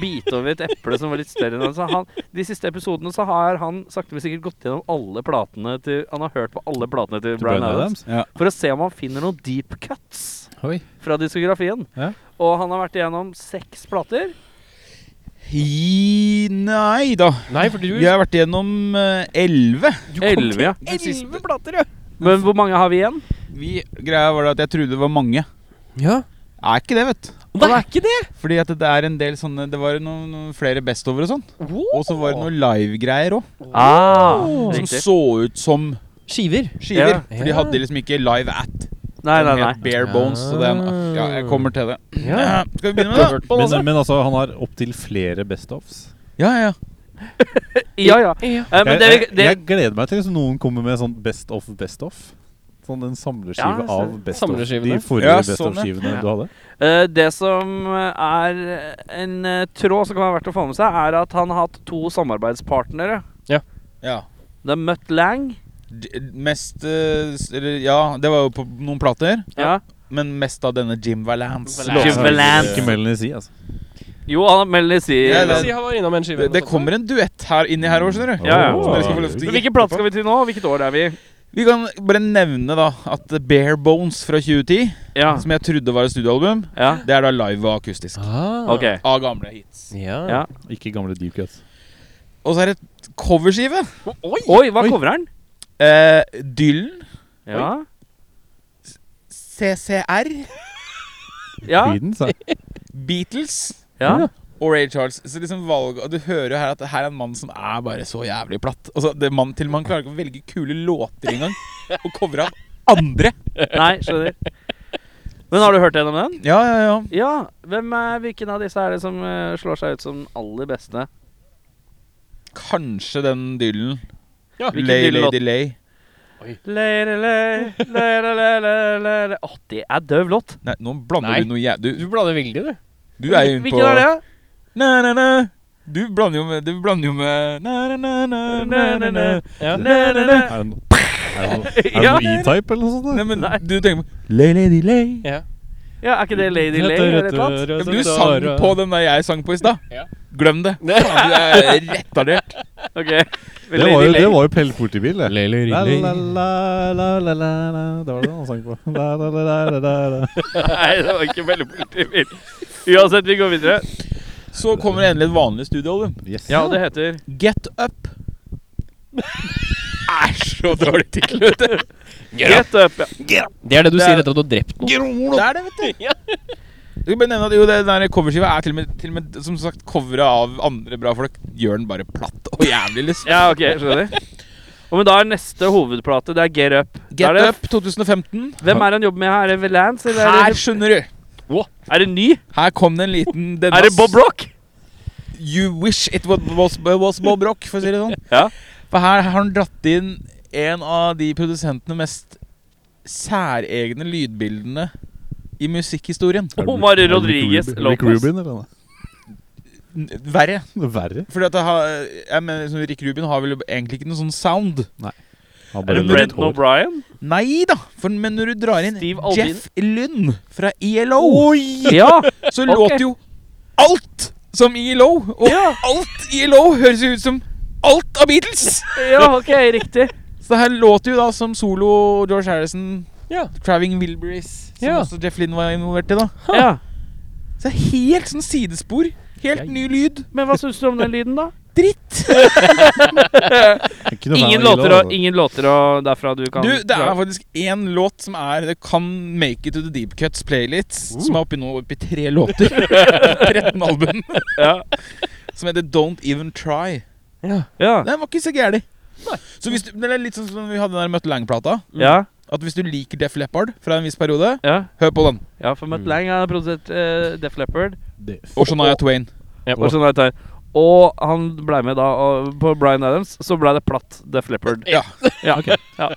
Speaker 4: bite over et eple som var litt større enn han. Så han. De siste episodene så har han sakte, men sikkert gått gjennom alle platene til Han har hørt på alle platene til,
Speaker 2: Til
Speaker 4: Bryan
Speaker 2: Bryan
Speaker 4: Adams,
Speaker 2: Adams?
Speaker 5: Ja.
Speaker 4: for å se om han finner noen deep cuts
Speaker 2: Oi.
Speaker 4: fra diskografien.
Speaker 2: Ja.
Speaker 4: Og han har vært igjennom seks plater.
Speaker 5: I, nei da.
Speaker 1: Nei, for du,
Speaker 5: Vi har vært gjennom eh, elleve.
Speaker 4: Elleve, ja.
Speaker 5: Den siste-
Speaker 1: plater, ja.
Speaker 4: Men hvor mange har vi igjen?
Speaker 5: Vi- Greia var det at jeg trodde det var mange.
Speaker 1: ja.
Speaker 5: Er ikke det, vet du.
Speaker 1: Det er ikke det!
Speaker 5: Fordi at det er en del sånne Det var noen, noen flere Best Over og sånn. Og så var det noen live-greier òg.
Speaker 4: Ah,
Speaker 5: Oh, Som
Speaker 4: riktig.
Speaker 5: så ut som
Speaker 1: Skiver.
Speaker 5: skiver.
Speaker 4: Ja.
Speaker 5: For de hadde liksom ikke live at.
Speaker 4: Nei, nei,
Speaker 5: Den het
Speaker 4: nei.
Speaker 5: Bare bones. Så det er, ja, jeg kommer til det.
Speaker 1: Ja.
Speaker 5: Skal vi begynne med det?
Speaker 1: Hørt på den,
Speaker 2: Men,
Speaker 1: altså.
Speaker 2: men altså, han har opptil flere best-offs.
Speaker 5: Ja, ja.
Speaker 4: Ja, ja. Eh, men det,
Speaker 2: jeg,
Speaker 4: det,
Speaker 2: jeg gleder meg til liksom noen kommer med sånn Best of Best of. Sånn en
Speaker 4: Ja,
Speaker 2: samleskive
Speaker 4: så-
Speaker 2: av Best of. De
Speaker 1: Samleskivene.
Speaker 2: forrige
Speaker 5: Ja,
Speaker 2: Best
Speaker 5: sånn, ja.
Speaker 2: of-skivene
Speaker 4: Ja.
Speaker 2: du hadde.
Speaker 4: Eh, det som eh, er en eh, tråd som kan være verdt å få med seg, er at han har hatt to samarbeidspartnere.
Speaker 5: ja.
Speaker 4: Det er Mutt Lang.
Speaker 5: D- Mest eh, s- eller, Ja, det var jo på noen plater.
Speaker 4: Ja.
Speaker 5: Men mest av denne Jim Valance.
Speaker 4: Valance. Jim Valance.
Speaker 2: Altså, Ikke Melanie si, altså.
Speaker 4: Jo, han Melanie sier
Speaker 5: Ja,
Speaker 1: Jeg vil
Speaker 5: det-
Speaker 1: si han var innom en skive.
Speaker 5: Det, det kommer en duett her inni her òg, skjønner du.
Speaker 4: Ja, ja.
Speaker 5: Så dere skal få
Speaker 4: Men
Speaker 5: lov til å gjette
Speaker 4: Hvilken plate
Speaker 5: på.
Speaker 4: skal vi til nå? Hvilket år er vi i?
Speaker 5: Vi kan bare nevne da at Bare Bones fra 2010,
Speaker 4: Ja.
Speaker 5: som jeg trodde var et studioalbum,
Speaker 4: ja.
Speaker 5: det er da live og akustisk.
Speaker 1: Ah.
Speaker 4: Ok.
Speaker 5: Av gamle hits.
Speaker 1: Ja.
Speaker 4: Ja.
Speaker 2: Ikke gamle deep cuts.
Speaker 5: Og så er det et coverskive.
Speaker 4: Oi, hva coverer han?
Speaker 5: Eh, Dylan.
Speaker 4: Ja.
Speaker 5: CCR.
Speaker 4: Ja.
Speaker 2: Creedence, ja.
Speaker 5: Beatles.
Speaker 4: ja.
Speaker 5: Og Ray Charles. Så liksom valg, og Du hører jo her at det her er en mann som er bare så jævlig platt. Altså, det er mann til man klarer ikke å velge kule låter engang. Og covre av andre.
Speaker 4: Nei, skjønner. Men har du hørt gjennom den?
Speaker 5: Ja, ja, ja.
Speaker 4: Ja. Hvem er, hvilken av disse er det som eh, slår seg ut som den aller beste?
Speaker 5: Kanskje den Dylan.
Speaker 1: Ja,
Speaker 4: hvilken
Speaker 5: Lay,
Speaker 4: Dylan-låt?
Speaker 5: lady, lay.
Speaker 4: Lere, lere, lere, lere, lere. Å, det er døv låt.
Speaker 5: Nei, nå blander
Speaker 1: Nei.
Speaker 5: du noe jæ... Du,
Speaker 1: Du blader veldig, du.
Speaker 5: du er jo inne på
Speaker 4: Hvilken er det? da?
Speaker 5: Na, na, na. Du blander jo med Du blander jo med na, na, na, na, na, na, na.
Speaker 1: Ja.
Speaker 4: Nei, nei, nei.
Speaker 2: Er det no- er det no- er det
Speaker 4: Ja.
Speaker 2: noe E-type eller noe sånt?
Speaker 5: Nei,
Speaker 2: da?
Speaker 5: men du tenker på Lay, lady, lay.
Speaker 1: Ja.
Speaker 4: Ja, er ikke det Lady Lay eller et eller annet?
Speaker 5: Ja, men du sang
Speaker 4: uh,
Speaker 5: på den der jeg sang på i stad. Glem det. Faen, Du er retardert.
Speaker 4: Ok.
Speaker 2: Det var jo, det var jo Pelle Portibil, det.
Speaker 1: Lele
Speaker 2: La, la, la, la, la, la, la. Det var det han sang på. La, la, la, la, la, la, la.
Speaker 4: Nei, det var ikke veldig politibil. Uansett, vi går videre.
Speaker 5: Så kommer endelig et vanlig studioalbum.
Speaker 2: Yes.
Speaker 4: Ja, og det heter
Speaker 5: Get Up. er så dårlig tittel, vet du.
Speaker 4: Get Up. Ja.
Speaker 1: Det er det du
Speaker 5: Det er-
Speaker 1: sier etter at du har drept noen.
Speaker 5: Det er det, vet du. Jeg vil bare nevne at jo, det der coverskiva er til og med, til og med som sagt coveret av andre bra folk. Gjør den bare platt og jævlig, liksom.
Speaker 4: ja, ok, skjønner. Og men da er neste hovedplate, det er Get Up. Da
Speaker 5: Get
Speaker 4: er det,
Speaker 5: Up 2015.
Speaker 4: Hvem er det han jobber med her? Er det Velance, eller er
Speaker 5: Her,
Speaker 4: det,
Speaker 5: skjønner du.
Speaker 4: er det ny?
Speaker 5: Her kom det en liten den
Speaker 4: Er det
Speaker 5: var-
Speaker 4: Bob Rock?
Speaker 5: You wish it was, was, was Bob Rock, for å si det sånn.
Speaker 4: Ja.
Speaker 5: For her har han dratt inn en av de produsentene mest særegne lydbildene i musikkhistorien.
Speaker 4: Omar Rodriguez
Speaker 2: Rick Rubin- Rick
Speaker 4: Lopez.
Speaker 2: Rubin, eller noe?
Speaker 5: verre.
Speaker 2: Det er verre.
Speaker 5: Fordi at det har, jeg mener, liksom, Rick Rubin har vel egentlig ikke noe sånn sound.
Speaker 2: Han
Speaker 4: Er
Speaker 2: bare
Speaker 4: det
Speaker 2: litt
Speaker 4: Brenton
Speaker 2: hår.
Speaker 4: O'Brien?
Speaker 5: Nei da! For, men når du drar inn
Speaker 4: Steve Albini.
Speaker 5: Jeff Lynn fra ELO,
Speaker 4: Ja!
Speaker 5: så
Speaker 4: ok.
Speaker 5: låter jo alt som ELO. Og alt ELO høres jo ut som alt av Beatles!
Speaker 4: ja, ok, riktig.
Speaker 5: Så det her låter jo da som solo George Harrison,
Speaker 1: Ja.
Speaker 5: Traveling Wilburys, som
Speaker 1: Ja.
Speaker 5: også Jeff Lynn var involvert i. da
Speaker 4: Ja.
Speaker 5: Så det er helt sånn sidespor. Helt ny lyd.
Speaker 4: Men hva syns du om den lyden, da?
Speaker 5: Dritt!
Speaker 2: Ikke noe fan
Speaker 4: Ingen
Speaker 2: av Ilo,
Speaker 4: låter, å,
Speaker 2: altså.
Speaker 4: ingen låter å, derfra du kan
Speaker 5: Du, det er faktisk én låt som er Det kan make it to the deep cuts playlist, som er oppi nå oppi tre låter. 13 album.
Speaker 4: Ja.
Speaker 5: Som heter Don't Even Try.
Speaker 4: Ja.
Speaker 5: Den var ikke så gæren. Så hvis du, det er litt sånn som vi hadde den der Møtte Lang-plata.
Speaker 4: ja.
Speaker 5: At hvis du liker Def Leppard fra en viss periode,
Speaker 4: Ja.
Speaker 5: hør på den.
Speaker 4: Ja, for Mutt Lang har produsert eh, Def Leppard.
Speaker 2: Det-
Speaker 5: Og Shania Twain.
Speaker 4: Og, sånn er det her. og han ble med da og på Bryan Adams, så ble det platt Def Leppard.
Speaker 5: Ja.
Speaker 4: Ja.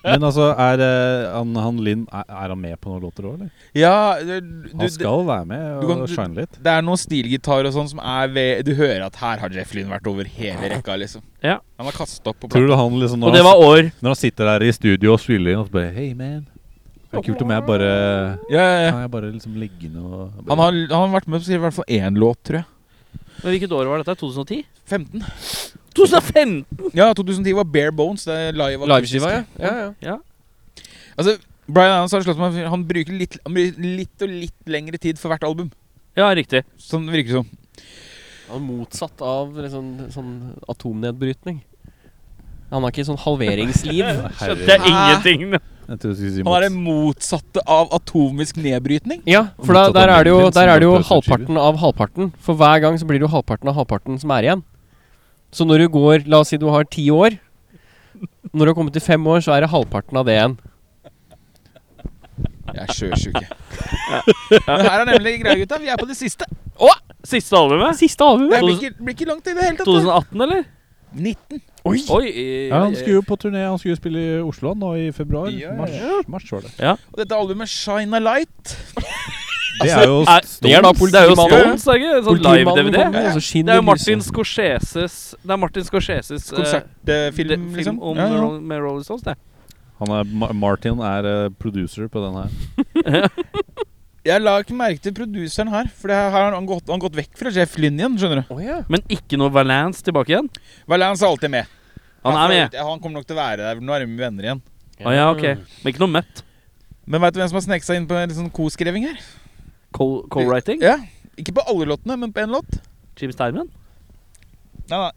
Speaker 2: Men altså, er eh, han, han Linn er, er han med på noen låter òg, eller?
Speaker 5: Ja, du, du,
Speaker 2: Han
Speaker 5: det,
Speaker 2: skal være med og
Speaker 5: du kan- du-
Speaker 2: shine litt.
Speaker 5: det er noe stilgitar og sånn som er ved Du hører at her har Jeff Lynn vært over hele rekka, liksom.
Speaker 4: Ja.
Speaker 5: Han har kastet opp på
Speaker 2: Tror
Speaker 5: plata.
Speaker 2: du han liksom
Speaker 4: Og
Speaker 2: når,
Speaker 4: det
Speaker 2: han,
Speaker 4: var år.
Speaker 2: når han sitter der i studio og spiller inn og så bare Hey, man. Det er kult om jeg bare
Speaker 5: Ja, ja, ja.
Speaker 2: Kan jeg bare liksom ligge inn og bare,
Speaker 5: Han har, han har vært med på å skrive i hvert fall én låt, tror jeg.
Speaker 4: Men hvilket år var dette? 2010?
Speaker 5: 15.
Speaker 4: 2005!
Speaker 5: Ja, 2010 var Bare Bones. Det er live
Speaker 1: Liveskiva, ja. ja, ja.
Speaker 5: Altså, Brian Adams har slått meg Han bruker litt, han bruker litt og litt lengre tid for hvert album.
Speaker 4: Ja, riktig.
Speaker 5: Sånn det virker som.
Speaker 1: Han er motsatt av liksom, sånn atomnedbrytning. Han har ikke sånn halveringsliv.
Speaker 2: Herregud.
Speaker 4: Det er ingenting.
Speaker 2: Jeg trodde du skulle si
Speaker 5: Han er det
Speaker 2: mots.
Speaker 5: motsatte av atomisk nedbrytning.
Speaker 1: Ja, for da,
Speaker 2: Motsatt
Speaker 1: der
Speaker 2: av
Speaker 1: er det jo,
Speaker 2: Melvin, som
Speaker 1: der er det jo
Speaker 2: låter som
Speaker 1: halvparten av halvparten. For hver gang så blir det jo halvparten av halvparten som er igjen. Så når du går La oss si du har ti år. Når du har kommet til fem år, så er det halvparten av det igjen.
Speaker 5: Jeg er sjøsjuk, jeg. Men her er nemlig greia, gutta. Vi er på det siste.
Speaker 4: Siste albumet?
Speaker 1: Siste
Speaker 5: Det blir
Speaker 1: albumet!
Speaker 5: ikke, blir ikke langt i det hele tatt.
Speaker 4: 2018, eller?
Speaker 5: 19.
Speaker 4: Oi! eh,
Speaker 2: Ja, han skulle jo på turné. Han skulle jo spille i Oslo nå i februar.
Speaker 5: Ja, ja, ja.
Speaker 2: Mars, mars var det.
Speaker 5: Og dette albumet, Shine a Light
Speaker 2: Det er jo
Speaker 4: er-
Speaker 2: Stones.
Speaker 1: Det er da
Speaker 4: Det er jo
Speaker 1: politimannen.
Speaker 4: Stones, er det ikke? Sånn
Speaker 1: Politimannen
Speaker 4: live-DVD.
Speaker 1: kommer, og så
Speaker 4: Det
Speaker 1: skinner
Speaker 4: er jo Martin
Speaker 1: lyset.
Speaker 4: Scorseses Det er Martin Scorseses eh, de-
Speaker 5: konsertfilm, liksom.
Speaker 4: film om
Speaker 5: Ja, ja.
Speaker 4: Ro- med Rolling Stones, det.
Speaker 2: Han er, Ma- Martin er eh, producer på den her.
Speaker 5: Jeg la ikke merke til produseren her, for det her har han gått, han gått vekk fra Jeff Lynn igjen, skjønner du.
Speaker 1: Å ja.
Speaker 4: Men ikke noe Valance tilbake igjen?
Speaker 5: Valance er alltid med.
Speaker 4: Han er med.
Speaker 5: får- Han kommer nok til å være der. Nå er de venner igjen.
Speaker 4: Å ja, ok. Men ikke noe Mutt.
Speaker 5: Men veit du hvem som har sneket seg inn på en litt sånn koskreving her?
Speaker 4: Co- Co-writing?
Speaker 5: Ja. Ikke på alle låtene, men på én låt.
Speaker 4: Jim Steinman?
Speaker 5: Nei, nei.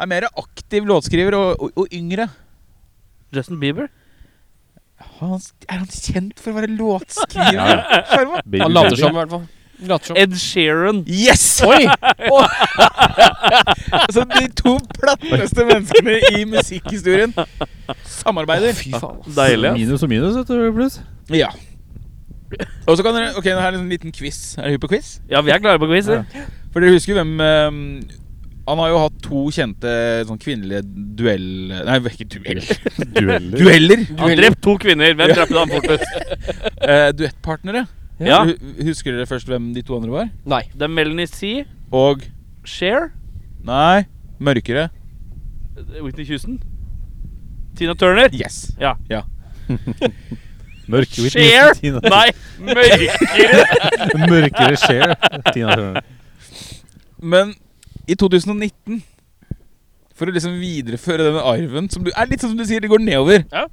Speaker 5: Er mer aktiv låtskriver og, og, og yngre.
Speaker 4: Justin Bieber?
Speaker 5: Han, er han kjent for å være låtskriver? Sjarma?
Speaker 2: Baby
Speaker 1: Han later
Speaker 2: Baby.
Speaker 1: som, i hvert fall. Later som.
Speaker 4: Ed Sheeran?
Speaker 5: yes!
Speaker 1: Oi!
Speaker 5: Altså, de to platteste menneskene i musikkhistorien samarbeider.
Speaker 1: Fy faen. altså. ass.
Speaker 4: Deilig. ass.
Speaker 2: Minus og minus, vet du, pluss.
Speaker 5: Ja. Og så kan dere Ok, nå er det en liten quiz. Er dere hypp på quiz?
Speaker 4: Ja, vi er klare på quiz. vi.
Speaker 5: For dere husker hvem ehm, Han har jo hatt to kjente sånn kvinnelige duell... Nei, ikke duell.
Speaker 2: Dueller.
Speaker 5: Dueller!
Speaker 4: Han drepte to kvinner. Hvem drepte han fortest?
Speaker 5: Eh, duettpartnere.
Speaker 4: Ja.
Speaker 5: Hu- Husker dere først hvem de to andre var?
Speaker 1: Nei.
Speaker 4: Det er Melanie C.
Speaker 5: Og
Speaker 4: Cher.
Speaker 5: Nei, mørkere.
Speaker 4: Whitney Houston. Tina Turner.
Speaker 5: Yes.
Speaker 2: Mørk
Speaker 4: Cher?
Speaker 2: Tina-
Speaker 4: Nei, mørkere.
Speaker 2: Mørkere Cher. Tina Turner.
Speaker 5: Men i 2019 For å liksom videreføre denne arven som du, er Litt sånn som du sier, det går nedover.
Speaker 1: Ja.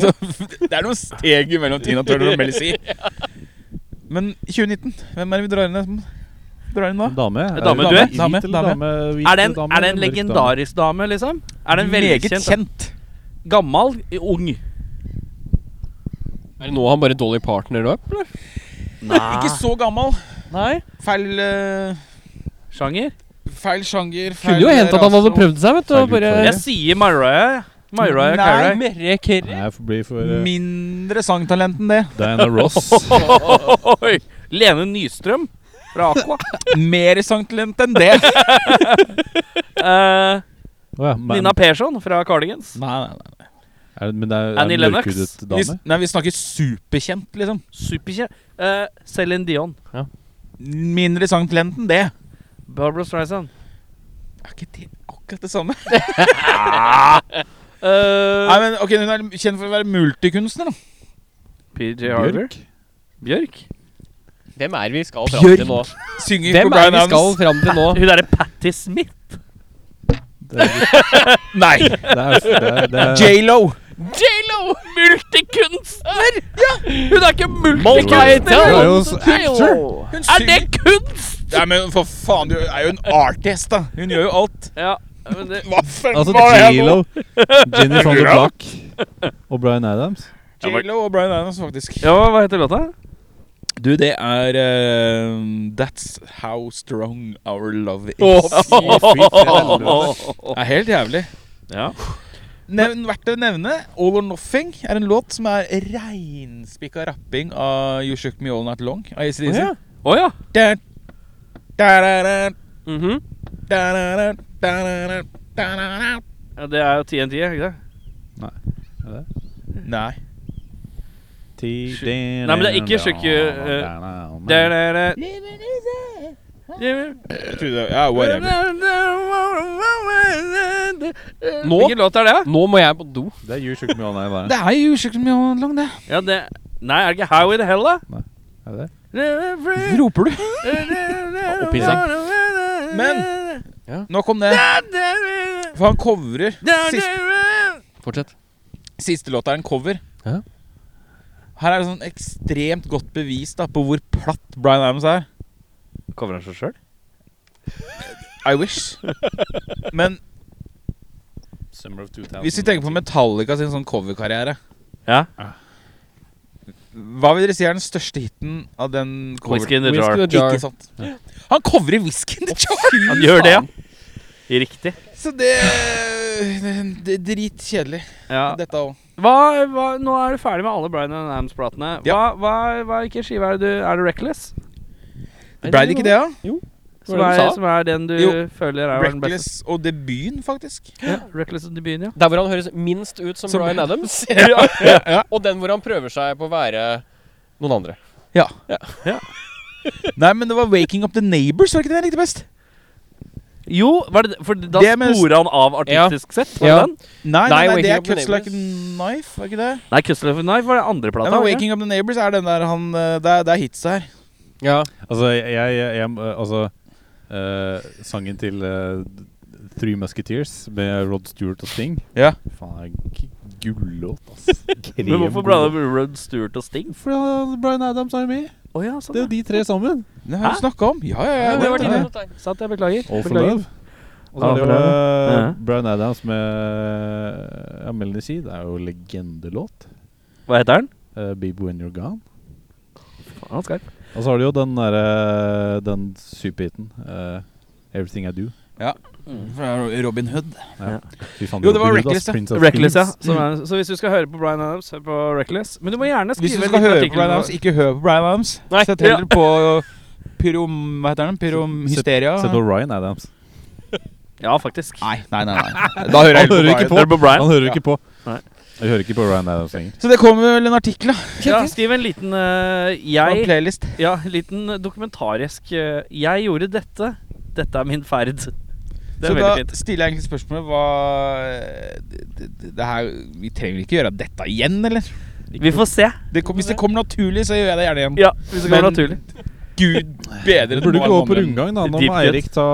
Speaker 5: Så, det er noen steg mellom Tina Turner og Melly C. Men 2019, hvem er det vi drar inn, som- drar inn da?
Speaker 2: Dame. Er det
Speaker 4: Dame, du er?
Speaker 2: hvit eller
Speaker 5: Dame, dame.
Speaker 2: Hvit
Speaker 4: Er det en,
Speaker 2: eller dame,
Speaker 4: er det en
Speaker 2: mørk
Speaker 4: legendarisk dame, liksom? Er det en
Speaker 5: Meget
Speaker 4: velkjent
Speaker 5: kjent.
Speaker 4: Gammal? Ung?
Speaker 1: Er det nå han bare Dolly Partner opp, eller?
Speaker 4: Ah.
Speaker 5: Ikke så gammel.
Speaker 1: Nei.
Speaker 5: Feil eh,
Speaker 4: Sjanger?
Speaker 5: Feil sjanger. Feil eh,
Speaker 1: Kunne jo hendt at han
Speaker 5: rase.
Speaker 1: hadde prøvd seg, vet du. Og
Speaker 2: Feil
Speaker 1: bare
Speaker 2: utfordring.
Speaker 4: Jeg sier Mariah. Mariah
Speaker 5: Nei,
Speaker 1: Nei,
Speaker 4: Carey.
Speaker 1: Merre Kerry.
Speaker 2: Nei, jeg får bli for eh,
Speaker 5: Mindre sangtalent enn det.
Speaker 2: Diana Ross.
Speaker 4: Oi. Lene Nystrøm fra Aqua.
Speaker 5: Mer sangtalent enn det. Nei,
Speaker 4: Eh,
Speaker 2: Å ja, men-
Speaker 4: Nina Persson fra Cardigans.
Speaker 5: nei, nei.
Speaker 2: er det- Men det er, er
Speaker 4: Annie
Speaker 2: det en
Speaker 4: Lennox.
Speaker 2: mørkhudet
Speaker 5: Vi,
Speaker 2: dame.
Speaker 5: nei, vi snakker superkjent, liksom.
Speaker 4: Superkjent. Eh, Céline Dion.
Speaker 5: Mindre sangtalent enn det.
Speaker 4: Barbara Streisand.
Speaker 5: Er ikke det akkurat det samme?
Speaker 4: Uh,
Speaker 5: Nei,
Speaker 4: Eh,
Speaker 5: men ok, Hun er kjent for å være multikunstner. da
Speaker 4: PJ Harver. Bjørk?
Speaker 1: Hvem er vi skal fram til nå?
Speaker 5: Synger
Speaker 1: Hvem
Speaker 5: for
Speaker 1: er
Speaker 5: Bryan
Speaker 1: vi skal
Speaker 5: Adams.
Speaker 1: fram til nå?
Speaker 4: Hun derre Patti Smith.
Speaker 5: Nei!
Speaker 2: Det er, det er, det er,
Speaker 5: J.Lo.
Speaker 4: J.Lo! Multikunstner! Hun er ikke
Speaker 2: det er
Speaker 4: multikunstner!
Speaker 2: jo s- actor.
Speaker 5: Hun
Speaker 4: Er det
Speaker 5: synger
Speaker 4: kunst?!
Speaker 5: Nei, men for faen, du er jo en artist, da. Hun gjør jo alt.
Speaker 4: Ja, men det
Speaker 5: Hva for
Speaker 2: Altså
Speaker 5: hva er det nå?
Speaker 2: J.Lo, Jenny von der Black og Bryan Adams.
Speaker 5: J.Lo og Bryan Adams, faktisk.
Speaker 4: Ja, hva heter låta?
Speaker 5: Du, det er eh, That's how strong our love is. Det er helt jævlig.
Speaker 4: Ja.
Speaker 5: Nevn, verdt å nevne All or Nothing er en låt som er reinspikka rapping av You Shook Me All Night Long av ACDC.
Speaker 4: Å ja.
Speaker 5: Da, da, da, da,
Speaker 4: Mhm.
Speaker 5: da, da, da, da, da, da, da, da.
Speaker 4: ja. Det er jo TNT, er ikke det?
Speaker 5: Nei.
Speaker 2: Nei,
Speaker 4: men det er ikke Sjukke, Der, der, der.
Speaker 5: Jeg trodde det Ja, whatever.
Speaker 1: Nå?
Speaker 4: Hvilken låt er det? da?
Speaker 1: Nå må jeg på do.
Speaker 2: Det er You Shook Me All Night Long.
Speaker 5: Det er jo You Shook Me All Night Long, det.
Speaker 4: Ja, det Nei, er det ikke How in the Hell, da?
Speaker 2: Er det det?
Speaker 5: Roper du? Men- Nok om det. For han covrer Siste,
Speaker 1: Fortsett.
Speaker 5: siste låta er en cover.
Speaker 1: Ja.
Speaker 5: Her er det sånn ekstremt godt bevis da på hvor platt Bryan Adams er.
Speaker 4: Cover han seg sjøl?
Speaker 5: I wish. Men
Speaker 2: Summer of 2000.
Speaker 5: hvis vi tenker på Metallica sin sånn coverkarriere
Speaker 4: Ja.
Speaker 5: Hva vil dere si er den største hiten av den
Speaker 4: Whisky
Speaker 5: coveren?
Speaker 4: in the
Speaker 1: Whisky
Speaker 4: jar.
Speaker 1: in the jar.
Speaker 5: Ikke sant? Han covrer Whisky in the Jar!
Speaker 4: Han gjør det, ja. Riktig.
Speaker 5: Så det, det er dritkjedelig,
Speaker 4: Ja.
Speaker 5: dette òg.
Speaker 4: Hva, hva, nå er du ferdig med alle Bryan Adams-platene. Hva,
Speaker 5: Ja.
Speaker 4: hva, hva, hvilken skive er det du Er det Reckless?
Speaker 5: Ble det ikke det, da?
Speaker 1: Hva
Speaker 4: Som
Speaker 1: var det du
Speaker 4: er,
Speaker 1: sa?
Speaker 4: som er den du
Speaker 5: Jo.
Speaker 4: føler er den beste?
Speaker 5: Reckless og debuten, faktisk.
Speaker 4: Ja, Reckless i debuten, ja.
Speaker 1: Der hvor han høres minst ut som,
Speaker 5: Som-
Speaker 1: Bryan Adams. Og den hvor han prøver seg på å være noen andre.
Speaker 5: Nei, men det var 'Waking Up The Neighbors'. Var ikke det jeg likte best?
Speaker 4: Jo, var det, for da
Speaker 5: Det med-
Speaker 4: sporer han av artistisk sett. Var det
Speaker 1: Ja.
Speaker 4: den?
Speaker 5: Nei, nei,
Speaker 1: Nei,
Speaker 5: nei, det
Speaker 1: Waking
Speaker 5: er
Speaker 1: Up The
Speaker 5: 'Cuts Like a Knife'. Var ikke det?
Speaker 4: Nei, Custler of Knife var den andre
Speaker 5: Nei,
Speaker 4: plata.
Speaker 5: men
Speaker 4: var det ikke?
Speaker 5: 'Waking Up The Neighbors' er den der han eh, Det er, det er hits her.
Speaker 1: Ja.
Speaker 2: Altså, jeg, jeg, jeg eh, Altså, eh, sangen til eh, Three Musketeers med Rod Stewart og Sting
Speaker 5: Ja.
Speaker 2: Faen, det er en gullåt, ass. Krem.
Speaker 4: Men hvorfor blander du Rod Stewart og Sting?
Speaker 2: Fordi han- Bryan Adams er med.
Speaker 4: Å ja, sånn.
Speaker 2: Det er jo de tre sammen.
Speaker 5: Det
Speaker 4: Hæ?
Speaker 5: har vi snakka om. Ja, ja, ja.
Speaker 1: Ja, det
Speaker 5: det
Speaker 1: var
Speaker 5: vet
Speaker 1: dine
Speaker 5: jeg.
Speaker 1: notater.
Speaker 4: Sant, jeg beklager.
Speaker 2: All for
Speaker 4: Beklager.
Speaker 2: love. Og så
Speaker 4: All
Speaker 2: er det
Speaker 4: for
Speaker 2: jo
Speaker 4: love.
Speaker 2: eh, Bryan Adams med eh, ja, Melanie C. Det er jo legendelåt.
Speaker 4: Hva heter den?
Speaker 2: Uh, Baby When You're Gone.
Speaker 4: Faen, han skal.
Speaker 2: Og så har du jo den derre Den superhiten. eh, Everything I Do.
Speaker 5: Fra Robin Hood.
Speaker 2: Fy faen,
Speaker 5: Jo, det var
Speaker 2: Robin Hood, ass.
Speaker 5: Reckless, ja.
Speaker 2: Prince of
Speaker 4: Reckless, ja.
Speaker 2: Thieves.
Speaker 4: Som er, så hvis du skal høre på Bryan Adams, hør på Reckless. Men du må gjerne
Speaker 5: Hvis
Speaker 4: skrive
Speaker 5: du
Speaker 4: en liten
Speaker 5: skal høre på
Speaker 4: artikkel
Speaker 5: Bryan
Speaker 4: om-
Speaker 5: Adams, ikke hør på Bryan Adams.
Speaker 1: Nei.
Speaker 5: Sett heller på pyrom... Hva heter den? Pyromhysteria?
Speaker 2: Se på Ryan Adams.
Speaker 4: Ja, faktisk.
Speaker 5: Nei, nei, nei. nei. Da hører jeg
Speaker 2: Han hører
Speaker 5: heller
Speaker 2: ikke
Speaker 5: på
Speaker 4: Hører
Speaker 2: på.
Speaker 5: Bryan.
Speaker 4: du på Bryan?
Speaker 2: Han hører
Speaker 5: Ja.
Speaker 2: ikke på.
Speaker 4: Nei.
Speaker 2: Jeg hører ikke på Ryan Adams lenger.
Speaker 5: Så det kommer vel en artikkel, da.
Speaker 4: Ja, skriv en liten eh,
Speaker 5: Og en
Speaker 4: Jeg
Speaker 5: playlist.
Speaker 4: Ja, en liten dokumentarisk eh, Jeg gjorde dette. Dette er min ferd. Det
Speaker 5: Så
Speaker 4: er
Speaker 5: da
Speaker 4: veldig fint.
Speaker 5: stiller jeg egentlig spørsmålet hva det, det, det her, Vi trenger vel ikke gjøre dette igjen, eller?
Speaker 4: Vi får se.
Speaker 5: Det kom, hvis det kommer naturlig, så gjør jeg det gjerne igjen.
Speaker 4: Ja, hvis det går
Speaker 5: Men-
Speaker 4: naturlig.
Speaker 5: Gud bedre
Speaker 2: Det burde
Speaker 5: nå
Speaker 2: ikke gå
Speaker 5: enn
Speaker 2: på
Speaker 5: mannen.
Speaker 2: rundgang, da. Nå
Speaker 4: Deep
Speaker 2: må
Speaker 4: cut.
Speaker 2: Eirik ta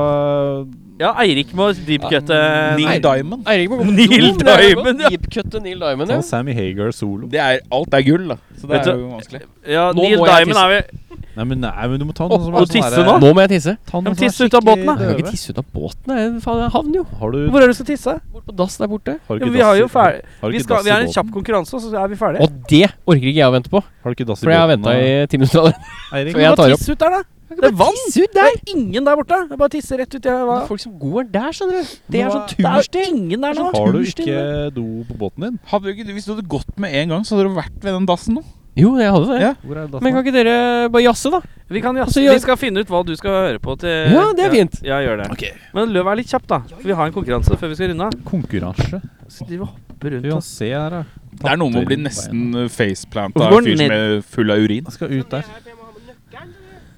Speaker 4: Ja, Eirik må deepcutte
Speaker 5: Neil Diamond.
Speaker 1: Eirik må gå på
Speaker 4: Neil
Speaker 1: do, men det er jo
Speaker 4: Diamond,
Speaker 1: godt.
Speaker 4: ja.
Speaker 1: Deepcutte Neil Diamond,
Speaker 2: ta
Speaker 1: ja.
Speaker 2: Sammy Hagar solo.
Speaker 5: Det er, alt er gull, da. Så det
Speaker 4: Vet
Speaker 5: er
Speaker 4: du-
Speaker 5: jo vanskelig.
Speaker 4: Ja,
Speaker 1: Nå
Speaker 4: Neil
Speaker 1: må jeg
Speaker 4: Diamond er vi
Speaker 2: Nei, men, nei, men du må ta noen som
Speaker 4: Å, å
Speaker 2: er sånn
Speaker 4: tisse
Speaker 2: derre-
Speaker 1: Nå må jeg tisse.
Speaker 2: Ta
Speaker 4: Ja, men
Speaker 2: noen som er
Speaker 4: tisse ut av
Speaker 2: skikkelig
Speaker 4: båten, da.
Speaker 1: Jeg kan ikke
Speaker 2: døve.
Speaker 1: tisse ut av båten. Jeg, faen, jeg havner jo
Speaker 2: Har du
Speaker 4: Hvor er det du skal tisse?
Speaker 1: bort på dass der borte.
Speaker 2: har
Speaker 4: Ja,
Speaker 2: du ikke
Speaker 4: vi har
Speaker 2: dass i-
Speaker 4: jo ferdig
Speaker 2: har du
Speaker 4: vi,
Speaker 2: ikke
Speaker 4: skal,
Speaker 2: dass
Speaker 4: vi
Speaker 2: i
Speaker 4: har en
Speaker 2: båten?
Speaker 4: kjapp konkurranse, og så er vi ferdige.
Speaker 1: Og det orker ikke jeg å vente på.
Speaker 2: Har du ikke dass i
Speaker 1: For jeg har
Speaker 2: båten?
Speaker 1: venta i ti minutter allerede.
Speaker 2: Eirik?
Speaker 1: før
Speaker 4: Bare
Speaker 1: jeg tar opp.
Speaker 4: tisse ut der, da. Det er vann!
Speaker 1: Tisse
Speaker 4: Det
Speaker 1: ut der!
Speaker 4: er ingen der borte. Det er Bare tisse rett ut i
Speaker 1: Det er
Speaker 4: hva-
Speaker 1: folk som går der, skjønner du. Det er sånn
Speaker 4: Det er
Speaker 1: tursting.
Speaker 4: ingen der nå.
Speaker 2: Har du
Speaker 1: Turstinn,
Speaker 2: ikke do på båten din?
Speaker 5: Hadde du ikke, hvis du hadde gått med en gang, så hadde du vært ved den dassen nå.
Speaker 1: Jo, jeg hadde det.
Speaker 5: Ja.
Speaker 2: Hvor er
Speaker 1: Men kan ikke dere bare jazze, da?
Speaker 4: Vi, kan, ja,
Speaker 1: Altså, jeg-
Speaker 4: vi skal finne ut hva du skal høre på til
Speaker 1: Ja, det er fint.
Speaker 4: Ja, gjør det. Men løv er litt kjapp, da. For vi har en konkurranse før vi skal runde av.
Speaker 2: Konkurranse.
Speaker 4: Så de hopper rundt
Speaker 2: Vi kan
Speaker 4: oss.
Speaker 2: se her, da.
Speaker 5: Det er noe med å bli
Speaker 2: Tatovering på
Speaker 5: nesten faceplanta
Speaker 4: Hvorfor
Speaker 5: av
Speaker 4: går
Speaker 5: en fyr
Speaker 4: den
Speaker 5: som er full av urin.
Speaker 2: Jeg skal ut der.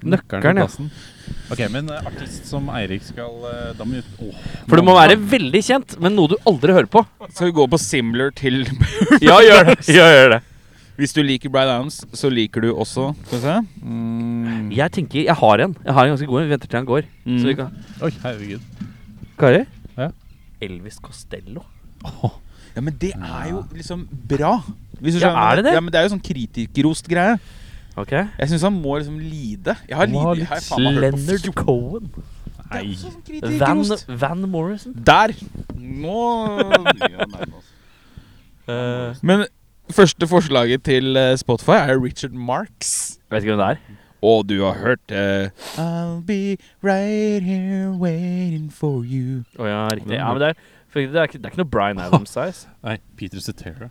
Speaker 2: Nøkkelen
Speaker 4: Nøkkelen,
Speaker 2: til
Speaker 4: ja.
Speaker 2: plassen. Ok, men eh, artist som Eirik skal eh, Da må vi ut Åh,
Speaker 4: For du må være veldig kjent, men noe du aldri hører på.
Speaker 5: Skal vi gå på Simler til
Speaker 4: Ja, gjør det. Ja, gjør det.
Speaker 5: Hvis du liker Bryan Adams, så liker du også Skal vi se mm.
Speaker 4: Jeg tenker, jeg har en. Jeg har en ganske god en. Vi venter til han går. Så
Speaker 1: Mm.
Speaker 4: vi kan
Speaker 2: Oi, herregud.
Speaker 4: Kari?
Speaker 2: Ja.
Speaker 4: Elvis Costello.
Speaker 5: Ja, men det er jo liksom bra. Hvis du
Speaker 4: Ja,
Speaker 5: skjønner.
Speaker 4: er det det?
Speaker 5: Ja, men det er jo sånn kritikerrost greie.
Speaker 4: Ok.
Speaker 5: Jeg syns han må liksom lide. Jeg har
Speaker 2: Han må ha
Speaker 5: lidd. Jeg har
Speaker 2: litt
Speaker 5: faen meg hørt på
Speaker 4: Leonard Cohen.
Speaker 2: Nei.
Speaker 5: sånn
Speaker 4: Van,
Speaker 5: kritikerrost.
Speaker 4: Van Morrison.
Speaker 5: Der! Nå Ja, nei, nå. Men første forslaget til eh, Spotify er Richard Marks.
Speaker 4: Vet ikke hvem det er.
Speaker 5: Og du har hørt eh, I'll be right here waiting for you.
Speaker 4: Å ja, riktig. Ja, men det er, for det er, ikke, det er ikke noe Bryan Adams-size.
Speaker 2: Nei, Peter Cetera.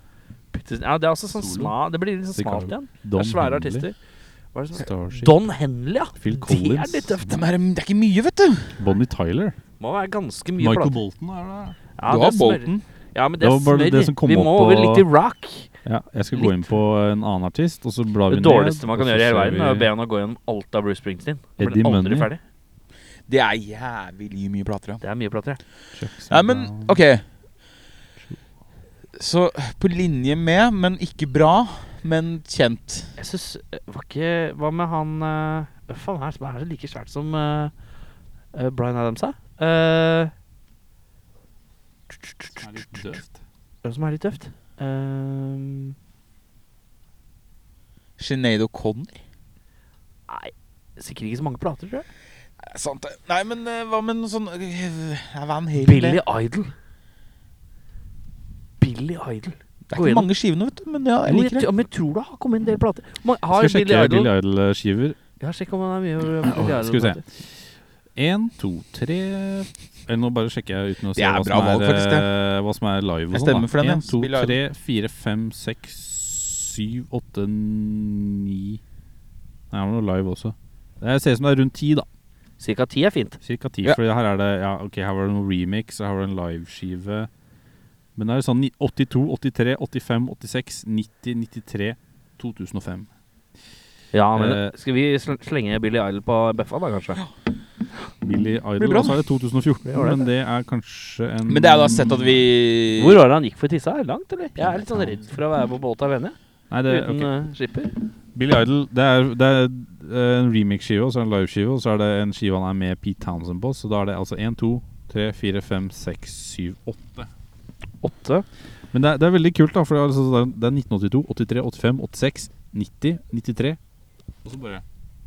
Speaker 4: Ja, det er også sånn
Speaker 2: Solo.
Speaker 4: sma Det blir litt sånn smalt
Speaker 2: Chicago.
Speaker 4: igjen. Det
Speaker 2: Don
Speaker 4: er svære
Speaker 2: Henley,
Speaker 4: artister. Hva er det som
Speaker 2: Starship.
Speaker 4: Don Henley, ja.
Speaker 2: Phil
Speaker 4: Det
Speaker 2: Collins.
Speaker 4: er litt tøft.
Speaker 5: De er, det er ikke mye, vet du.
Speaker 2: Bonnie Tyler.
Speaker 4: Må være ganske mye
Speaker 2: Michael
Speaker 4: plater.
Speaker 2: Bolton er der.
Speaker 4: Ja,
Speaker 5: du
Speaker 4: det
Speaker 5: har
Speaker 4: smør.
Speaker 5: Bolton.
Speaker 4: Ja, men det,
Speaker 2: Det var bare
Speaker 4: smør.
Speaker 2: det som kom
Speaker 4: vi
Speaker 2: opp
Speaker 4: må
Speaker 2: på-
Speaker 4: over litt i rock.
Speaker 2: Ja, jeg skal
Speaker 4: Litt.
Speaker 2: gå inn på en annen artist, og så blar vi
Speaker 4: Det
Speaker 2: ned.
Speaker 4: dårligste man
Speaker 2: og
Speaker 4: kan
Speaker 2: så
Speaker 4: gjøre i hele
Speaker 2: ser
Speaker 4: verden,
Speaker 2: vi-
Speaker 4: er å be han å gå gjennom alt av Bruce Springsteen. Da blir
Speaker 2: Eddie
Speaker 4: han aldri
Speaker 2: Money.
Speaker 4: ferdig.
Speaker 5: Det er jævlig mye plater, ja.
Speaker 4: Det er mye plater, ja.
Speaker 2: Jackson
Speaker 5: Nei, men
Speaker 2: Brown.
Speaker 5: OK. Så på linje med, men ikke bra, men kjent.
Speaker 4: Jeg syns Var ikke Hva med han eh, Hva faen er det som er like svært som eh, eh, Bryan Adams, da? Eh, Hva som er litt tøft? Eh,
Speaker 5: Sinead O'Connor.
Speaker 4: nei Sikkert ikke så mange plater, tror jeg.
Speaker 5: Eh, Sant det. Nei, men eh, hva med noe sånn eh, Van Halen?
Speaker 4: Billy Idol. Billy Idol.
Speaker 5: Det er
Speaker 4: Gå
Speaker 5: ikke
Speaker 4: gjennom.
Speaker 5: mange skivene, vet du, men ja, jeg
Speaker 4: Jo,
Speaker 5: liker det.
Speaker 4: ja, men jeg tror det har kommet en del plater. Man, har
Speaker 2: Skal jeg
Speaker 4: Billy
Speaker 2: sjekke
Speaker 4: Idol
Speaker 2: Billy Idol-skiver.
Speaker 4: Ja, sjekk om han er mye over Billy Idol.
Speaker 2: skal vi se.
Speaker 4: plater.
Speaker 2: Én, to, tre Eller nå bare sjekker jeg uten å se
Speaker 5: Det er
Speaker 2: hva
Speaker 5: bra
Speaker 2: som,
Speaker 5: valg,
Speaker 2: er,
Speaker 5: faktisk, det.
Speaker 2: eh, hva som er live. og
Speaker 5: Jeg
Speaker 2: sånn, da.
Speaker 5: stemmer for den, ja.
Speaker 2: En, to,
Speaker 5: Billie Idol.
Speaker 2: tre, fire, fem, seks, syv, åtte, ni Nei, det var noe live også. Det ser ut som det er rundt ti, da.
Speaker 4: Cirka ti er fint.
Speaker 2: Cirka ti.
Speaker 5: Ja.
Speaker 2: For her er det ja, ok, her var det noen remix, og her var det en liveskive. Men det er sånn ni- 82, 83, 85, 86, 90, 93, 2005.
Speaker 4: Ja, men
Speaker 2: Eh,
Speaker 4: Skal vi sl slenge Billy Idol på bøffa, da, kanskje?
Speaker 2: Billy Idol.
Speaker 5: bra,
Speaker 2: Og så er det 2014,
Speaker 4: Det var det.
Speaker 2: men det er kanskje en
Speaker 5: Men det er jo da sett at vi
Speaker 4: Hvor var det han gikk for tissa? Er det langt, eller? Jeg er litt sånn redd for å være på båt alene.
Speaker 2: Nei, det,
Speaker 4: Uten
Speaker 2: ok.
Speaker 4: eh, skipper.
Speaker 2: Billy Idol det er, det er eh, en remix-skive, og så er det en live-skive, og så er det en skive han er med Pete Townsend på. Så da er det altså 1, 2, 3, 4, 5, 6, 7, 8.
Speaker 4: Åtte.
Speaker 2: Men det er, det er veldig kult, da, for det er, altså, det er- det er 1982, 83, 85, 86, 90, 93 Og så bare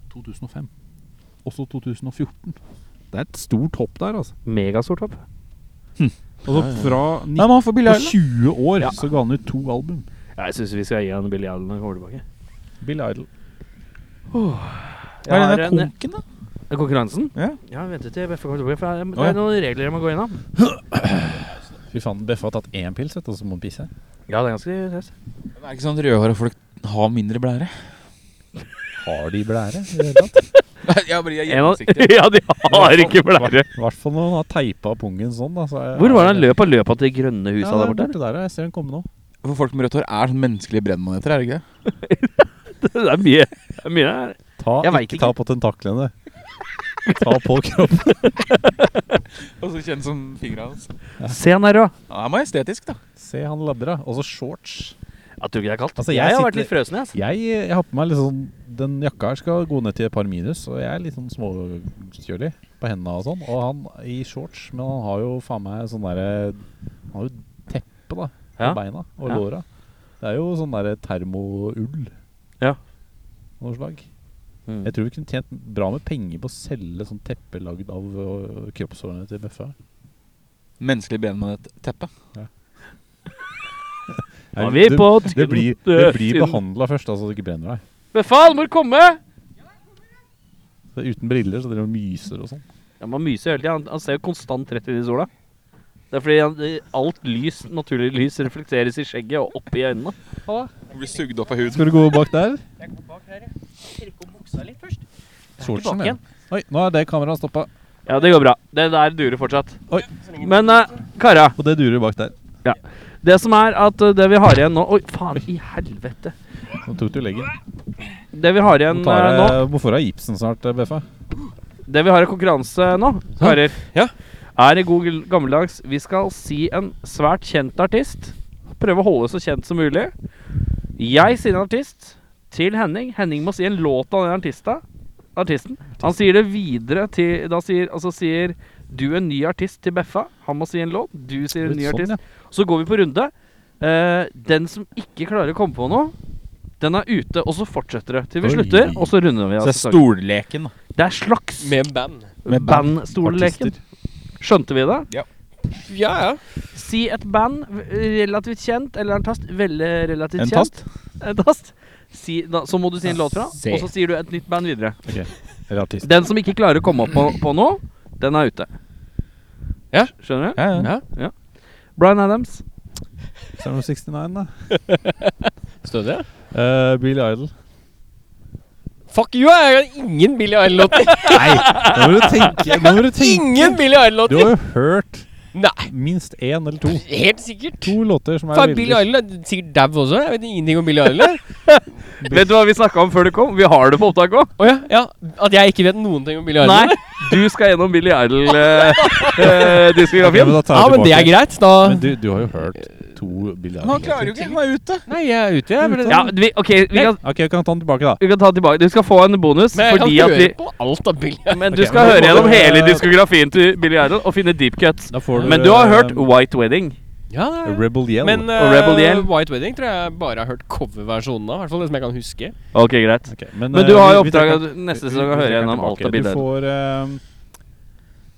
Speaker 2: 2005. Også 2014. Det er et stort hopp der, altså.
Speaker 4: Megastort hopp.
Speaker 2: Altså fra 19
Speaker 5: Nei, men han får Billy
Speaker 2: på
Speaker 5: Idol.
Speaker 2: 20 år
Speaker 4: Ja.
Speaker 2: så ga han ut to album.
Speaker 4: Ja, jeg syns vi skal gi han Billy Idol når han kommer tilbake.
Speaker 2: Billy Idol.
Speaker 5: Hva er
Speaker 4: Jeg
Speaker 5: det
Speaker 4: har
Speaker 5: den der
Speaker 4: en-
Speaker 5: konken, da?
Speaker 4: eh, Konkurransen?
Speaker 5: Ja.
Speaker 4: ja vent til BFK kommer tilbake. For det er-
Speaker 5: Å,
Speaker 4: det
Speaker 5: ja.
Speaker 4: er noen regler jeg må gå gjennom.
Speaker 2: Fy faen, Beffe har tatt én pils, og så må han pisse.
Speaker 4: Ja, det er ganske stress.
Speaker 5: Men Er det ikke sånn at rødhåra folk har mindre blære?
Speaker 2: Har de blære? i det hele tatt?
Speaker 5: jeg bare, jeg
Speaker 4: En av- ja, de har ikke blære.
Speaker 2: I hvert fall når han har teipa pungen sånn. Da, så er-
Speaker 4: Hvor var det han løp og løp av til det grønne
Speaker 2: Ja,
Speaker 4: husa
Speaker 2: det
Speaker 4: der
Speaker 2: er
Speaker 4: borte?
Speaker 2: borte der, ja. jeg ser han komme nå.
Speaker 5: For folk med rødt hår er sånn menneskelige brennmaneter, er det ikke det?
Speaker 4: Det er mye. Det er mye der.
Speaker 2: Ta,
Speaker 4: Jeg
Speaker 2: ikke,
Speaker 4: vet ikke.
Speaker 2: ta på tentaklene. Ta på kroppen.
Speaker 5: Og så kjent som fingra hans.
Speaker 4: Se han her òg.
Speaker 5: Ja, det er majestetisk, da.
Speaker 2: Se, han labber, da. Og så shorts.
Speaker 4: Jeg tror ikke det er kaldt.
Speaker 2: Altså,
Speaker 4: jeg,
Speaker 2: jeg
Speaker 4: har vært
Speaker 2: sitter-
Speaker 4: litt frøsen, jeg. Altså.
Speaker 2: Jeg, jeg har på meg litt sånn Den jakka her skal gå ned til et par minus, og jeg er litt sånn småkjølig på hendene og sånn. Og han i shorts, men han har jo faen meg sånn derre Han har jo teppe, da. på
Speaker 4: Ja.
Speaker 2: beina og
Speaker 4: Ja.
Speaker 2: låra. Det er jo sånn der termoull.
Speaker 4: Ja.
Speaker 2: Noe slag.
Speaker 4: Mm.
Speaker 2: Jeg tror vi kunne tjent bra med penger på å selge sånn teppe lagd av øh, kroppshårene til Bøffa.
Speaker 5: Menneskelig brennmaneteppe.
Speaker 4: Nå er vi på øh,
Speaker 2: det blir, det blir behandla først, altså, så det ikke brenner deg.
Speaker 4: Befal, må du komme!
Speaker 2: Så Uten briller så driver han og myser og sånn.
Speaker 4: Ja, man myser hele tida. Han, han ser jo konstant rett inn i sola. Det er fordi han, det- alt lys, naturlig lys reflekteres i skjegget og opp i øynene.
Speaker 5: Blir sugd opp av huden.
Speaker 2: Skal du gå bak der?
Speaker 4: Buksa litt først.
Speaker 2: Shortsen,
Speaker 4: bak
Speaker 2: ja. Oi, nå er det kameraet stoppa.
Speaker 4: Ja, det går bra. Det der durer fortsatt.
Speaker 2: Oi.
Speaker 4: Men eh, Kara,
Speaker 2: Og det durer bak der.
Speaker 4: det som er at eh, det vi har igjen nå Oi, faen i helvete.
Speaker 2: Nå tok du leggen.
Speaker 4: Det vi har igjen
Speaker 2: Nå tar
Speaker 4: eh, nå
Speaker 2: jeg Hvorfor er Ibsen snart, eh, Beffa?
Speaker 4: Det vi har i konkurranse nå, karer,
Speaker 1: Ja.
Speaker 4: er i god gl- gammeldags Vi skal si en svært kjent artist. Prøve å holde så kjent som mulig. Jeg sier en artist til Henning. Henning må si en låt av den artista, artisten. Han sier det videre til Da sier, altså sier du en ny artist til Beffa. Han må si en låt. Du sier en ny
Speaker 2: Litt sånn,
Speaker 4: artist. Så går vi på runde. Eh, den som ikke klarer å komme på noe, den er ute. Og så fortsetter det til vi
Speaker 2: Oi.
Speaker 4: slutter, og så runder vi
Speaker 5: Så
Speaker 4: av.
Speaker 5: det er
Speaker 4: sesongen.
Speaker 5: stolleken, da.
Speaker 4: Det er slags
Speaker 1: Med band.
Speaker 5: Med
Speaker 4: bandstolleken. Skjønte vi det?
Speaker 1: Ja, ja.
Speaker 4: Si et band v- relativt kjent, eller en tast. Veldig relativt
Speaker 5: En
Speaker 4: kjent.
Speaker 5: tast?
Speaker 4: En tast. Si, da, så må du si en låt fra,
Speaker 5: Se.
Speaker 4: og så sier du et nytt band videre.
Speaker 2: Eller artist.
Speaker 4: Den som ikke klarer å komme opp på, på noe, den er ute.
Speaker 1: Ja.
Speaker 4: Skjønner du?
Speaker 5: Ja, ja.
Speaker 1: ja.
Speaker 4: Bryan Adams.
Speaker 2: Summer of 69, da.
Speaker 1: Stødig. ja.
Speaker 2: Eh, Billy Idol.
Speaker 1: Fuck you, jeg har ingen Billy Idol-låter.
Speaker 2: Nei, nå må du tenke! Nå må du,
Speaker 1: Ingen
Speaker 2: tenke.
Speaker 1: Billy
Speaker 2: du har
Speaker 1: Idol-låter!
Speaker 2: jo hørt
Speaker 1: Nei,
Speaker 2: minst én eller to.
Speaker 1: helt sikkert.
Speaker 2: To låter som er
Speaker 1: Faen, Billy
Speaker 2: veldig
Speaker 1: Idol er sikkert dau også. Jeg vet ingenting om Billy Idol. jeg.
Speaker 4: Vet du hva vi snakka om før du kom? Vi har det på opptak òg.
Speaker 1: Å ja, ja. At jeg ikke vet noen ting om Billy Idol?
Speaker 4: Nei, du skal gjennom Billy eh,
Speaker 2: Ja,
Speaker 4: Idol-diskografien.
Speaker 2: men da tar
Speaker 1: Ja,
Speaker 2: jeg
Speaker 1: men det er
Speaker 2: tilbake.
Speaker 1: greit. Da
Speaker 2: Men du, du har jo hørt to Billy
Speaker 5: Men han
Speaker 2: Idol-låter.
Speaker 5: klarer jo ikke. Han er ute.
Speaker 1: Nei, jeg er ute, jeg. Men,
Speaker 4: ja, vi, OK, vi kan,
Speaker 2: Ok, vi kan ta den tilbake, da.
Speaker 4: vi kan ta tilbake Du skal få en bonus
Speaker 1: men jeg kan
Speaker 4: fordi at
Speaker 1: høre
Speaker 4: vi
Speaker 1: på alt av Billy Idol.
Speaker 4: Men
Speaker 2: Ok,
Speaker 4: du skal
Speaker 2: men da
Speaker 4: høre
Speaker 2: må
Speaker 4: gjennom
Speaker 2: du-
Speaker 4: hele diskografien til Billy Idol og finne deep cuts.
Speaker 2: Da får du
Speaker 4: Men du har hørt
Speaker 2: eh,
Speaker 4: White Wedding.
Speaker 1: Ja, det er-
Speaker 2: Rebel Yell.
Speaker 1: men
Speaker 4: Og Rebel
Speaker 1: eh,
Speaker 4: Yell.
Speaker 1: White Wedding tror jeg bare har hørt coverversjonen av. I hvert fall det som jeg kan huske.
Speaker 4: Ok, greit.
Speaker 2: Ok, men,
Speaker 4: Men
Speaker 2: eh,
Speaker 4: du har jo
Speaker 2: vi- vi trekker-
Speaker 4: oppdraget neste sesong å
Speaker 2: vi
Speaker 4: høre
Speaker 2: trekker den
Speaker 4: gjennom alt
Speaker 2: tilbake.
Speaker 4: av Billy
Speaker 2: Du
Speaker 4: Idol.
Speaker 2: får, eh,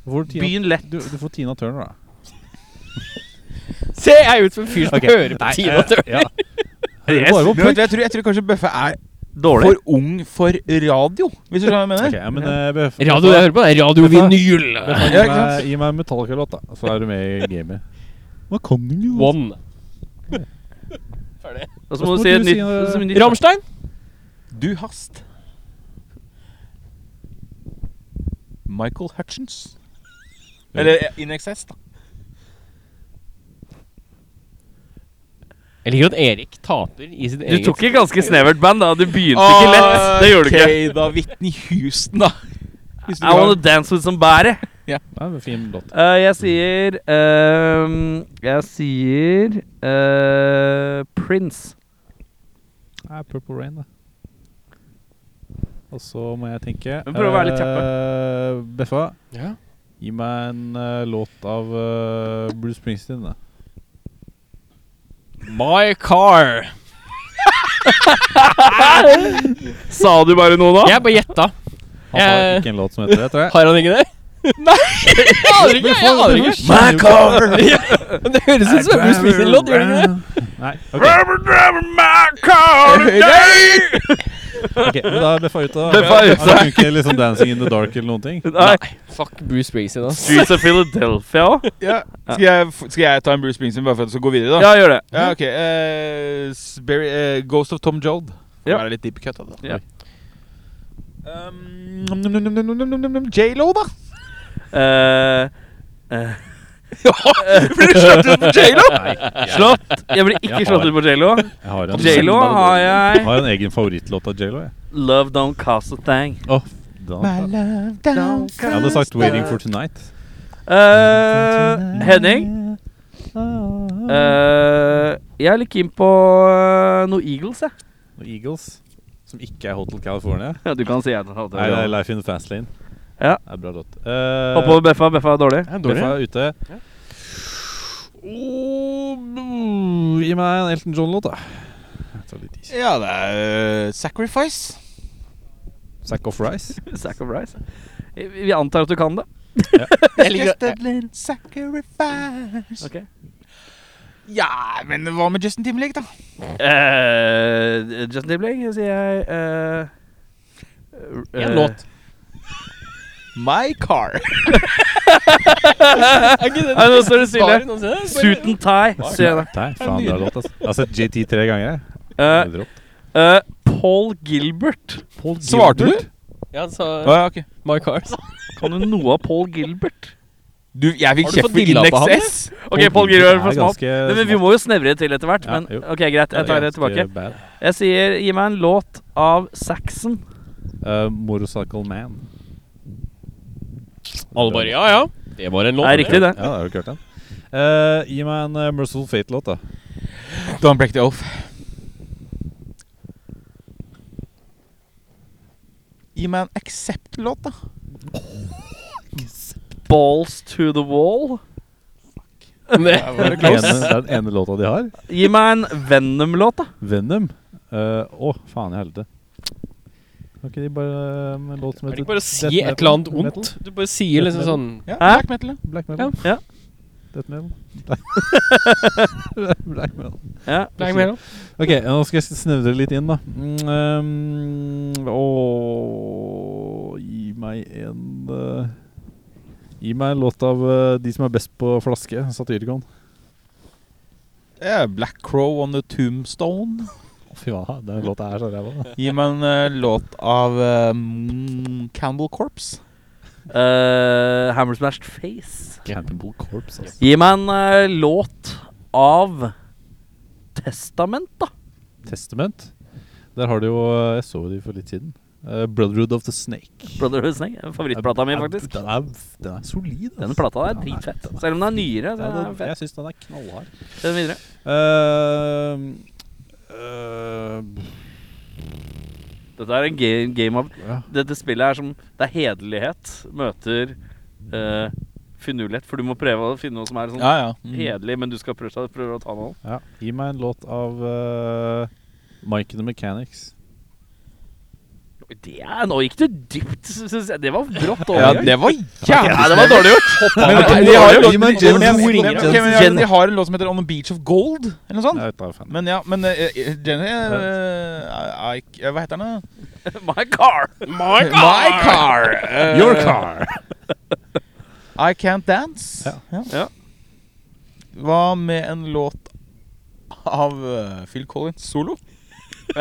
Speaker 2: du får Tina,
Speaker 4: Begynn lett.
Speaker 2: Du, du får Tina Turner, da.
Speaker 1: Se, eh, jeg er ut som en fyr som hører på Tina Turner.
Speaker 2: eh, Ja.
Speaker 4: Yes.
Speaker 2: Bare opp,
Speaker 5: Men vet du, jeg, tror, jeg tror kanskje Bøffe er
Speaker 4: Dårlig.
Speaker 5: for ung for radio, hvis du skjønner hva jeg mener.
Speaker 2: Ok, ja, men, eh, Bef-
Speaker 1: Radio det jeg hører på, det er Radio
Speaker 2: Vet du hva?
Speaker 1: Vinyl.
Speaker 2: Bef-
Speaker 5: Ja,
Speaker 2: Gi
Speaker 5: ikke sant?
Speaker 4: eh,
Speaker 2: meg, gi meg en Metallica-låt, da, så er du med i gamet. Hva kan du jo?
Speaker 1: One.
Speaker 4: Og så må du si et nytt så mye nytt.
Speaker 1: Rammstein?
Speaker 5: Du hast. Michael Hutchins. Eller eh, In Excess, da.
Speaker 1: Jeg liker at Erik taper i sitt
Speaker 4: Du
Speaker 1: eget
Speaker 4: tok et ganske snevert band, da. Du begynte ikke lett. Det gjorde du ikke.
Speaker 5: Ah, Ok, da. Whitney Houston, da. Hvis du
Speaker 4: I wanna
Speaker 5: har-
Speaker 4: dance with somebody.
Speaker 2: Ja, det er en fin låt.
Speaker 4: Uh, jeg sier ehm, Jeg sier eh, Prince.
Speaker 2: Ja, Purple Rain, da. Og så må jeg tenke
Speaker 4: Men prøv å være litt
Speaker 2: Eh, Beffa,
Speaker 1: Ja.
Speaker 2: gi meg en eh, låt av eh, Bruce Springsteen, da.
Speaker 1: My Car.
Speaker 4: Sa du bare noe nå?
Speaker 1: Jeg bare gjetta.
Speaker 2: Han har
Speaker 1: Eh,
Speaker 2: ikke en låt som heter det, tror jeg.
Speaker 1: Har han ikke det? Nei! Jeg aner ikke. jeg aner ikke
Speaker 2: My car!
Speaker 1: Det høres ut som en Bruce Springsteen-låt, gjør det ikke det?
Speaker 2: Nei, ok. ok, men da er Beffa ute. da.
Speaker 4: Beffa er ute.
Speaker 2: Da kan ikke liksom Dancing in the Dark eller noen ting.
Speaker 4: Nei.
Speaker 1: Fuck Bruce Springsteen, ass.
Speaker 4: Streets of Philadelphia òg?
Speaker 5: Ja. Skal, jeg, f- skal jeg ta en Bruce Springsteen bare for at du skal gå videre, da?
Speaker 4: Ja, gjør det.
Speaker 5: Ja, ok. eh, Sperry, eh, Ghost of Tom Jold.
Speaker 4: Ja.
Speaker 5: Ja. Være litt deep cut av det.
Speaker 4: Ja.
Speaker 5: Um, nom, nom, nom, nom, nom, nom, nom, nom, J.Lo, da!
Speaker 4: Eh, eh,
Speaker 5: Blir du slått ut på J.Lo?
Speaker 4: slått? Jeg blir ikke
Speaker 2: Jeg
Speaker 4: slått
Speaker 2: har-
Speaker 4: ut på J.Lo.
Speaker 2: Jeg har en,
Speaker 4: J.Lo har jeg
Speaker 2: har en egen favorittlåt av J.Lo. Jeg.
Speaker 4: Love Don't Cost a Thing.
Speaker 2: Oh, da, jeg hadde sagt 'Waiting for Tonight'.
Speaker 4: Eh, Henning? eh, jeg er litt keen på eh, noe Eagles, jeg.
Speaker 2: Og Eagles, som ikke er Hotel California.
Speaker 4: Ja, du kan si jeg. Hopp
Speaker 2: Nei, det er Life in the Fast Lane.
Speaker 4: Ja.
Speaker 2: Det er bra låt. Eh,
Speaker 4: over Beffa. Beffa er dårlig.
Speaker 2: Beffa er ute. Åh, mm, gi meg en Elton John-låt, da. Jeg tar litt is.
Speaker 5: Ja, det er eh, Sacrifice.
Speaker 2: Sack of Rice.
Speaker 4: Sack of Rice. Vi vi antar at du kan det.
Speaker 5: Just a little sacrifice.
Speaker 4: Ok
Speaker 5: Ja, men hva med Justin Timberlake, da?
Speaker 4: Eh, Justin Dibling, sier jeg. eh, eh,
Speaker 1: En låt.
Speaker 5: My Car.
Speaker 1: Er ikke det
Speaker 4: Nei, nå står det
Speaker 1: Svarer
Speaker 4: stille.
Speaker 1: noen steder?
Speaker 4: Suit and tie, sier jeg det.
Speaker 2: Nei, faen, bra låt, altså. Jeg har sett JT tre ganger, jeg.
Speaker 4: Eh,
Speaker 2: Det er rått.
Speaker 4: eh, Paul Gilbert.
Speaker 5: Svarte du?
Speaker 1: Ja, han sa
Speaker 5: Å, ja, ok.
Speaker 1: My Car. sa
Speaker 4: Kan du noe av Paul Gilbert?
Speaker 5: Du, jeg fikk
Speaker 1: Har du
Speaker 5: kjeft
Speaker 1: fått
Speaker 5: for
Speaker 1: dilla på han,
Speaker 5: Index S!
Speaker 4: OK, Pål Giro er for
Speaker 2: Det er
Speaker 4: smal.
Speaker 2: ganske
Speaker 4: Nei, Men vi
Speaker 2: smalt.
Speaker 4: må jo snevre til etter hvert.
Speaker 2: Ja,
Speaker 4: Men
Speaker 2: jo.
Speaker 4: OK, greit. Jeg tar det tilbake.
Speaker 2: Ganske bad.
Speaker 4: Jeg sier gi meg en låt av Saxon.
Speaker 2: Eh, Motorcycle Man.
Speaker 1: Alle bare ja, ja. Det var en låt.
Speaker 4: Det er riktig, det.
Speaker 2: Ja, det har du ikke hørt den. Eh, gi meg en uh, Merciful Fate-låt, da.
Speaker 5: Don't break the off. Gi meg en Accept-låt, da.
Speaker 4: Balls to the wall.
Speaker 1: det.
Speaker 2: Det er den ene, det er den ene låta de har.
Speaker 4: Gi meg en Venom-låt, da.
Speaker 2: Venom. Eh, Å, faen i helvete. Kan ikke de bare eh, med en låt som
Speaker 1: Kan du
Speaker 2: heter
Speaker 1: ikke bare si et
Speaker 2: Death Metal?
Speaker 1: eller annet
Speaker 2: Metal?
Speaker 1: ondt? Du bare sier liksom sånn
Speaker 5: Ja,
Speaker 4: Hæ?
Speaker 5: black metal, ja.
Speaker 2: Black metal.
Speaker 4: Ja.
Speaker 2: Death metal. Black metal.
Speaker 4: Ja.
Speaker 1: Black Mirror.
Speaker 2: Ok, eh, nå skal jeg snevre det litt inn, da. Mm, um, å, gi meg en eh, Gi meg en låt av eh, de som er best på flaske. Satyricon.
Speaker 5: Ja, Black Crow on the Tombstone.
Speaker 2: Fy faen, den låta er så ræva. da.
Speaker 5: Gi meg en eh, låt av eh, mm, Cannibal Corpse.
Speaker 4: Eh, Hammer Smashed Face.
Speaker 2: Cannibal Corpse, altså.
Speaker 4: Gi meg en eh, låt av Testament, da.
Speaker 2: Testament. Der har du jo eh, Jeg så de for litt siden. Eh, Brotherhood of the Snake.
Speaker 4: Brother Husneng. Favorittplata mi,
Speaker 2: Er- er-
Speaker 4: faktisk.
Speaker 2: Den er, den er solid. altså.
Speaker 4: Denne plata er
Speaker 2: Den
Speaker 4: dritfett. Selv om den er nyere. Så
Speaker 2: Ja,
Speaker 4: er
Speaker 2: den,
Speaker 4: den fett.
Speaker 2: jeg syns den er knallhard.
Speaker 4: Den videre.
Speaker 2: Ehm, ehm,
Speaker 4: Dette er en ga- game of
Speaker 2: ja.
Speaker 4: Dette spillet er som Det er hederlighet møter eh, finurlighet, for du må prøve å finne noe som er sånn
Speaker 5: Ja, ja. Mm.
Speaker 4: hederlig, men du skal prøve, å- prøve å ta noe.
Speaker 2: Ja, gi meg en låt av eh, Mike and the Mechanics.
Speaker 4: Det er, nå gikk du dypt, syns jeg. Det var brått
Speaker 5: ja
Speaker 4: overgang.
Speaker 5: det var jævlig
Speaker 4: Ja, det var dårlig gjort.
Speaker 5: Men
Speaker 2: Ja,
Speaker 5: de har en låt-
Speaker 2: gi meg
Speaker 5: men-
Speaker 2: Genesis.
Speaker 5: men- men- ok, men
Speaker 4: Genesis.
Speaker 5: De har en låt som heter On the Beach of Gold, eller noe sånt.
Speaker 2: Jeg vet da faen.
Speaker 5: Men ja, men eh, eh, Jenny eh, I- I- Hva heter den, da?
Speaker 4: My car.
Speaker 5: My car! Eh,
Speaker 2: Your car!
Speaker 5: I Can't Dance.
Speaker 2: Ja.
Speaker 4: Ja.
Speaker 5: Hva med en låt av eh, Phil Collins solo?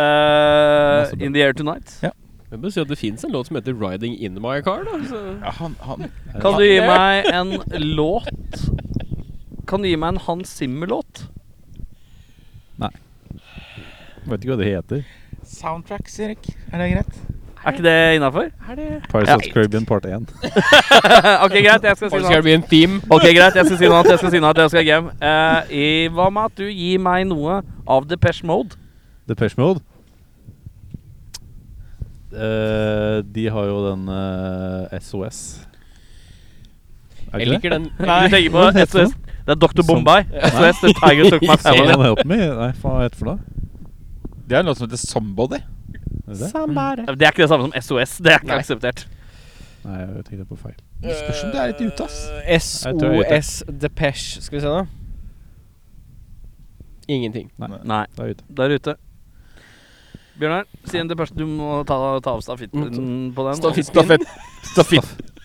Speaker 4: Eh, in the air tonight.
Speaker 1: Jeg må si at det fins en låt som heter 'Riding In My Car'. da så.
Speaker 5: Ja, han, han
Speaker 4: Kan du gi meg en låt Kan du gi meg en Hans Zimmer-låt?
Speaker 2: Vet ikke hva det heter.
Speaker 5: Soundtracks, Erik. Er det greit?
Speaker 4: Er ikke det innafor?
Speaker 2: Pirates
Speaker 4: Ja.
Speaker 2: of the Caribbean part 1.
Speaker 4: ok, greit. Jeg skal si
Speaker 1: Or
Speaker 4: noe
Speaker 1: it's gonna
Speaker 4: annet.
Speaker 1: be en theme.
Speaker 4: Ok, greit. Jeg skal si noe annet. Jeg skal si noe annet. Jeg skal hjem. Eh, i- hva med at du gir meg noe av Depeche Mode?
Speaker 2: Depeche Mode. Eh, de har jo den eh, SOS. Er
Speaker 1: Jeg
Speaker 2: ikke det?
Speaker 1: liker den.
Speaker 4: Nei. Du tenker på
Speaker 2: Hva heter den?
Speaker 4: SOS. Det er Dr. Bombay. SOS, The Tiger Took My
Speaker 2: Hva
Speaker 4: Family.
Speaker 2: er det den heter med? Nei, faen, hva heter det for noe?
Speaker 5: Det er en låt som heter Somebody.
Speaker 2: Er det det?
Speaker 4: Det er ikke det samme som SOS. Det er ikke akseptert.
Speaker 2: Nei, jeg tenkte på feil.
Speaker 5: Det spørs om det er litt ute, ass.
Speaker 1: Eh,
Speaker 2: Jeg tror jeg er ute.
Speaker 1: SOS Depeche. Skal vi se, da. Ingenting.
Speaker 4: Nei.
Speaker 2: Da er jeg ute.
Speaker 4: Der ute. Bjørnar, si en Depeche Du må ta, ta av stafetten på den.
Speaker 1: Stafett.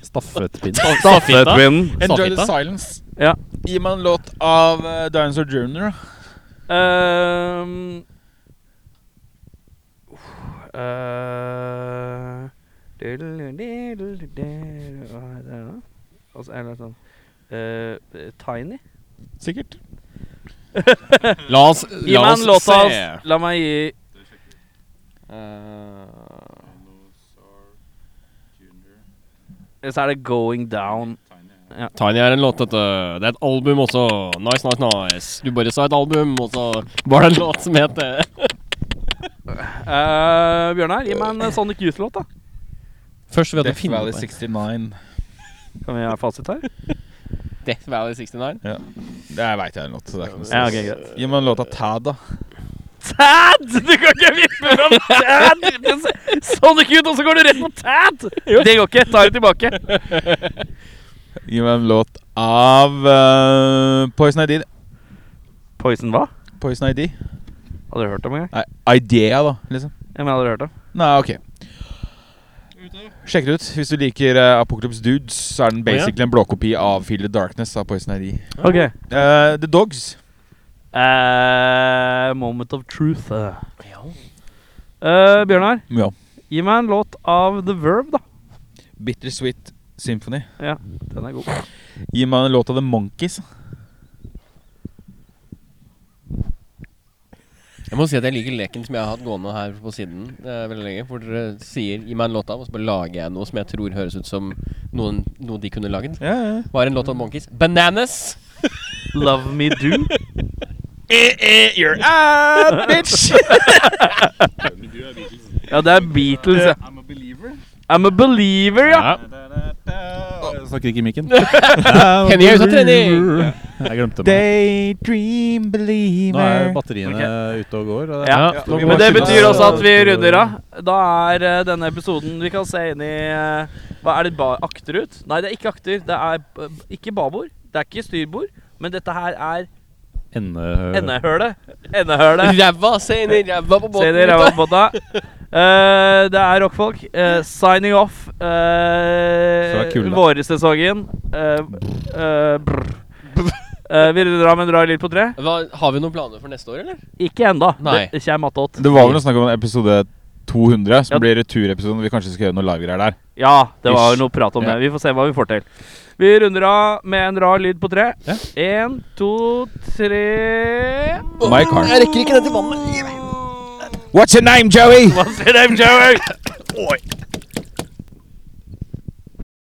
Speaker 2: Staffetpinn.
Speaker 4: Stafettvinden.
Speaker 5: Enjoy the
Speaker 1: Stafetta.
Speaker 5: silence.
Speaker 4: Ja.
Speaker 5: Gi meg en låt av eh, Dinosaur Junior.
Speaker 4: Ehm. Eh, diddle-diddle-diddle. Hva heter det da? Altså, eller sånn eh, Tiny?
Speaker 5: Sikkert.
Speaker 1: La oss,
Speaker 4: Gi
Speaker 1: la
Speaker 4: meg
Speaker 1: oss
Speaker 4: en låt av
Speaker 1: se. Eh.
Speaker 4: La meg gi Eller Eh, så er det 'Going Down'.
Speaker 1: Tiny er en låt, dette. Det er et album også. Nice, nice, nice. Du bare sa et album, og så var det en låt som het det.
Speaker 4: Eh, Bjørnar, gi meg en eh, Sonic Youth-låt, da.
Speaker 1: Først ved at du
Speaker 5: Death
Speaker 1: finner
Speaker 5: Valley
Speaker 1: på det.
Speaker 5: 69.
Speaker 4: Kan vi ha fasit her?
Speaker 1: Death Valley 69.
Speaker 5: Ja. Det veit jeg er en låt. Så det er ikke noe
Speaker 4: Ja, ok,
Speaker 5: stress.
Speaker 4: greit.
Speaker 5: Gi meg en låt av Tad, da.
Speaker 4: Tad! Du kan ikke vippe fram Tad! Sonic Youth, og så går du rett på Tad! Det går ikke. Ta det tilbake.
Speaker 5: Gi meg en låt av eh, Poison ID.
Speaker 4: Poison hva?
Speaker 5: Poison ID.
Speaker 4: Hadde du hørt om engang?
Speaker 5: Nei, Idea, da, liksom.
Speaker 4: Ja, men hadde du hørt om?
Speaker 5: Nei, ok. Sjekk det ut. Hvis du liker eh, Apocalypse Dudes, så er
Speaker 1: ja.
Speaker 5: den basically en blåkopi av Feel the Darkness av Poison ID.
Speaker 4: Ok.
Speaker 5: Eh, the Dogs.
Speaker 4: Eh, moment of truth. eh. Eh, Bjørnar,
Speaker 5: Ja.
Speaker 4: gi meg en låt av The Verve, da.
Speaker 5: Bittersweet Symphony.
Speaker 4: Den er god.
Speaker 5: Gi meg en låt av The Monkeys.
Speaker 1: Jeg må si at jeg liker leken som jeg har hatt gående her på siden eh, veldig lenge. Hvor dere sier 'gi meg en låt av', og så bare lager jeg noe som jeg tror høres ut som noen, noe de kunne lagd.
Speaker 5: Ja, ja.
Speaker 1: Var en låt av Monkeys. 'Bananas'!
Speaker 4: Love Me Do.
Speaker 5: Eh, You're out, bitch!
Speaker 4: Ja, det er Beatles. ja.
Speaker 5: I'm a believer.
Speaker 4: I'm a believer, ja.
Speaker 2: Jeg snakker ikke i mikken.
Speaker 1: Henny er ute av trening!
Speaker 2: Jeg glemte meg.
Speaker 5: Daydream
Speaker 2: Nå er
Speaker 5: believer.
Speaker 2: batteriene ute og går. Og det,
Speaker 4: Ja.
Speaker 2: Nå må
Speaker 4: Men det
Speaker 2: jeg skynde
Speaker 4: betyr
Speaker 2: meg.
Speaker 4: også at vi runder av. Da er eh, denne episoden Vi kan se inn i eh, Hva er det ba akterut? Nei, det er ikke akter. Det er eh, ikke babord. Det er ikke styrbord. Men dette her er
Speaker 2: Ende-
Speaker 4: endehølet. Endehølet.
Speaker 1: Ræva! Se inn i ræva på
Speaker 4: Se
Speaker 1: båten!
Speaker 4: dere
Speaker 1: gutta.
Speaker 4: ræva på båta. Eh, det er rockfolk. Eh, signing off.
Speaker 5: Fra
Speaker 4: Uh,
Speaker 5: kulda.
Speaker 4: Vårsesongen. Eh, eh, brr. Eh, vi runder av med en rar lyd på tre.
Speaker 1: Hva, har vi noen planer for neste år, eller?
Speaker 4: Ikke ennå.
Speaker 1: Nei.
Speaker 4: Det kommer attåt.
Speaker 5: Det var vel noe snakk om episode 200, som
Speaker 4: Ja.
Speaker 5: blir returepisoden. Vi kanskje skal gjøre noe livegreier der.
Speaker 4: Ja, det var
Speaker 5: Ish.
Speaker 4: noe prat om
Speaker 5: Ja.
Speaker 4: det. Vi får se hva vi får til. Vi runder av med en rar lyd på tre. Én, to, tre
Speaker 5: My car.
Speaker 1: Jeg rekker ikke det til vannet.
Speaker 5: What's your name, Joey?
Speaker 4: What's your name, Joey?